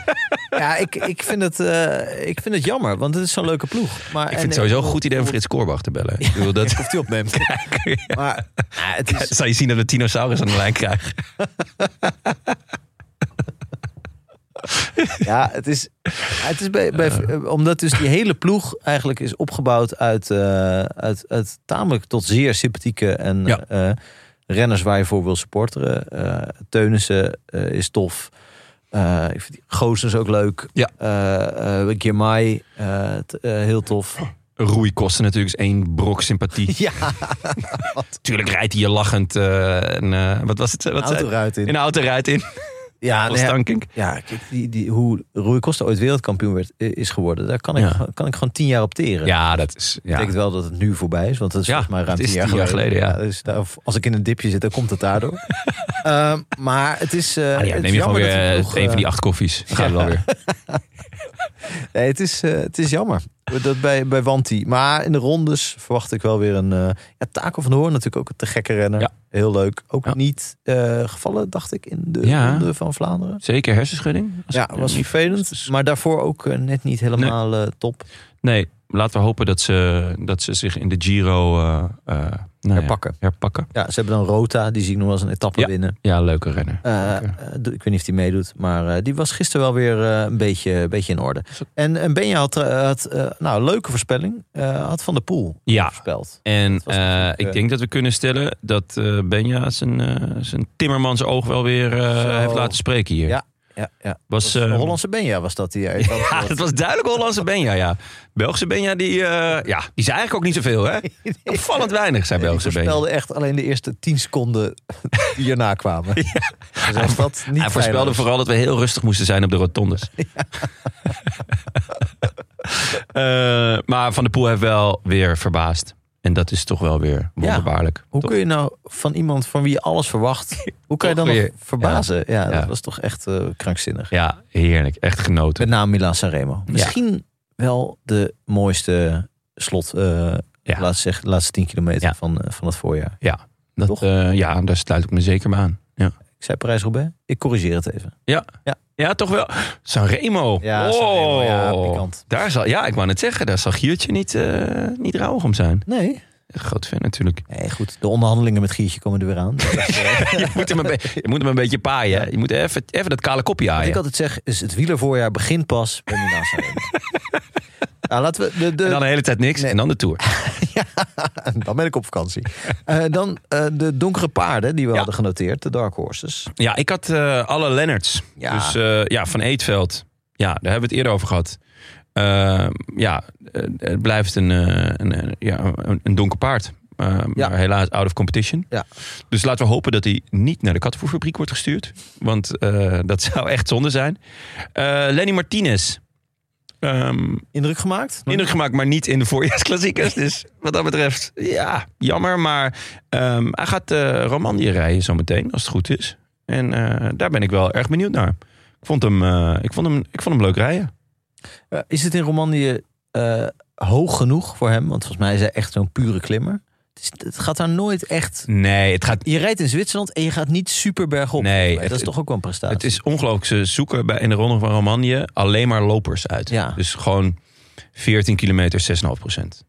Speaker 2: Ja, ik, ik, vind het, eh, ik vind het jammer, want het is zo'n leuke ploeg. Maar, eh,
Speaker 1: ik vind het sowieso een goed idee eh, om Frits Korbach te bellen. Ik bedoel, [LAUGHS] dat,
Speaker 2: Of die opneemt. Maar ja, het is,
Speaker 1: zal je zien dat we Tinosaurus aan de lijn krijgen.
Speaker 2: Ja, het is, het is bij, bij, omdat dus die hele ploeg eigenlijk is opgebouwd uit, eh, uit, uit tamelijk tot zeer sympathieke en
Speaker 1: Ja.
Speaker 2: eh, renners waar je voor wil supporteren. Eh, Teunissen eh, is tof. Eh, ik vind die Goossens ook leuk.
Speaker 1: Ja.
Speaker 2: Eh, eh, Girmay, eh, t- eh, heel tof.
Speaker 1: Roei kosten natuurlijk is één brok [LAUGHS] sympathie.
Speaker 2: Ja,
Speaker 1: Tuurlijk rijdt hij je lachend eh, een, eh, wat was het? Wat zei-
Speaker 2: autoruit in.
Speaker 1: in een auto rijdt in.
Speaker 2: nou Ja,
Speaker 1: was
Speaker 2: nou ja,
Speaker 1: Tankink.
Speaker 2: Ja, kijk, die, die, hoe Rui Costa ooit wereldkampioen werd, is geworden, daar kan ik,
Speaker 1: Ja.
Speaker 2: kan ik gewoon tien jaar op teren.
Speaker 1: Ja, dat is... Ja. Ah,
Speaker 2: betekent wel dat het nu voorbij is, want dat is
Speaker 1: Ja,
Speaker 2: volgens mij ruim
Speaker 1: het is
Speaker 2: tien jaar
Speaker 1: tien jaar
Speaker 2: geleden.
Speaker 1: geleden, ja.
Speaker 2: dus daar- of als ik in een dipje zit, dan komt het
Speaker 1: [LAUGHS]
Speaker 2: daardoor. Ehm, maar het is. eh,
Speaker 1: Ah, ja,
Speaker 2: het
Speaker 1: neem
Speaker 2: is
Speaker 1: je gewoon
Speaker 2: jammer
Speaker 1: weer
Speaker 2: dat die
Speaker 1: eh,
Speaker 2: ploeg,
Speaker 1: een van die
Speaker 2: eh,
Speaker 1: acht koffies. Dan [LAUGHS] Gaat het wel weer.
Speaker 2: nee, het, is, eh, het is jammer. Dat bij, bij Wanti. Maar in de rondes verwacht ik wel weer een. eh ja, Taco van de Hoorn natuurlijk ook een te gekke renner.
Speaker 1: Ja.
Speaker 2: Heel leuk. Ook
Speaker 1: Ja.
Speaker 2: niet eh, gevallen, dacht ik, in de
Speaker 1: Ja.
Speaker 2: ronde van Vlaanderen.
Speaker 1: Zeker hersenschudding. Als
Speaker 2: Ja,
Speaker 1: ik-
Speaker 2: was vervelend. Maar daarvoor ook eh, net niet helemaal eh, top.
Speaker 1: Nee, laten we hopen dat ze, dat ze zich in de Giro eh, eh, nou ja,
Speaker 2: Herpakken.
Speaker 1: herpakken.
Speaker 2: Ja, ze hebben dan Rota, die zie ik nog wel eens een etappe
Speaker 1: Ja.
Speaker 2: winnen.
Speaker 1: Ja, leuke renner.
Speaker 2: Eh,
Speaker 1: Oh, Oké.
Speaker 2: eh, ik weet niet of die meedoet, maar eh, die was gisteren wel weer eh, een, beetje, een beetje in orde. En, en Benja had, eh, had eh, nou, een leuke voorspelling. eh, had Van der Poel
Speaker 1: Ja,
Speaker 2: voorspeld.
Speaker 1: en
Speaker 2: was
Speaker 1: eh,
Speaker 2: natuurlijk, eh,
Speaker 1: ik denk dat we kunnen stellen dat eh, Benja zijn, eh, zijn Timmermans oog wel weer eh,
Speaker 2: Zo.
Speaker 1: heeft laten spreken hier.
Speaker 2: Ja, Ja, ja.
Speaker 1: was,
Speaker 2: Dat was een
Speaker 1: eh,
Speaker 2: Hollandse Benja was dat die.
Speaker 1: [LAUGHS]
Speaker 2: eh,
Speaker 1: Ja,
Speaker 2: had-
Speaker 1: dat was duidelijk Hollandse Benja, ja. Belgische Benja, die, eh, ja, die zei eigenlijk ook niet zoveel,
Speaker 2: [LAUGHS]
Speaker 1: hè? Opvallend weinig, zei
Speaker 2: Nee, die
Speaker 1: Belgische Benja.
Speaker 2: voorspelde echt alleen de eerste 10
Speaker 1: [LAUGHS]
Speaker 2: seconden die hierna kwamen. Dus
Speaker 1: Hij
Speaker 2: als dat niet
Speaker 1: Hij voorspelde
Speaker 2: veilig is.
Speaker 1: vooral dat we heel rustig moesten zijn op de
Speaker 2: [LAUGHS]
Speaker 1: rotondes. Eh, maar Van der Poel heeft wel weer verbaasd. En dat is toch wel weer wonderbaarlijk.
Speaker 2: Hoe
Speaker 1: Toch?
Speaker 2: kun je nou van iemand van wie je alles
Speaker 1: [LAUGHS]
Speaker 2: verwacht, hoe kan je dan
Speaker 1: Toch
Speaker 2: nog
Speaker 1: weer.
Speaker 2: verbazen?
Speaker 1: Ja.
Speaker 2: Ja, dat was toch echt eh, krankzinnig.
Speaker 1: Ja, heerlijk. Echt genoten.
Speaker 2: Met name Milan Sanremo. Misschien wel de mooiste slot, eh
Speaker 1: Ja.
Speaker 2: laat zeg, laatste 10 kilometer
Speaker 1: Ja.
Speaker 2: van, eh, van het voorjaar.
Speaker 1: Dat,
Speaker 2: toch?
Speaker 1: eh, ja, daar sluit ik me zeker bij aan. Ja.
Speaker 2: Ik zei Parijs-Roubaix, ik corrigeer het even.
Speaker 1: Ja, toch wel. Sanremo.
Speaker 2: Ja,
Speaker 1: oh,
Speaker 2: Sanremo, ja, pikant.
Speaker 1: Daar zal, ja, ik wou net zeggen, daar zal Giertje niet, eh niet rouwig om zijn.
Speaker 2: Nee.
Speaker 1: Een Groot fan
Speaker 2: [LAUGHS]
Speaker 1: natuurlijk.
Speaker 2: Nee, goed. De onderhandelingen met Giertje komen er weer
Speaker 1: [LAUGHS]
Speaker 2: aan. Wat
Speaker 1: je, moet hem een be- je moet hem een beetje paaien. hè. Je moet even, even dat kale kopje aaien.
Speaker 2: ik altijd zeg, is het wielervoorjaar begint pas bij Milan
Speaker 1: [LAUGHS]
Speaker 2: Sanremo. nou, laten we de, de,
Speaker 1: En dan de hele tijd niks.
Speaker 2: Nee.
Speaker 1: En dan de Tour.
Speaker 2: [LAUGHS] dan ben ik op vakantie. Eh, dan eh, de donkere paarden die we
Speaker 1: Ja.
Speaker 2: hadden genoteerd, de Dark Horses.
Speaker 1: Ja, ik had eh, alle Lennarts.
Speaker 2: Ja.
Speaker 1: Dus eh, ja, van Eetveld. Ja, daar hebben we het eerder over gehad. Eh, ja, eh, het blijft een, eh, een, eh, ja, een, een donker paard. Eh,
Speaker 2: Ja.
Speaker 1: Maar helaas out of competition.
Speaker 2: Ja.
Speaker 1: Dus laten we hopen dat hij niet naar de kattenvoerfabriek wordt gestuurd. Want eh, dat zou echt zonde zijn. Eh, Lenny Martinez. Ehm,
Speaker 2: Indruk gemaakt?
Speaker 1: indruk gemaakt, maar niet in de voorjaarsklassiekers. Dus wat dat betreft, ja, jammer. Maar ehm, hij gaat eh Romandie rijden zometeen, als het goed is. En eh, daar ben ik wel erg benieuwd naar. Ik vond hem, eh, ik vond hem, ik vond hem leuk rijden.
Speaker 2: Eh, is het in Romandie eh, hoog genoeg voor hem? Want volgens mij is hij echt zo'n pure klimmer. Het, is- het gaat daar nooit echt...
Speaker 1: Nee, het gaat...
Speaker 2: Je rijdt in Zwitserland en je gaat niet super bergop.
Speaker 1: Nee,
Speaker 2: volgens mij.
Speaker 1: het-
Speaker 2: dat is toch ook wel een prestatie.
Speaker 1: Het is ongelooflijk. Ze zoeken bij, in de Ronde van Romandie alleen maar lopers uit.
Speaker 2: Ja.
Speaker 1: Dus gewoon 14 kilometer, 6,5 procent.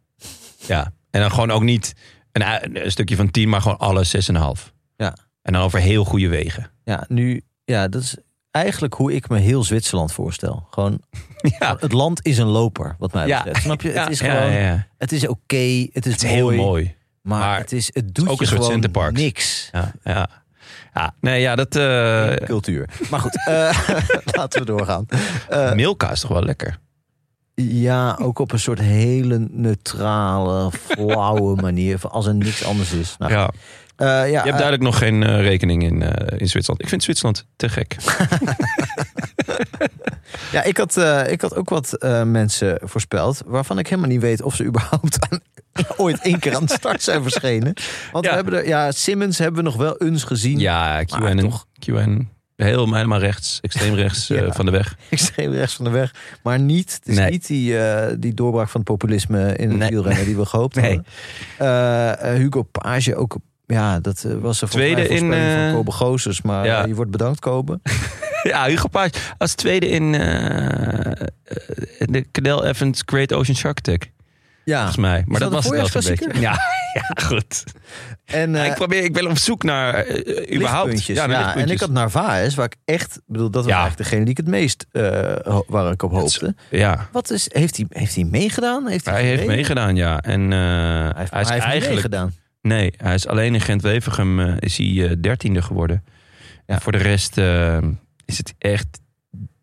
Speaker 1: Ja. En dan gewoon ook niet een, een stukje van 10, maar gewoon alle 6,5.
Speaker 2: Ja.
Speaker 1: En dan over heel goede wegen.
Speaker 2: Ja, nu, ja, dat is eigenlijk hoe ik me heel Zwitserland voorstel. Gewoon, het land is een loper, wat mij
Speaker 1: Ja.
Speaker 2: betreft. Snap je? Het is
Speaker 1: Ja, ja,
Speaker 2: gewoon,
Speaker 1: ja.
Speaker 2: het is oké, het is,
Speaker 1: Het is heel mooi.
Speaker 2: Maar,
Speaker 1: maar
Speaker 2: het, is, het doet
Speaker 1: ook
Speaker 2: je
Speaker 1: een soort
Speaker 2: gewoon
Speaker 1: Centerparks.
Speaker 2: niks.
Speaker 1: Ja, ja. ja nee, ja, dat... eh
Speaker 2: Cultuur. Maar goed, eh, [LAUGHS] laten we doorgaan. Eh,
Speaker 1: Milka is toch wel lekker?
Speaker 2: Ja, ook op een soort hele neutrale, flauwe
Speaker 1: [LAUGHS]
Speaker 2: manier. van Als er niks anders is. Nou,
Speaker 1: Ja.
Speaker 2: eh, ja,
Speaker 1: Je hebt
Speaker 2: eh,
Speaker 1: duidelijk nog geen eh, rekening in, eh, in Zwitserland. Ik vind Zwitserland te gek.
Speaker 2: Ja, ik had, eh, ik had ook wat eh, mensen voorspeld. waarvan ik helemaal niet weet of ze [LAUGHS] überhaupt aan, ooit één keer aan de start zijn verschenen. Want
Speaker 1: Ja.
Speaker 2: we hebben er, ja, Simmons hebben we nog wel eens gezien.
Speaker 1: Ja,
Speaker 2: Maar
Speaker 1: QAnon. QAnon. Heel helemaal rechts, extreem rechts eh,
Speaker 2: [LAUGHS] Ja.
Speaker 1: van de weg.
Speaker 2: [LAUGHS] Extreem rechts van de weg. Maar niet, het is
Speaker 1: Nee.
Speaker 2: niet die, eh, die doorbraak van het populisme in het
Speaker 1: Nee.
Speaker 2: wielrennen die we gehoopt
Speaker 1: Nee.
Speaker 2: hadden. Eh, eh, Hugo Page ook. Ja, dat eh, was er
Speaker 1: Tweede in, eh,
Speaker 2: van Kobe Gozers. Maar
Speaker 1: ja.
Speaker 2: eh, je wordt bedankt, Kobe.
Speaker 1: Ja, Hugo Paas als tweede in eh, eh, de Cadel Evans Great Ocean Shark Attack.
Speaker 2: Ja.
Speaker 1: Volgens mij. Maar
Speaker 2: Ah. Is
Speaker 1: dat,
Speaker 2: dat
Speaker 1: was
Speaker 2: een
Speaker 1: het wel zo'n
Speaker 2: voorjaarsklassieker?
Speaker 1: beetje. Ja, [LAUGHS] ja goed.
Speaker 2: En,
Speaker 1: Ja,
Speaker 2: eh,
Speaker 1: ik, probeer, ik ben op zoek naar eh, überhaupt.
Speaker 2: Lichtpuntjes, Ja,
Speaker 1: naar
Speaker 2: en ik
Speaker 1: lichtpuntjes.
Speaker 2: had Narvaez, waar ik echt, bedoel, dat was
Speaker 1: Ja.
Speaker 2: eigenlijk degene die ik het meest, eh, ho- waar ik op hoopte.
Speaker 1: Ja,
Speaker 2: Wat is, heeft hij, heeft hij meegedaan? Heeft hij,
Speaker 1: hij heeft
Speaker 2: gereden?
Speaker 1: meegedaan, ja. En eh,
Speaker 2: Hij heeft,
Speaker 1: hij is
Speaker 2: hij heeft
Speaker 1: eigenlijk.
Speaker 2: meegedaan.
Speaker 1: Nee, hij is alleen in Gent-Wevergem eh, is hij dertiende geworden. En voor de rest eh, is het echt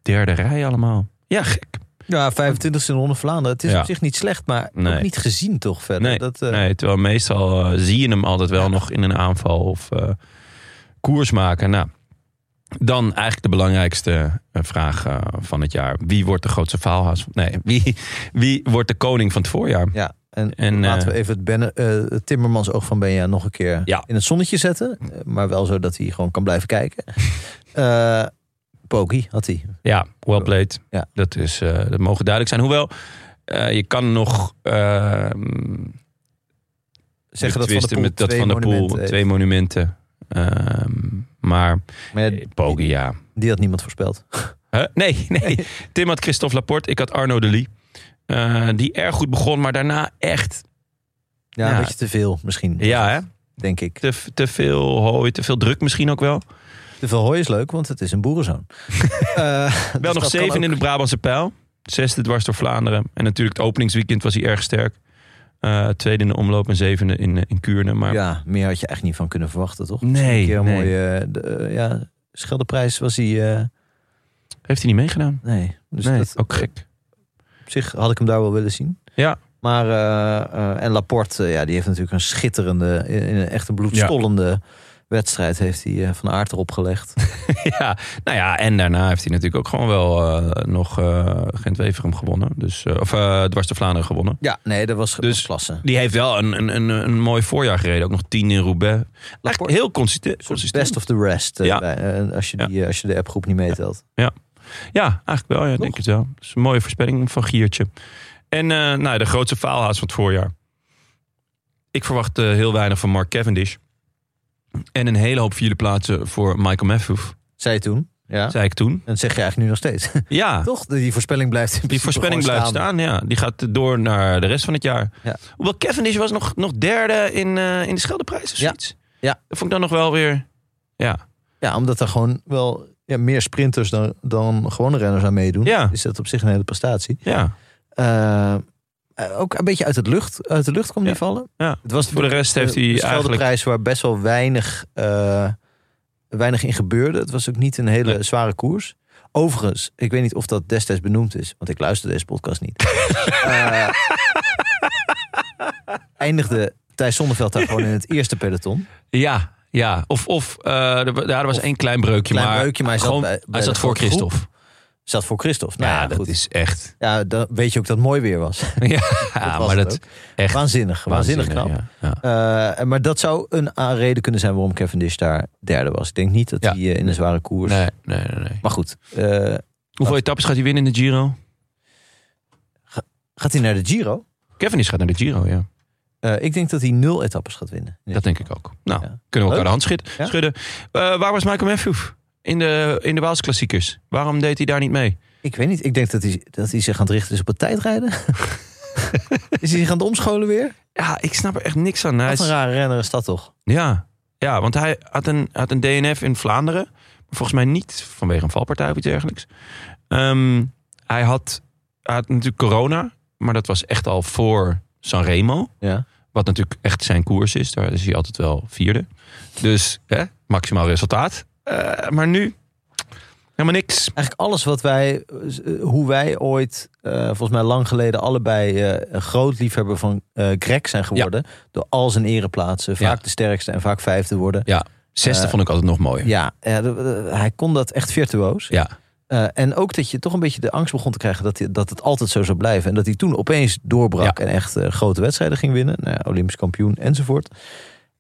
Speaker 1: derde rij allemaal. Ja, gek.
Speaker 2: Ja, 25 in de Ronde Vlaanderen. Het is
Speaker 1: Ja.
Speaker 2: op zich niet slecht, maar
Speaker 1: Nee.
Speaker 2: ook niet gezien toch verder.
Speaker 1: Nee,
Speaker 2: dat, eh,
Speaker 1: nee, terwijl meestal eh, zie je hem altijd wel nog in een aanval of eh, koers maken. Nou, dan eigenlijk de belangrijkste eh, vraag eh, van het jaar. Wie wordt de grootste faalhaas? Nee, wie, wie wordt de koning van het voorjaar?
Speaker 2: Ja, en,
Speaker 1: En,
Speaker 2: laten
Speaker 1: eh,
Speaker 2: we even het, Benne, eh, het Timmermans oog van Benja nog een keer
Speaker 1: Ja.
Speaker 2: in het zonnetje zetten. Eh, Maar wel zo dat hij gewoon kan blijven kijken. Eh Poki had hij.
Speaker 1: Ja, well played.
Speaker 2: Ja.
Speaker 1: Dat, is, eh, dat mogen duidelijk zijn. Hoewel, eh, je kan nog eh,
Speaker 2: Zeggen dat van de
Speaker 1: betwisten
Speaker 2: pool,
Speaker 1: met dat
Speaker 2: twee
Speaker 1: van de pool
Speaker 2: monumenten heeft.
Speaker 1: twee monumenten. Ehm, maar
Speaker 2: Maar ja,
Speaker 1: eh, Poggi, ja.
Speaker 2: die had niemand voorspeld.
Speaker 1: Huh? Nee, [LAUGHS] nee. Tim had Christophe Laporte, ik had Arno de Lee. Eh, die erg goed begon, maar daarna echt,
Speaker 2: Ja,
Speaker 1: Ja.
Speaker 2: een beetje te veel misschien.
Speaker 1: ja, hè?
Speaker 2: denk ik.
Speaker 1: Te, te veel hooi, te veel druk misschien ook
Speaker 2: Dus
Speaker 1: wel.
Speaker 2: De Verhooi is leuk, want het is een
Speaker 1: [LAUGHS]
Speaker 2: boerenzoon. Eh, dus
Speaker 1: Wel nog zeven in de Brabantse pijl. Zesde dwars door Vlaanderen. En natuurlijk het openingsweekend was hij erg sterk. Eh, tweede in de omloop en zevende in, eh, in Kuurne. Maar
Speaker 2: Ja, meer had je echt niet van kunnen verwachten, toch?
Speaker 1: Nee,
Speaker 2: Misschien Een keer een
Speaker 1: nee.
Speaker 2: mooie... eh, de, eh, ja, Scheldeprijs was hij... eh,
Speaker 1: heeft hij niet meegedaan.
Speaker 2: nee. Dus
Speaker 1: nee,
Speaker 2: dat,
Speaker 1: ook
Speaker 2: [LAUGHS]
Speaker 1: gek.
Speaker 2: op zich had ik hem daar wel willen zien.
Speaker 1: Ja.
Speaker 2: Maar, eh, eh, en Laporte, eh, ja, die heeft natuurlijk een schitterende, in in een echt een bloedstollende wedstrijd, heeft hij eh, van aard erop
Speaker 1: [LAUGHS]
Speaker 2: gelegd.
Speaker 1: ja, nou ja, en daarna heeft hij natuurlijk ook gewoon wel eh, nog eh Gent-Weverum gewonnen. Dus, eh, of eh dwars door Vlaanderen gewonnen.
Speaker 2: ja, nee, dat was,
Speaker 1: Dus-
Speaker 2: dus, klasse.
Speaker 1: Die heeft wel een, een, een, een mooi voorjaar gereden. Ook nog tien in Roubaix. Eigenlijk heel consistent.
Speaker 2: Soort
Speaker 1: consistent.
Speaker 2: Best of the rest, eh,
Speaker 1: Ja.
Speaker 2: bij- eh, als, je
Speaker 1: Ja.
Speaker 2: die, eh, als je de appgroep niet meetelt.
Speaker 1: Ja, eigenlijk wel. Ja, ik denk het wel. Dat is een mooie voorspelling van Giertje. En eh, nou, de grootste faalhaas van het voorjaar. Ik verwacht eh, heel weinig van Mark Cavendish. En een hele hoop vierde plaatsen voor Michael Matthews.
Speaker 2: Zei je toen, ja.
Speaker 1: Zei ik toen.
Speaker 2: En dat zeg je eigenlijk nu nog steeds.
Speaker 1: Ja,
Speaker 2: [LAUGHS] Toch? Die voorspelling blijft in
Speaker 1: die
Speaker 2: principe
Speaker 1: voorspelling
Speaker 2: gewoon
Speaker 1: blijft staan. Ja, die gaat door naar de rest van het jaar.
Speaker 2: Ja.
Speaker 1: Hoewel Cavendish was nog, nog derde in, eh, in de Scheldeprijs of
Speaker 2: Ja.
Speaker 1: zoiets.
Speaker 2: Ja.
Speaker 1: Dat vond ik dan nog wel weer... Ja,
Speaker 2: Ja, omdat er gewoon wel ja, meer sprinters dan, dan gewone renners aan meedoen.
Speaker 1: Ja.
Speaker 2: Is dat op zich een hele prestatie.
Speaker 1: ja.
Speaker 2: Eh, eh, ook een beetje uit, het lucht, uit de lucht kwam
Speaker 1: Ja.
Speaker 2: die vallen.
Speaker 1: Ja.
Speaker 2: Het was eh,
Speaker 1: Voor de rest heeft hij
Speaker 2: de
Speaker 1: eigenlijk...
Speaker 2: prijs waar best wel weinig, eh, weinig in gebeurde. Het was ook niet een hele
Speaker 1: Nee.
Speaker 2: zware koers. Overigens, ik weet niet of dat destijds benoemd is, want ik luister deze podcast niet.
Speaker 1: [LAUGHS]
Speaker 2: Eh, eindigde Thijs Zonneveld daar gewoon in het eerste peloton.
Speaker 1: Ja, ja. Of, of eh, er, wa- ja, er was
Speaker 2: Of
Speaker 1: één klein breukje,
Speaker 2: klein
Speaker 1: maar,
Speaker 2: breukje, maar hij zat
Speaker 1: gewoon,
Speaker 2: bij- bij
Speaker 1: hij
Speaker 2: de
Speaker 1: zat voor
Speaker 2: grote groep.
Speaker 1: Christophe.
Speaker 2: Zat voor Christophe. Nou
Speaker 1: ja,
Speaker 2: ja,
Speaker 1: dat
Speaker 2: goed.
Speaker 1: is [LAUGHS] echt...
Speaker 2: Ja, dan weet je ook dat het mooi weer [LAUGHS] was.
Speaker 1: ja,
Speaker 2: was
Speaker 1: maar
Speaker 2: het
Speaker 1: dat
Speaker 2: ook.
Speaker 1: echt
Speaker 2: Waanzinnig, waanzinnig knap.
Speaker 1: waanzinnig, Ja, ja.
Speaker 2: Eh, maar dat zou een a- reden kunnen zijn waarom Cavendish daar derde was. Ik denk niet dat
Speaker 1: Ja.
Speaker 2: hij eh, in een zware koers...
Speaker 1: Nee, nee, nee, nee.
Speaker 2: Maar goed, eh,
Speaker 1: Hoeveel etappes gaat hij winnen in de Giro?
Speaker 2: gaat hij naar de Giro?
Speaker 1: Kevin is gaat naar de Giro, ja.
Speaker 2: Eh, ik denk dat hij nul etappes gaat winnen.
Speaker 1: Dat denk ik ook. Nou,
Speaker 2: Ja.
Speaker 1: kunnen we elkaar
Speaker 2: Leuk.
Speaker 1: de hand schud-
Speaker 2: Ja.
Speaker 1: schudden. Eh, waar was Michael Matthews in de, in de Waalse klassiekers? Waarom deed hij daar niet mee?
Speaker 2: Ik weet niet. Ik denk dat hij, dat hij zich aan het richten is op het
Speaker 1: [LAUGHS]
Speaker 2: tijdrijden. is hij zich aan het omscholen weer?
Speaker 1: Ja, ik snap er echt niks aan. Hij
Speaker 2: Wat een
Speaker 1: is-
Speaker 2: rare renner is dat toch?
Speaker 1: Ja, ja want hij had een, had een DNF in Vlaanderen. Maar volgens mij niet vanwege een valpartij of iets dergelijks. Ehm, hij, had, hij had natuurlijk corona. Maar dat was echt al voor Sanremo.
Speaker 2: Ja.
Speaker 1: Wat natuurlijk echt zijn koers is. Daar is hij altijd wel vierde. Dus hè, maximaal resultaat. Eh, maar nu helemaal niks.
Speaker 2: Eigenlijk alles wat wij, eh, hoe wij ooit, eh, volgens mij lang geleden, allebei eh, een groot liefhebber van eh Greg zijn geworden. Door al zijn ereplaatsen. Vaak
Speaker 1: Ja.
Speaker 2: de sterkste en vaak vijfde worden.
Speaker 1: Zesde
Speaker 2: Eh,
Speaker 1: vond ik altijd nog mooier.
Speaker 2: Ja, eh, de- de- hij kon dat echt virtuoos.
Speaker 1: Ja.
Speaker 2: Eh, Eh, en ook dat je toch een beetje de angst begon te krijgen dat, hij- dat het altijd zo zou blijven. En dat hij toen opeens doorbrak en echt eh, grote wedstrijden ging winnen. Nou, ja, Olympisch kampioen enzovoort.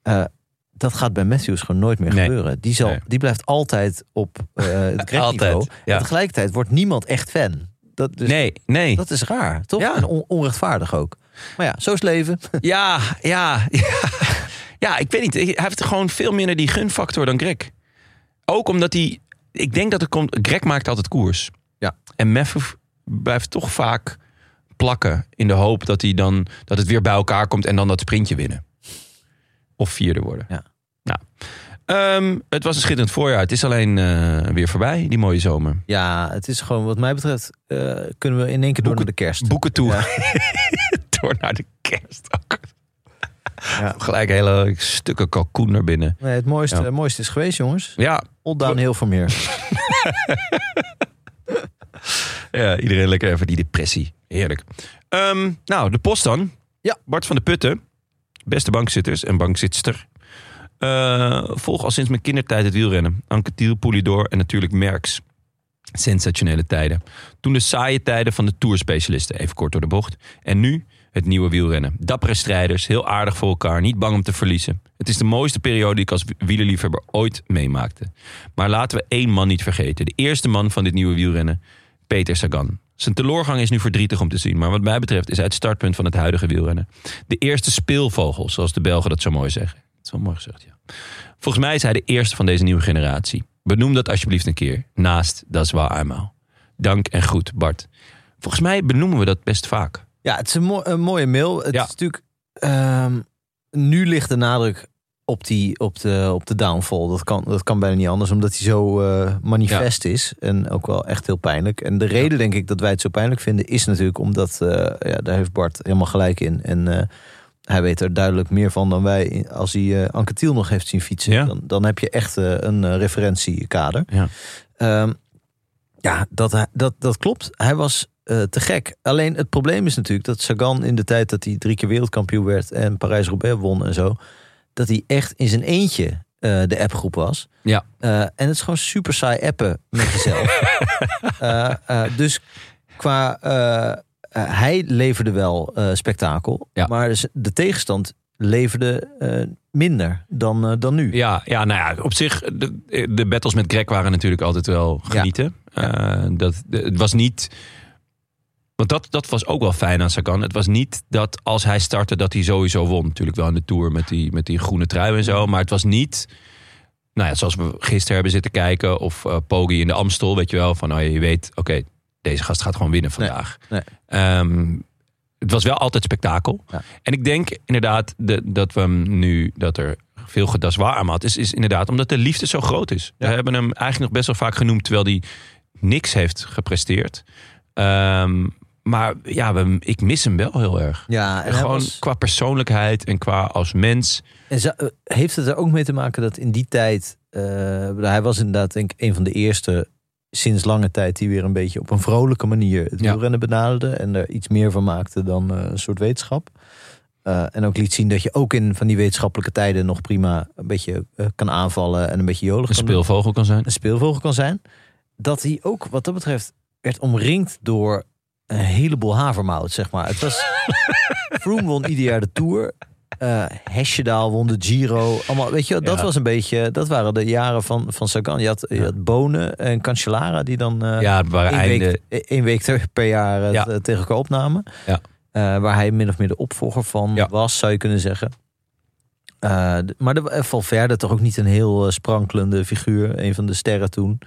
Speaker 2: Eh, dat gaat bij Matthews gewoon nooit meer
Speaker 1: Nee.
Speaker 2: gebeuren. Die, zal,
Speaker 1: Nee.
Speaker 2: die blijft altijd op eh
Speaker 1: [LAUGHS]
Speaker 2: het
Speaker 1: Altijd,
Speaker 2: niveau.
Speaker 1: ja.
Speaker 2: En tegelijkertijd wordt niemand echt fan. Dat, dus
Speaker 1: nee, nee.
Speaker 2: dat is raar, toch?
Speaker 1: Ja.
Speaker 2: En on- onrechtvaardig ook. Maar ja, zo is leven.
Speaker 1: [LAUGHS] Ja, ja, [LAUGHS] ja. Ja, ik weet niet. Hij heeft gewoon veel minder die gunfactor dan Greg. Ook omdat hij... Ik denk dat het komt... Greg maakt altijd koers.
Speaker 2: Ja.
Speaker 1: En Meffef blijft toch vaak plakken in de hoop dat, hij dan, dat het weer bij elkaar komt en dan dat sprintje winnen. Of vierde worden.
Speaker 2: Ja.
Speaker 1: Nou. Ehm, het was een schitterend voorjaar. Het is alleen eh, weer voorbij, die mooie zomer.
Speaker 2: Ja, het is gewoon wat mij betreft eh, kunnen we in één keer door naar de kerst.
Speaker 1: Boeken toe. [LAUGHS] Door naar de kerst.
Speaker 2: Ja.
Speaker 1: [LAUGHS] Gelijk hele stukken kalkoen naar binnen.
Speaker 2: Nee, het mooiste,
Speaker 1: Ja.
Speaker 2: het mooiste is geweest, jongens.
Speaker 1: Ja,
Speaker 2: All down heel veel meer.
Speaker 1: Ja, iedereen lekker even die depressie. Heerlijk. Ehm, nou, de post dan.
Speaker 2: Ja.
Speaker 1: Bart van de Putten. Beste bankzitters en bankzitster. Eh, volg al sinds mijn kindertijd het wielrennen. Anke Thiel, Poulidor en natuurlijk Merckx. Sensationele tijden. Toen de saaie tijden van de tourspecialisten, even kort door de bocht. En nu het nieuwe wielrennen. Dappere strijders, heel aardig voor elkaar, niet bang om te verliezen. Het is de mooiste periode die ik als wielerliefhebber ooit meemaakte. Maar laten we één man niet vergeten. De eerste man van dit nieuwe wielrennen, Peter Sagan. Zijn teleurgang is nu verdrietig om te zien, maar wat mij betreft is hij het startpunt van het huidige wielrennen. De eerste speelvogel, zoals de Belgen dat zo mooi zeggen. Dat is wel mooi gezegd, ja. Volgens mij is hij de eerste van deze nieuwe generatie. Benoem dat alsjeblieft een keer, naast Dat is wel eenmaal. Dank en goed, Bart. Volgens mij benoemen we dat best vaak.
Speaker 2: Ja, het is een, mo- een mooie mail. Het
Speaker 1: Ja.
Speaker 2: is natuurlijk... ehm, nu ligt de nadruk op, die, op, de, op de downfall. Dat kan, dat kan bijna niet anders, omdat hij zo eh, manifest is. En ook wel echt heel pijnlijk. En de reden, denk ik, dat wij het zo pijnlijk vinden... is natuurlijk omdat... eh, ja, daar heeft Bart helemaal gelijk in. En eh, hij weet er duidelijk meer van dan wij. Als hij eh Anke Thiel nog heeft zien fietsen...
Speaker 1: Ja.
Speaker 2: Dan, dan heb je echt eh, een eh, referentiekader.
Speaker 1: Ja.
Speaker 2: Ehm, ja, dat, hij- dat, dat klopt. Hij was eh, te gek. Alleen het probleem is natuurlijk dat Sagan in de tijd dat hij drie keer wereldkampioen werd en Parijs-Roubaix won en zo, dat hij echt in zijn eentje eh, de appgroep was.
Speaker 1: Ja.
Speaker 2: Eh, en het is gewoon super saai appen met
Speaker 1: [LAUGHS]
Speaker 2: jezelf. Eh, eh, dus qua. eh, eh, hij leverde wel eh, spektakel,
Speaker 1: Ja.
Speaker 2: maar z- de tegenstand leverde eh, minder dan, eh, dan nu.
Speaker 1: Ja, ja nou ja, op zich, de, de battles met Greg waren natuurlijk altijd wel genieten. Eh, dat, de- het was niet... Want dat, dat was ook wel fijn aan Sagan. Het was niet dat als hij startte dat hij sowieso won. Natuurlijk wel in de Tour met die, met die groene trui en zo. Maar het was niet... Nou ja, zoals we gisteren hebben zitten kijken. Of eh Poggi in de Amstel, weet je wel. Van, oh, je weet, oké, deze gast gaat gewoon winnen
Speaker 2: Nee,
Speaker 1: vandaag.
Speaker 2: nee.
Speaker 1: Ehm, het was wel altijd spektakel.
Speaker 2: Ja.
Speaker 1: En ik denk inderdaad de- dat we hem nu, dat er veel gedaswaar aan had, is, is inderdaad omdat de liefde zo groot is.
Speaker 2: Ja.
Speaker 1: We hebben hem eigenlijk nog best wel vaak genoemd, terwijl hij niks heeft gepresteerd. Ehm, maar ja, we, ik mis hem wel heel erg.
Speaker 2: Ja, en hij
Speaker 1: Gewoon
Speaker 2: was-
Speaker 1: qua persoonlijkheid en qua als mens.
Speaker 2: En zou- eh, heeft het er ook mee te maken dat in die tijd... eh, hij was inderdaad denk ik een van de eerste sinds lange tijd... die weer een beetje op een vrolijke manier het
Speaker 1: Ja.
Speaker 2: wielrennen benaderde... en er iets meer van maakte dan eh, een soort wetenschap. Eh, en ook liet zien dat je ook in van die wetenschappelijke tijden... nog prima een beetje eh, kan aanvallen en een beetje jolig
Speaker 1: Een
Speaker 2: kan doen
Speaker 1: speelvogel kan zijn.
Speaker 2: een speelvogel kan zijn. Dat hij ook wat dat betreft werd omringd door een heleboel havermout, zeg maar. Het
Speaker 1: [LAUGHS]
Speaker 2: was... Froome won ieder jaar de Tour. Eh Hesjedaal won de Giro. Allemaal, weet je, wel, dat
Speaker 1: Ja.
Speaker 2: was een beetje... Dat waren de jaren van, van Sagan. Je had, je had Bonen en Cancellara die dan... eh,
Speaker 1: Ja, het waren
Speaker 2: één
Speaker 1: einde.
Speaker 2: week, één week ter- per jaar eh,
Speaker 1: Ja.
Speaker 2: t- tegen elkaar opnamen.
Speaker 1: Ja.
Speaker 2: Eh, waar hij min of meer de opvolger van
Speaker 1: Ja.
Speaker 2: was, zou je kunnen zeggen. Eh, d- maar de, eh, Valverde toch ook niet een heel eh, sprankelende figuur. Een van de sterren toen.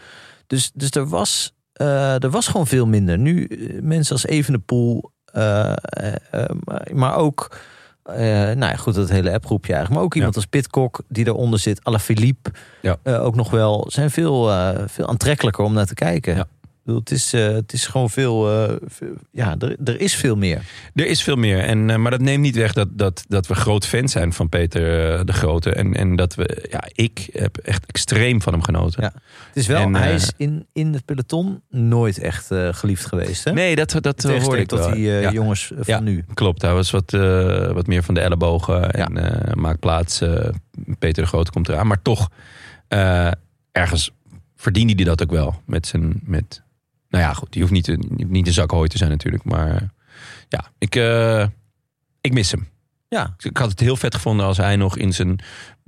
Speaker 2: Dus, dus er, was, eh, er was gewoon veel minder. Nu eh, mensen als Evenepoel, eh, eh, eh, maar, maar ook... eh, nou ja, goed, dat hele appgroepje eigenlijk. Maar ook iemand als Pitcock die daaronder zit. Alaphilippe
Speaker 1: Ja.
Speaker 2: eh, ook nog wel. Zijn veel, eh, veel aantrekkelijker om naar te kijken.
Speaker 1: Ja.
Speaker 2: Ik bedoel, het, is, eh, het is gewoon veel. eh, veel- ja, er, er is veel meer.
Speaker 1: Er is veel meer. En, eh, maar dat neemt niet weg dat, dat, dat we groot fan zijn van Peter eh, de Grote. En, en dat we, ja, ik heb echt extreem van hem genoten.
Speaker 2: Ja. Het is wel,
Speaker 1: En,
Speaker 2: hij
Speaker 1: eh,
Speaker 2: is in, in het peloton nooit echt eh, geliefd geweest. Hè?
Speaker 1: Nee, dat, dat
Speaker 2: Tegenstelling
Speaker 1: hoorde ik
Speaker 2: tot
Speaker 1: wel.
Speaker 2: die eh,
Speaker 1: Ja.
Speaker 2: jongens van
Speaker 1: Ja.
Speaker 2: nu.
Speaker 1: Klopt, hij was wat, eh, wat meer van de ellebogen en eh, maakt plaats. eh, Peter de Groot komt eraan. Maar toch, eh, ergens verdiende hij dat ook wel. Met zijn, met Nou ja, goed. Die hoeft niet, een- niet een zak hooi te zijn natuurlijk. Maar eh, ja, ik, eh, ik mis hem.
Speaker 2: Ja.
Speaker 1: Ik- Ik had het heel vet gevonden als hij nog in zijn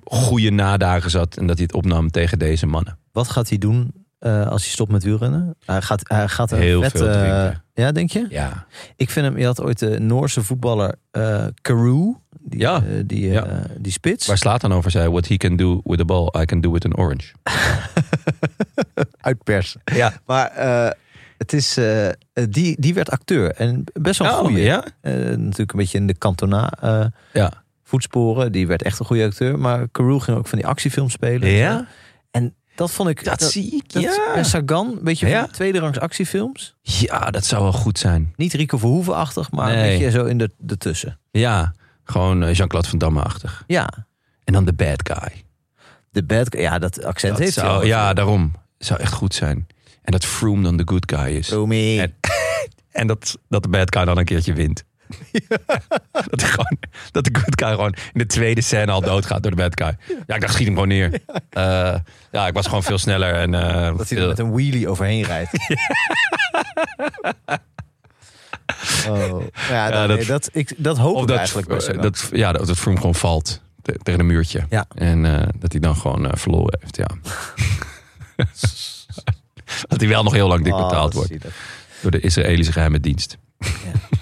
Speaker 1: goede nadagen zat. En dat hij het opnam tegen deze mannen.
Speaker 2: Wat gaat hij doen eh, als hij stopt met wielrennen? Hij gaat, hij gaat een
Speaker 1: Heel
Speaker 2: vet,
Speaker 1: veel
Speaker 2: eh,
Speaker 1: drinken.
Speaker 2: ja, denk je?
Speaker 1: Ja,
Speaker 2: Ik vind hem, je had ooit de Noorse voetballer eh Carew. Die,
Speaker 1: Ja.
Speaker 2: eh, die, eh,
Speaker 1: Ja.
Speaker 2: die spits.
Speaker 1: waar slaat dan over zei: What he can do with a ball, I can do with an orange.
Speaker 2: uitpersen.
Speaker 1: Ja.
Speaker 2: Maar eh, het is, eh, die, die werd acteur. En best wel een
Speaker 1: Oh,
Speaker 2: goeie.
Speaker 1: ja?
Speaker 2: Eh, natuurlijk een beetje in de kantona eh,
Speaker 1: Ja.
Speaker 2: voetsporen. Die werd echt een goede acteur. Maar Carew ging ook van die actiefilms spelen. En dat vond ik...
Speaker 1: Dat zie ik.
Speaker 2: dat-
Speaker 1: ja.
Speaker 2: En Sagan, een beetje
Speaker 1: Ja.
Speaker 2: van die tweede rangs actiefilms.
Speaker 1: ja, dat zou wel goed zijn.
Speaker 2: Niet Rico Verhoeven-achtig, maar
Speaker 1: Nee.
Speaker 2: een beetje zo in de, de tussen.
Speaker 1: Ja, gewoon eh, Jean-Claude Van Damme-achtig.
Speaker 2: Ja,
Speaker 1: En dan de bad guy.
Speaker 2: de bad... Ja, dat accent
Speaker 1: Dat
Speaker 2: heeft hij
Speaker 1: zou,
Speaker 2: al.
Speaker 1: ja, daarom. Zou echt goed zijn. En dat Froome dan de good guy is.
Speaker 2: Romy.
Speaker 1: En- En dat, dat de bad guy dan een keertje wint. [LAUGHS] dat, hij gewoon, dat de good guy gewoon in de tweede scène al doodgaat door de bad guy. Ja, ik dacht, schiet hem gewoon neer. Eh, [LAUGHS] ja, ik was gewoon veel sneller. En, eh,
Speaker 2: Dat hij er
Speaker 1: veel-
Speaker 2: met een wheelie overheen
Speaker 1: [LAUGHS]
Speaker 2: rijdt. Oh. Ja,
Speaker 1: Ja,
Speaker 2: dat,
Speaker 1: dat-
Speaker 2: dat, ik, dat hoop
Speaker 1: of
Speaker 2: ik
Speaker 1: dat,
Speaker 2: eigenlijk. bij Sagan.
Speaker 1: dat, ja, dat, dat Froome gewoon valt te- tegen een muurtje.
Speaker 2: Ja.
Speaker 1: En eh, dat hij dan gewoon eh, verloren heeft, ja. [LAUGHS] dat hij wel nog heel lang dik
Speaker 2: Oh,
Speaker 1: betaald
Speaker 2: dat
Speaker 1: wordt
Speaker 2: zie je dat.
Speaker 1: door de Israëlische geheime dienst. [LAUGHS]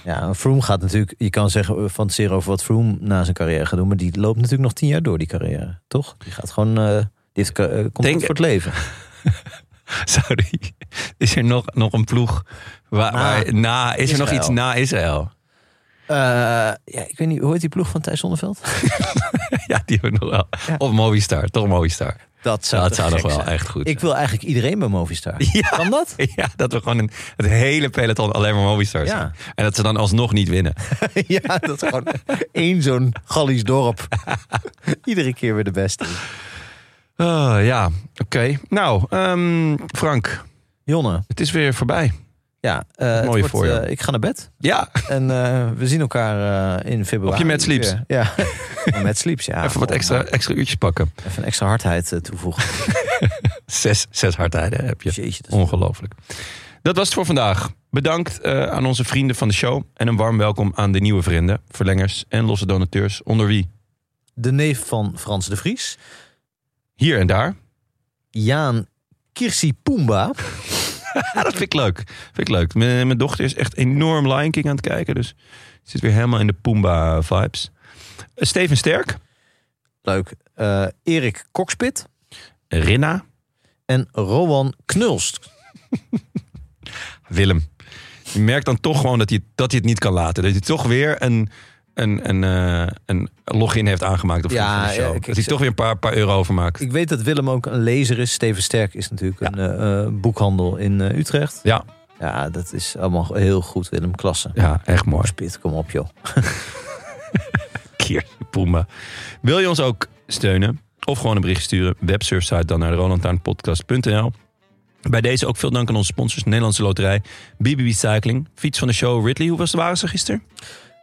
Speaker 2: Ja, Froome gaat natuurlijk... Je kan zeggen eh, van zero over wat Froome na zijn carrière gaat doen. Maar die loopt natuurlijk nog tien jaar door, die carrière. Toch? Die gaat gewoon... eh die heeft, ka- eh, komt
Speaker 1: Denk-
Speaker 2: voor het leven.
Speaker 1: Zou die- is er nog, nog een ploeg waar,
Speaker 2: Na
Speaker 1: waar- na, is er nog
Speaker 2: Israël.
Speaker 1: iets na Israël? [LAUGHS]
Speaker 2: Eh, ja, ik weet niet, hoe heet die ploeg van Thijs Zonneveld?
Speaker 1: Ja, die hebben we nog wel.
Speaker 2: Ja.
Speaker 1: Of Movistar, toch Movistar.
Speaker 2: Dat
Speaker 1: dat
Speaker 2: te
Speaker 1: zou nog
Speaker 2: gek
Speaker 1: wel
Speaker 2: zijn.
Speaker 1: echt goed
Speaker 2: Ik wil eigenlijk iedereen bij Movistar.
Speaker 1: Ja.
Speaker 2: Kan dat?
Speaker 1: [LAUGHS]
Speaker 2: [LAUGHS]
Speaker 1: Ja, dat we gewoon een, het hele peloton alleen maar Movistar
Speaker 2: Ja.
Speaker 1: zijn. En dat ze dan alsnog niet winnen.
Speaker 2: ja, dat is gewoon één zo'n Gallisch dorp. Iedere keer weer de beste.
Speaker 1: Ah, ja, oké. Nou, ehm, Frank,
Speaker 2: Jonne,
Speaker 1: het is weer voorbij.
Speaker 2: ja, eh, het
Speaker 1: Mooi
Speaker 2: wordt,
Speaker 1: voor je.
Speaker 2: eh, ik ga naar bed
Speaker 1: Ja,
Speaker 2: en eh, we zien elkaar eh, in februari.
Speaker 1: Op je Mad Sleeps.
Speaker 2: weer. Ja, met sleeps, ja. [LAUGHS]
Speaker 1: even wat
Speaker 2: Oh,
Speaker 1: extra,
Speaker 2: man.
Speaker 1: extra uurtjes pakken.
Speaker 2: Even een extra hardheid eh, toevoegen.
Speaker 1: Zes, zes hardtijden heb je.
Speaker 2: Jeetje, dat is-
Speaker 1: Ongelooflijk. Dat was het voor vandaag. Bedankt eh, aan onze vrienden van de show. En een warm welkom aan de nieuwe vrienden, verlengers en losse donateurs. Onder wie?
Speaker 2: De neef van Frans de Vries,
Speaker 1: Hier en daar.
Speaker 2: Jaan Kirsi Pumba.
Speaker 1: Ja, dat vind ik leuk. Vind ik leuk. Mijn, mijn dochter is echt enorm Lion King aan het kijken. Dus zit weer helemaal in de Pumba vibes. Eh, Steven Sterk.
Speaker 2: Leuk. Eh, Erik Kokspit
Speaker 1: Rinna.
Speaker 2: en Rowan Knulst.
Speaker 1: Willem. Je merkt dan toch gewoon dat hij, dat hij het niet kan laten. Dat hij toch weer een, een, een, eh, een login heeft aangemaakt op
Speaker 2: Ja,
Speaker 1: ja, de show.
Speaker 2: ja, ik- ik
Speaker 1: dat hij
Speaker 2: zeg-
Speaker 1: toch weer een paar, paar euro overmaakt.
Speaker 2: Ik weet dat Willem ook een lezer is. Steven Sterk is natuurlijk een eh, eh, boekhandel in eh, Utrecht.
Speaker 1: Ja.
Speaker 2: Ja, dat is allemaal heel goed, Willem. Klasse.
Speaker 1: Ja, echt mooi.
Speaker 2: Spit, kom op, joh.
Speaker 1: keer Puma. Wil je ons ook steunen? Of gewoon een bericht sturen? Websurfsite dan naar rolandtaarnpodcast.nl. Bij deze ook veel dank aan onze sponsors. Nederlandse Loterij, BBB Cycling, Fiets van de Show, Ridley. Hoe was de waren ze gisteren?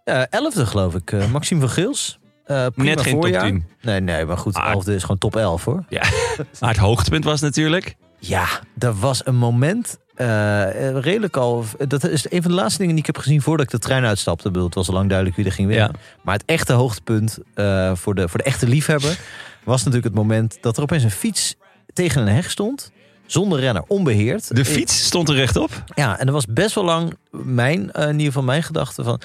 Speaker 2: Eh elfde, geloof ik. Eh, Maxime van Geels. Eh, prima
Speaker 1: Net geen top
Speaker 2: voorjaar.
Speaker 1: 10.
Speaker 2: Nee, nee, maar goed.
Speaker 1: Ah.
Speaker 2: Elfde is gewoon top 11, hoor.
Speaker 1: [LAUGHS] Ja. Maar het hoogtepunt was natuurlijk...
Speaker 2: Ja, er was een moment. eh, eh, redelijk al. Dat is een van de laatste dingen die ik heb gezien voordat ik de trein uitstapte. Ik bedoel, het was al lang duidelijk wie er ging winnen.
Speaker 1: Ja.
Speaker 2: Maar het echte hoogtepunt eh, voor, de, voor de echte liefhebber was natuurlijk het moment dat er opeens een fiets tegen een heg stond. Zonder renner, onbeheerd.
Speaker 1: De
Speaker 2: Ik-
Speaker 1: fiets stond er rechtop.
Speaker 2: Ja, en er was best wel lang mijn, eh, in ieder geval mijn gedachte van.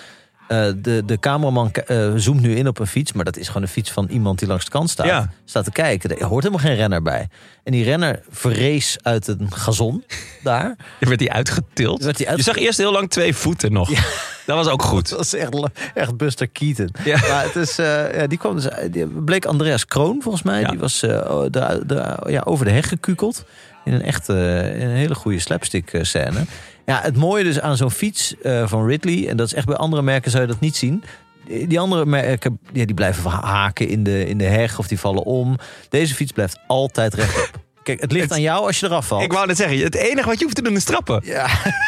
Speaker 2: eh, de, de cameraman k- eh, zoomt nu in op een fiets, maar dat is gewoon een fiets van iemand die langs de kant staat.
Speaker 1: Ja.
Speaker 2: Staat te kijken, er hoort helemaal geen renner bij. En die renner verrees uit een gazon daar.
Speaker 1: Er werd hij uitgetild.
Speaker 2: Dus werd die
Speaker 1: Je
Speaker 2: uit-
Speaker 1: zag eerst heel lang twee voeten nog. Dat was ook goed.
Speaker 2: Dat is echt, la- echt Buster Keaton.
Speaker 1: Ja.
Speaker 2: Maar het is, eh, ja, die kwam dus, uit- die bleek Andreas Kroon volgens mij.
Speaker 1: Ja.
Speaker 2: Die was eh, o- de, de, ja, over de heg gekukeld. In een echt eh, in een hele goede slapstick eh, scène. Ja, het mooie dus aan zo'n fiets eh, van Ridley. En dat is echt bij andere merken zou je dat niet zien. Die andere merken ja, die blijven ha- haken in de, in de heg of die vallen om. Deze fiets blijft
Speaker 1: [LAUGHS]
Speaker 2: altijd rechtop. Kijk, het ligt aan jou als je eraf valt.
Speaker 1: Ik wou net zeggen, het enige wat je hoeft te doen is trappen.
Speaker 2: Ja, [LAUGHS]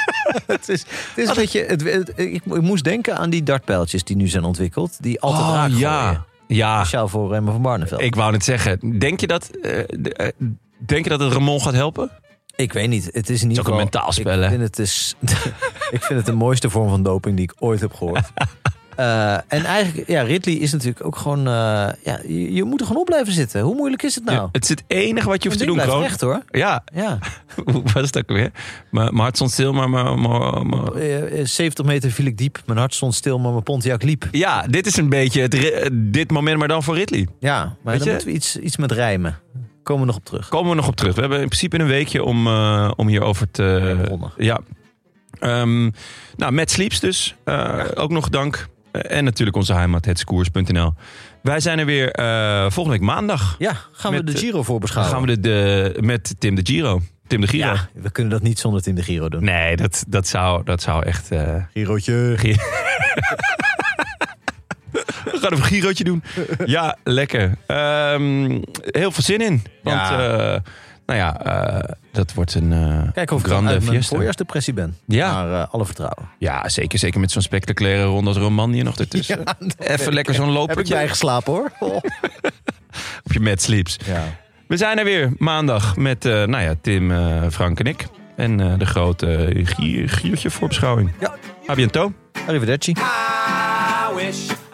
Speaker 2: het is, het is een beetje. Het, het- ik, ik moest denken aan die dartpijltjes die nu zijn ontwikkeld. Die altijd
Speaker 1: Oh,
Speaker 2: raak gooien.
Speaker 1: ja. Ja,
Speaker 2: Speciaal voor Remmen van Barneveld.
Speaker 1: ik wou net zeggen. Denk je dat, eh, de- eh, denk je dat het Ramon gaat helpen?
Speaker 2: Ik weet niet. Het is in ieder
Speaker 1: ook een
Speaker 2: geval...
Speaker 1: mentaal spel, hè?
Speaker 2: Ik vind het, is, [LAUGHS] ik vind het de mooiste vorm van doping die ik ooit
Speaker 1: [LAUGHS]
Speaker 2: heb gehoord. Eh, en eigenlijk, ja, Ridley is natuurlijk ook gewoon... eh, ja, je, je moet er gewoon op blijven zitten. Hoe moeilijk is het nou?
Speaker 1: Het is het enige wat je hoeft te doen,
Speaker 2: blijft
Speaker 1: Kroon.
Speaker 2: recht, hoor.
Speaker 1: Ja, [LAUGHS]
Speaker 2: Ja,
Speaker 1: hoe was het ook weer? Mijn mijn hart stond stil, maar... mijn- mijn- mijn-
Speaker 2: Eh, eh, 70 meter viel ik diep. Mijn hart stond stil, maar mijn Pontiac liep.
Speaker 1: Ja, dit is een beetje het, ri- dit moment, maar dan voor Ridley.
Speaker 2: Ja, maar
Speaker 1: Weet
Speaker 2: dan
Speaker 1: je?
Speaker 2: moeten we iets, iets met rijmen. Komen we nog op terug.
Speaker 1: Komen we nog op terug. We hebben in principe een weekje om, eh, om hierover te...
Speaker 2: Ja, begonnen.
Speaker 1: ja. Ehm, nou, Matt Sleeps dus. Eh, Ook nog dank. Eh, en natuurlijk onze heimat, hetskoers.nl. Wij zijn er weer eh, volgende week maandag.
Speaker 2: Ja, gaan
Speaker 1: Met,
Speaker 2: we de
Speaker 1: eh,
Speaker 2: Giro
Speaker 1: Dan
Speaker 2: voorbeschouwen?
Speaker 1: gaan we de, de, met Tim de Giro. Tim de Giro.
Speaker 2: ja, we kunnen dat niet zonder Tim de Giro doen.
Speaker 1: Nee, dat, dat, zou, dat zou echt... eh,
Speaker 2: Girootje. [LAUGHS]
Speaker 1: We gaan even een girootje doen. Ja, lekker. Ehm, heel veel zin in. Want,
Speaker 2: Ja.
Speaker 1: eh, nou ja, eh, dat wordt een eh,
Speaker 2: Kijken of ik dan
Speaker 1: grande
Speaker 2: uit mijn
Speaker 1: fiesta.
Speaker 2: voorjaarsdepressie ben.
Speaker 1: Ja.
Speaker 2: Maar eh, alle vertrouwen.
Speaker 1: Ja, zeker. Zeker met zo'n spectaculaire ronde als Romandie nog ertussen. [LAUGHS] even lekker zo'n
Speaker 2: Heb ik
Speaker 1: lopertje
Speaker 2: bijgeslapen hoor.
Speaker 1: op je Mad Sleeps.
Speaker 2: [LAUGHS] Ja.
Speaker 1: We zijn er weer maandag met eh, nou ja, Tim, eh, Frank en ik. En eh, de grote eh, gier, giertje voorbeschouwing.
Speaker 2: ja.
Speaker 1: A bientôt.
Speaker 2: Arrivederci.
Speaker 4: I wish